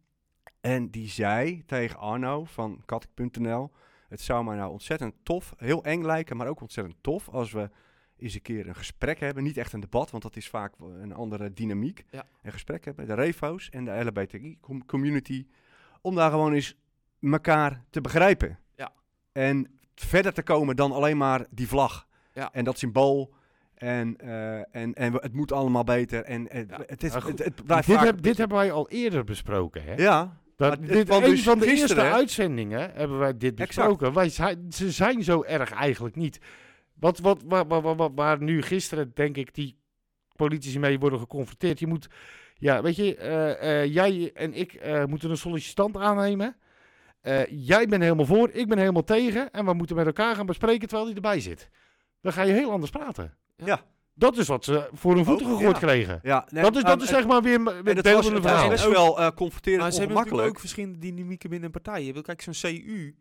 [SPEAKER 5] En die zei tegen Arno van katik.nl... Het zou mij nou ontzettend tof, heel eng lijken, maar ook ontzettend tof... als we eens een keer een gesprek hebben. Niet echt een debat, want dat is vaak wel een andere dynamiek.
[SPEAKER 4] Ja.
[SPEAKER 5] Een gesprek hebben, de refo's en de LBTI-community... om daar gewoon eens elkaar te begrijpen.
[SPEAKER 4] Ja.
[SPEAKER 5] En verder te komen dan alleen maar die vlag
[SPEAKER 4] Ja.
[SPEAKER 5] en dat symbool... En, eh, en, en we- het moet allemaal beter. En, en
[SPEAKER 4] Ja.
[SPEAKER 5] het, is,
[SPEAKER 3] Maar goed,
[SPEAKER 5] het, het blijft
[SPEAKER 3] Dit, heb-
[SPEAKER 5] vaak-
[SPEAKER 3] dit hebben wij al eerder besproken, hè?
[SPEAKER 5] Ja,
[SPEAKER 3] Dat,
[SPEAKER 5] Maar dit
[SPEAKER 3] dit,
[SPEAKER 5] kwam
[SPEAKER 3] een
[SPEAKER 5] dus
[SPEAKER 3] van de
[SPEAKER 5] gisteren, hè?
[SPEAKER 3] eerste uitzendingen hebben wij dit
[SPEAKER 5] Exact.
[SPEAKER 3] besproken. Wij, zijn- ze zijn zo erg eigenlijk niet. Wat, wat, waar, waar, waar, waar- waar nu gisteren, denk ik, die politici mee worden geconfronteerd. Je moet, ja, weet je, eh, eh, jij en ik eh, moeten een sollicitant aannemen. Eh, jij bent helemaal voor, ik ben helemaal tegen. En we moeten met elkaar gaan bespreken terwijl die erbij zit. Dan ga je heel anders praten.
[SPEAKER 5] Ja.
[SPEAKER 3] Dat is wat ze voor hun voeten
[SPEAKER 5] Ook,
[SPEAKER 3] gegooid
[SPEAKER 5] ja.
[SPEAKER 3] kregen.
[SPEAKER 5] ja nee,
[SPEAKER 3] Dat is,
[SPEAKER 5] maar
[SPEAKER 3] dat is
[SPEAKER 5] het-
[SPEAKER 3] zeg maar weer een deel
[SPEAKER 5] en het
[SPEAKER 3] van
[SPEAKER 5] was,
[SPEAKER 3] het
[SPEAKER 5] het was
[SPEAKER 3] verhaal.
[SPEAKER 5] best wel eh confronterend
[SPEAKER 4] Maar ze hebben natuurlijk
[SPEAKER 5] ongemakkelijk.
[SPEAKER 4] ook verschillende dynamieken binnen een partij. Je wil- Kijk, zo'n CU,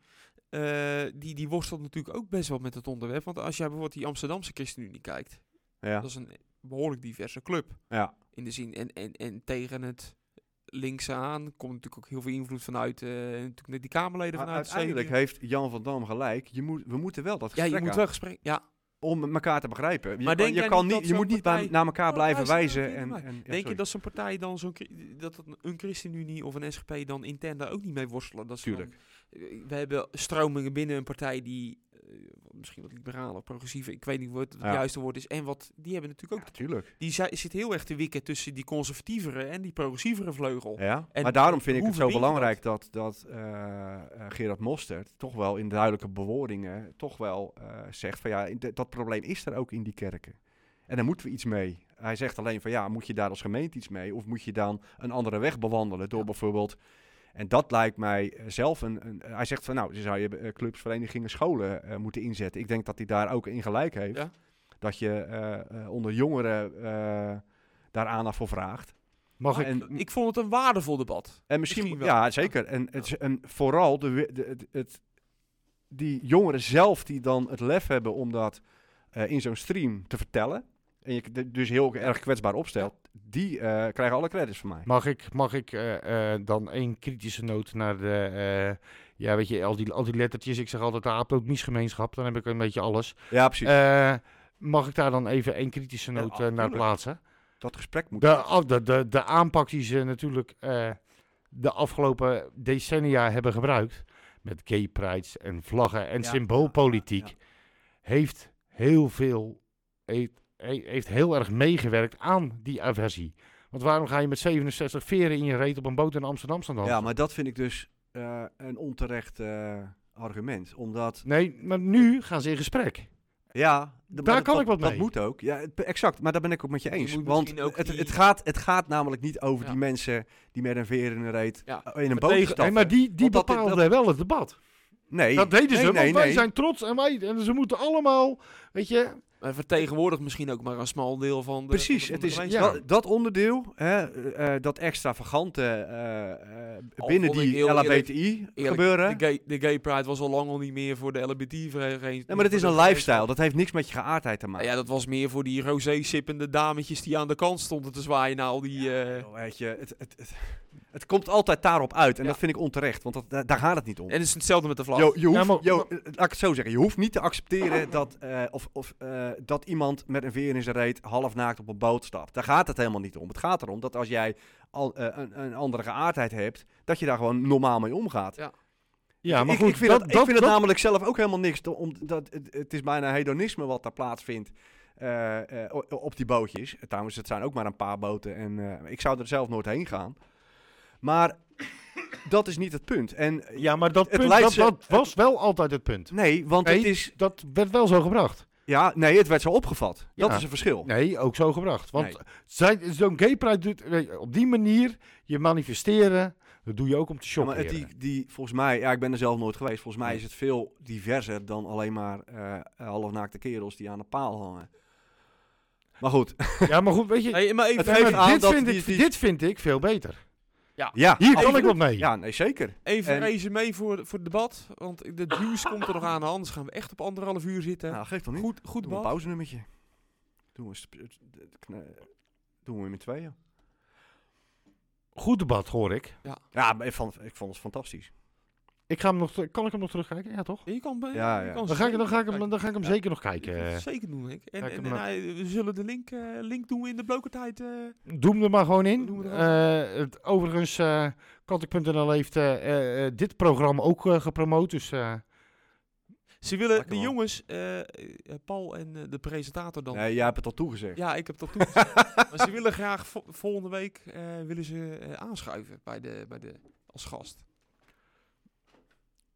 [SPEAKER 4] eh, die, die worstelt natuurlijk ook best wel met het onderwerp. Want als jij bijvoorbeeld die Amsterdamse ChristenUnie kijkt,
[SPEAKER 5] Ja.
[SPEAKER 4] dat is een behoorlijk diverse club.
[SPEAKER 5] Ja.
[SPEAKER 4] In de zin, en, en, en tegen het linkse aan komt natuurlijk ook heel veel invloed vanuit eh, natuurlijk net die Kamerleden
[SPEAKER 5] Maar
[SPEAKER 4] vanuit de
[SPEAKER 5] uiteindelijk
[SPEAKER 4] CDU.
[SPEAKER 5] heeft Jan van Dam gelijk. Je moet, we moeten wel dat
[SPEAKER 4] Ja,
[SPEAKER 5] gesprek
[SPEAKER 4] je moet
[SPEAKER 5] aan,
[SPEAKER 4] wel gesprek... Ja,
[SPEAKER 5] om elkaar te begrijpen. Je,
[SPEAKER 4] Maar
[SPEAKER 5] kan,
[SPEAKER 4] denk
[SPEAKER 5] je,
[SPEAKER 4] jij
[SPEAKER 5] kan
[SPEAKER 4] niet
[SPEAKER 5] niet,
[SPEAKER 4] dat
[SPEAKER 5] je moet
[SPEAKER 4] zo'n
[SPEAKER 5] niet bij-
[SPEAKER 4] partij-
[SPEAKER 5] naar elkaar
[SPEAKER 4] Oh,
[SPEAKER 5] blijven
[SPEAKER 4] luister,
[SPEAKER 5] wijzen.
[SPEAKER 4] luister,
[SPEAKER 5] En,
[SPEAKER 4] maar.
[SPEAKER 5] en, ja,
[SPEAKER 4] Denk
[SPEAKER 5] sorry.
[SPEAKER 4] je dat zo'n partij dan zo'n chri- dat dat een ChristenUnie of een SGP dan intern daar ook niet mee worstelen? Dat ze dan- Eh, we hebben stromingen binnen een partij die eh, misschien wat liberaler, progressiever, ik weet niet wat het
[SPEAKER 5] Ja.
[SPEAKER 4] juiste woord is. En wat die hebben natuurlijk ook
[SPEAKER 5] Ja, tuurlijk.
[SPEAKER 4] die zij- zit heel erg te wikken tussen die conservatievere en die progressievere vleugel.
[SPEAKER 5] Ja.
[SPEAKER 4] En
[SPEAKER 5] maar daarom vind ik
[SPEAKER 4] hoe
[SPEAKER 5] het zo
[SPEAKER 4] verbind je
[SPEAKER 5] belangrijk dat, dat eh, eh, Gerard Mostert toch wel in duidelijke bewoordingen toch wel eh, zegt van ja, in de- dat probleem is er ook in die kerken. En daar moeten we iets mee. Hij zegt alleen van ja, moet je daar als gemeente iets mee? Of moet je dan een andere weg bewandelen door bijvoorbeeld... En dat lijkt mij eh, zelf een, een... Hij zegt van nou, ze zou je eh, clubs, verenigingen, scholen eh, moeten inzetten. Ik denk dat hij daar ook in gelijk heeft.
[SPEAKER 4] Ja.
[SPEAKER 5] Dat je eh, eh, onder jongeren eh, daar aandacht voor vraagt.
[SPEAKER 3] Mag ik
[SPEAKER 5] en,
[SPEAKER 4] Ik vond het een waardevol debat.
[SPEAKER 5] en misschien,
[SPEAKER 4] Misschien wel.
[SPEAKER 5] ja, zeker. En, het, is- en vooral de, wi- de- het, het die jongeren zelf die dan het lef hebben om dat eh, in zo'n stream te vertellen. En je d- dus heel erg kwetsbaar opstelt. Die eh, krijgen alle credits van mij.
[SPEAKER 3] Mag ik, mag ik eh, eh, dan één kritische noot naar de... eh, ja, weet je, al die, al die lettertjes. Ik zeg altijd de aploot-misgemeenschap. Dan heb ik een beetje alles.
[SPEAKER 5] Ja, precies.
[SPEAKER 3] Eh, mag ik daar dan even één kritische
[SPEAKER 5] Ja,
[SPEAKER 3] noot eh, naar
[SPEAKER 5] tuurlijk.
[SPEAKER 3] plaatsen?
[SPEAKER 5] dat gesprek moet.
[SPEAKER 3] De, af- de, de, de aanpak die ze natuurlijk eh, de afgelopen decennia hebben gebruikt. Met gay prides en vlaggen en
[SPEAKER 5] Ja,
[SPEAKER 3] symboolpolitiek.
[SPEAKER 5] ja,
[SPEAKER 3] Heeft heel veel. Heeft, he- heeft heel erg meegewerkt aan die aversie. Want waarom ga je met 67 veren in je reet op een boot in Amsterdam staan?
[SPEAKER 5] ja.
[SPEAKER 3] dan?
[SPEAKER 5] Ja, maar dat vind ik dus eh, een onterecht eh, argument. Omdat,
[SPEAKER 3] Nee, maar nu gaan ze in gesprek.
[SPEAKER 5] ja... d- maar
[SPEAKER 3] Daar
[SPEAKER 5] dat-
[SPEAKER 3] kan
[SPEAKER 5] dat-
[SPEAKER 3] ik wat
[SPEAKER 5] Dat
[SPEAKER 3] mee.
[SPEAKER 5] moet ook. Ja, p- exact. Maar daar ben ik ook met je
[SPEAKER 4] Je
[SPEAKER 5] eens.
[SPEAKER 4] moet
[SPEAKER 5] Want
[SPEAKER 4] misschien ook
[SPEAKER 5] het,
[SPEAKER 4] die-
[SPEAKER 5] het, gaat, het gaat namelijk niet over
[SPEAKER 4] Ja.
[SPEAKER 5] die mensen die met een veer in een reet
[SPEAKER 4] Ja.
[SPEAKER 5] eh, in een
[SPEAKER 4] Vertegen-
[SPEAKER 5] boot stappen.
[SPEAKER 3] Nee, maar die, die
[SPEAKER 5] Want dat-
[SPEAKER 3] bepaalden
[SPEAKER 5] dat-
[SPEAKER 3] wel het debat.
[SPEAKER 5] Nee.
[SPEAKER 3] Dat deden ze,
[SPEAKER 5] nee,
[SPEAKER 3] want
[SPEAKER 5] nee,
[SPEAKER 3] wij
[SPEAKER 5] nee.
[SPEAKER 3] zijn trots en wij... En ze moeten allemaal, weet je...
[SPEAKER 4] Maar vertegenwoordigt misschien ook maar een smal deel van de...
[SPEAKER 5] Precies,
[SPEAKER 4] van de-
[SPEAKER 5] het
[SPEAKER 4] van
[SPEAKER 5] is
[SPEAKER 4] de gemeenschap.
[SPEAKER 5] dat, dat onderdeel, hè, eh, eh, dat extravagante eh, eh,
[SPEAKER 4] Al
[SPEAKER 5] binnen
[SPEAKER 4] Oh, vond ik
[SPEAKER 5] die
[SPEAKER 4] heel eerlijk-
[SPEAKER 5] LHBTI-gebeuren.
[SPEAKER 4] De gay, de gay pride was al lang al niet meer voor de LBT-vereniging.
[SPEAKER 5] Nee, maar het is een lifestyle, dat heeft niks met je geaardheid te maken.
[SPEAKER 4] ja, dat was meer voor die rosé-sippende dametjes die aan de kant stonden te zwaaien naar al die... eh,
[SPEAKER 5] Joh, weet je, het, het, het, het komt altijd daarop uit en
[SPEAKER 4] Ja.
[SPEAKER 5] dat vind ik onterecht, want dat, daar, daar gaat het niet om.
[SPEAKER 4] En het is hetzelfde met de vlag.
[SPEAKER 5] Jo, je hoeft,
[SPEAKER 3] Ja, maar-
[SPEAKER 5] jo, eh, laat ik het zo zeggen, je hoeft niet te accepteren dat, eh, of, of, eh, dat iemand met een veer in zijn reet halfnaakt op een boot stapt. Daar gaat het helemaal niet om. Het gaat erom dat als jij al, eh, een, een andere geaardheid hebt, dat je daar gewoon normaal mee omgaat.
[SPEAKER 3] Ja, maar
[SPEAKER 5] ik,
[SPEAKER 3] goed,
[SPEAKER 5] ik vind,
[SPEAKER 3] dat,
[SPEAKER 5] dat,
[SPEAKER 3] dat-
[SPEAKER 5] ik vind
[SPEAKER 3] dat-
[SPEAKER 5] het namelijk zelf ook helemaal niks. te- Om, dat, het, het is bijna hedonisme wat daar plaatsvindt eh, eh, o- op die bootjes. Trouwens, het zijn ook maar een paar boten. En eh, ik zou er zelf nooit heen gaan. Maar dat is niet het punt. En eh,
[SPEAKER 3] Ja, maar dat,
[SPEAKER 5] het
[SPEAKER 3] punt,
[SPEAKER 5] lijkt
[SPEAKER 3] dat,
[SPEAKER 5] ze-
[SPEAKER 3] dat was wel altijd het punt.
[SPEAKER 5] nee, want
[SPEAKER 3] Nee.
[SPEAKER 5] het is.
[SPEAKER 3] Dat werd wel zo gebracht.
[SPEAKER 5] Ja, nee, het werd zo opgevat. Dat
[SPEAKER 3] Ja.
[SPEAKER 5] is een verschil.
[SPEAKER 3] Nee, ook zo gebracht. Want
[SPEAKER 5] Nee.
[SPEAKER 3] zij- zo'n gay pride doet weet je, op die manier je manifesteren. Dat doe je ook om te
[SPEAKER 5] Ja,
[SPEAKER 3] shoppen.
[SPEAKER 5] maar het, die, die, volgens mij, ja, ik ben er zelf nooit geweest. Volgens mij is het veel diverser dan alleen maar eh halfnaakte kerels die aan de paal hangen. Maar goed,
[SPEAKER 3] Ja, maar goed, weet je.
[SPEAKER 4] Hey, maar even,
[SPEAKER 5] het
[SPEAKER 3] maar
[SPEAKER 5] geeft aan
[SPEAKER 3] dit,
[SPEAKER 5] dat
[SPEAKER 3] vind
[SPEAKER 5] die-
[SPEAKER 3] ik,
[SPEAKER 5] die-
[SPEAKER 3] dit vind ik veel beter.
[SPEAKER 5] ja,
[SPEAKER 3] Hier kan
[SPEAKER 5] absoluut.
[SPEAKER 3] ik wat mee.
[SPEAKER 5] Ja, nee, zeker.
[SPEAKER 4] even
[SPEAKER 5] en-
[SPEAKER 4] reizen mee voor, voor het debat. Want de juice komt er nog aan. Anders gaan we echt op anderhalf uur zitten.
[SPEAKER 5] Nou, geef toch niet.
[SPEAKER 4] goed goed
[SPEAKER 5] Doe een
[SPEAKER 4] debat.
[SPEAKER 5] pauzenummertje. Doen we, sp- het- het kne- doen we met tweeën.
[SPEAKER 3] Goed debat, hoor ik.
[SPEAKER 5] Ja, maar ik vond, ik vond het fantastisch.
[SPEAKER 3] ik ga hem nog, ter- kan ik hem nog terugkijken? Ja, toch?
[SPEAKER 4] Je kan,
[SPEAKER 5] Ja, ja.
[SPEAKER 3] Dan ga ik, dan ga ik hem, dan ga ik hem zeker nog kijken. eh.
[SPEAKER 4] zeker doen, ik. En,
[SPEAKER 3] Ga ik
[SPEAKER 4] en,
[SPEAKER 3] hem
[SPEAKER 4] en, eh, we zullen de link, eh, link doen in de blokertijd. eh. tijd.
[SPEAKER 3] Doe hem Eh, er maar gewoon in.
[SPEAKER 4] Doe hem
[SPEAKER 3] Eh, het, overigens, eh Kattek.nl heeft eh, eh, eh, dit programma ook eh, gepromoot. Dus eh,
[SPEAKER 4] Ze willen
[SPEAKER 5] Lekker,
[SPEAKER 4] de
[SPEAKER 5] man.
[SPEAKER 4] jongens, eh, eh, Paul en eh, de presentator dan.
[SPEAKER 5] Nee, jij hebt het al toegezegd.
[SPEAKER 4] Ja, ik heb dat toen. gezegd. maar ze willen graag vo- volgende week eh, willen ze eh, aanschuiven bij de, bij de, als gast.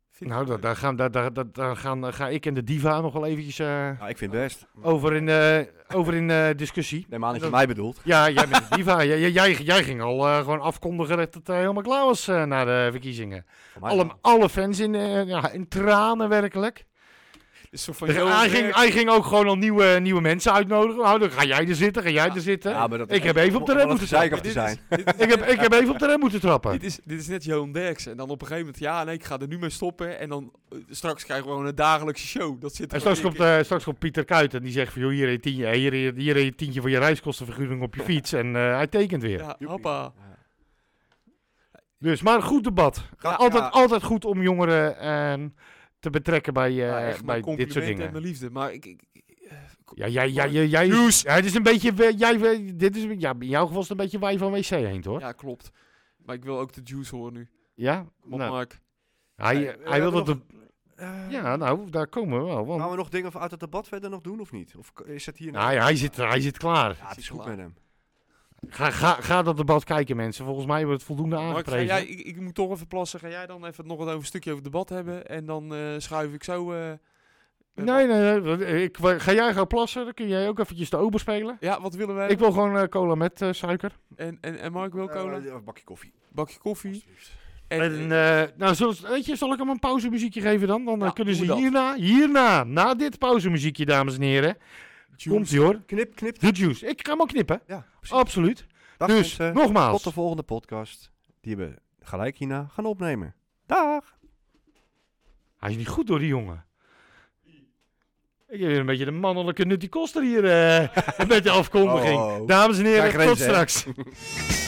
[SPEAKER 4] Vind
[SPEAKER 3] nou,
[SPEAKER 4] ik
[SPEAKER 3] daar,
[SPEAKER 4] leuk.
[SPEAKER 3] daar, gaan, daar, daar, daar- daar gaan, eh, ga ik en de diva nog wel eventjes eh,
[SPEAKER 5] Ja, ik vind het best.
[SPEAKER 3] over in, eh, over in eh, discussie.
[SPEAKER 5] Nee, maar aan dat je
[SPEAKER 3] Dat-
[SPEAKER 5] mij bedoelt.
[SPEAKER 3] Ja, jij bent de diva. Jij, jij- jij, jij ging al eh, gewoon afkondigen dat het eh, helemaal klaar was eh, na de verkiezingen.
[SPEAKER 5] Van mij
[SPEAKER 3] Alle,
[SPEAKER 5] wel.
[SPEAKER 3] alle fans in, eh, ja, in tranen werkelijk.
[SPEAKER 4] Een soort van
[SPEAKER 3] Dus
[SPEAKER 4] Johan
[SPEAKER 3] hij, ging,
[SPEAKER 4] Derk-
[SPEAKER 3] hij ging ook gewoon al nieuwe, nieuwe mensen uitnodigen. Nou, dan ga jij er zitten, ga jij
[SPEAKER 4] Ja.
[SPEAKER 3] er zitten.
[SPEAKER 5] Ja, maar dat
[SPEAKER 3] Ik heb even op de
[SPEAKER 5] om-
[SPEAKER 3] rem
[SPEAKER 5] om
[SPEAKER 3] moeten
[SPEAKER 5] gezeik
[SPEAKER 4] Maar
[SPEAKER 5] af te
[SPEAKER 4] dit is-
[SPEAKER 5] zijn.
[SPEAKER 4] dit is-
[SPEAKER 3] Ik heb, ik heb even op de rem moeten trappen.
[SPEAKER 4] Dit is, dit is net Johan Derksen. En dan op een gegeven moment, ja, nee, ik ga er nu mee stoppen. En dan eh, straks krijgen we gewoon een dagelijkse show. Dat zit er
[SPEAKER 3] En straks
[SPEAKER 4] gewoon
[SPEAKER 3] komt,
[SPEAKER 4] in.
[SPEAKER 3] eh, straks komt Pieter Kuit en die zegt van... joh, hier heb je tientje, eh, hier, hier, hier heb je tientje voor je reiskostenvergoeding op je fiets. En eh, hij tekent weer.
[SPEAKER 4] Ja, hoppa.
[SPEAKER 3] Dus, maar een goed debat.
[SPEAKER 5] Ja,
[SPEAKER 3] altijd,
[SPEAKER 5] ja.
[SPEAKER 3] altijd goed om jongeren ehm, te betrekken bij, eh,
[SPEAKER 4] Ja, Nou, echt
[SPEAKER 3] bij
[SPEAKER 4] mijn
[SPEAKER 3] dit soort
[SPEAKER 4] complimenten en
[SPEAKER 3] dingen.
[SPEAKER 4] mijn liefde. Maar ik... ik, ik- eh, kom-
[SPEAKER 3] Ja, jij, jij, jij, jij, ja, het is een beetje, eh, jij, eh, dit is, ja, in jouw geval is het een beetje wij van wc heen, hoor. Ja?
[SPEAKER 4] Ja, klopt. Maar ik wil ook de juice horen nu. Bob
[SPEAKER 3] Nou,
[SPEAKER 4] Mark.
[SPEAKER 3] hij,
[SPEAKER 5] Nee, we
[SPEAKER 3] hij wil dat...
[SPEAKER 5] hebben
[SPEAKER 3] de-
[SPEAKER 5] eh,
[SPEAKER 3] Ja, nou, daar komen we wel. Want,
[SPEAKER 5] Gaan we nog dingen uit het debat verder nog doen of niet? Of k- is het hier
[SPEAKER 3] nou, ja, hij, zit, hij zit klaar.
[SPEAKER 5] Ja, het is goed met hem.
[SPEAKER 3] Ga, ga, ga dat debat kijken, mensen. Volgens mij wordt het voldoende
[SPEAKER 4] Mark, ga
[SPEAKER 3] aangeprezen.
[SPEAKER 4] jij, ik, ik moet toch even plassen. Ga jij dan even nog wat over een stukje over het debat hebben? En dan eh, schuif ik zo... eh, eh,
[SPEAKER 3] Nee, nee, nee. Ik, ga jij gaan plassen? Dan kun jij ook eventjes de ober spelen.
[SPEAKER 4] Ja, wat willen wij?
[SPEAKER 3] Ik wil gewoon eh, cola met eh, suiker.
[SPEAKER 4] En, en, en Mark wil cola.
[SPEAKER 5] Eh, een bakje koffie.
[SPEAKER 4] Bakje koffie.
[SPEAKER 5] alsjeblieft.
[SPEAKER 4] En,
[SPEAKER 3] En,
[SPEAKER 4] eh,
[SPEAKER 3] eh, nou, zullen ze- weet je, zal ik hem een pauzemuziekje geven dan? Dan eh,
[SPEAKER 4] Ja,
[SPEAKER 3] kunnen ze
[SPEAKER 4] doe dat.
[SPEAKER 3] hierna, hierna, na dit pauzemuziekje, dames en heren. Komt ie hoor.
[SPEAKER 5] Knip, knip.
[SPEAKER 3] De juice. Ik ga hem al knippen.
[SPEAKER 5] Ja, precies.
[SPEAKER 3] Absoluut.
[SPEAKER 5] Dag
[SPEAKER 3] Oh, dus,
[SPEAKER 5] mensen.
[SPEAKER 3] nogmaals.
[SPEAKER 5] Tot de volgende podcast. Die we gelijk hierna gaan opnemen. Dag.
[SPEAKER 3] Hij is niet goed door die jongen. Ik heb weer een beetje de mannelijke nutty koster hier eh, met de afkondiging.
[SPEAKER 5] Oh.
[SPEAKER 3] Dames en heren,
[SPEAKER 5] Krijg je
[SPEAKER 3] tot
[SPEAKER 5] deze, hè?
[SPEAKER 3] straks.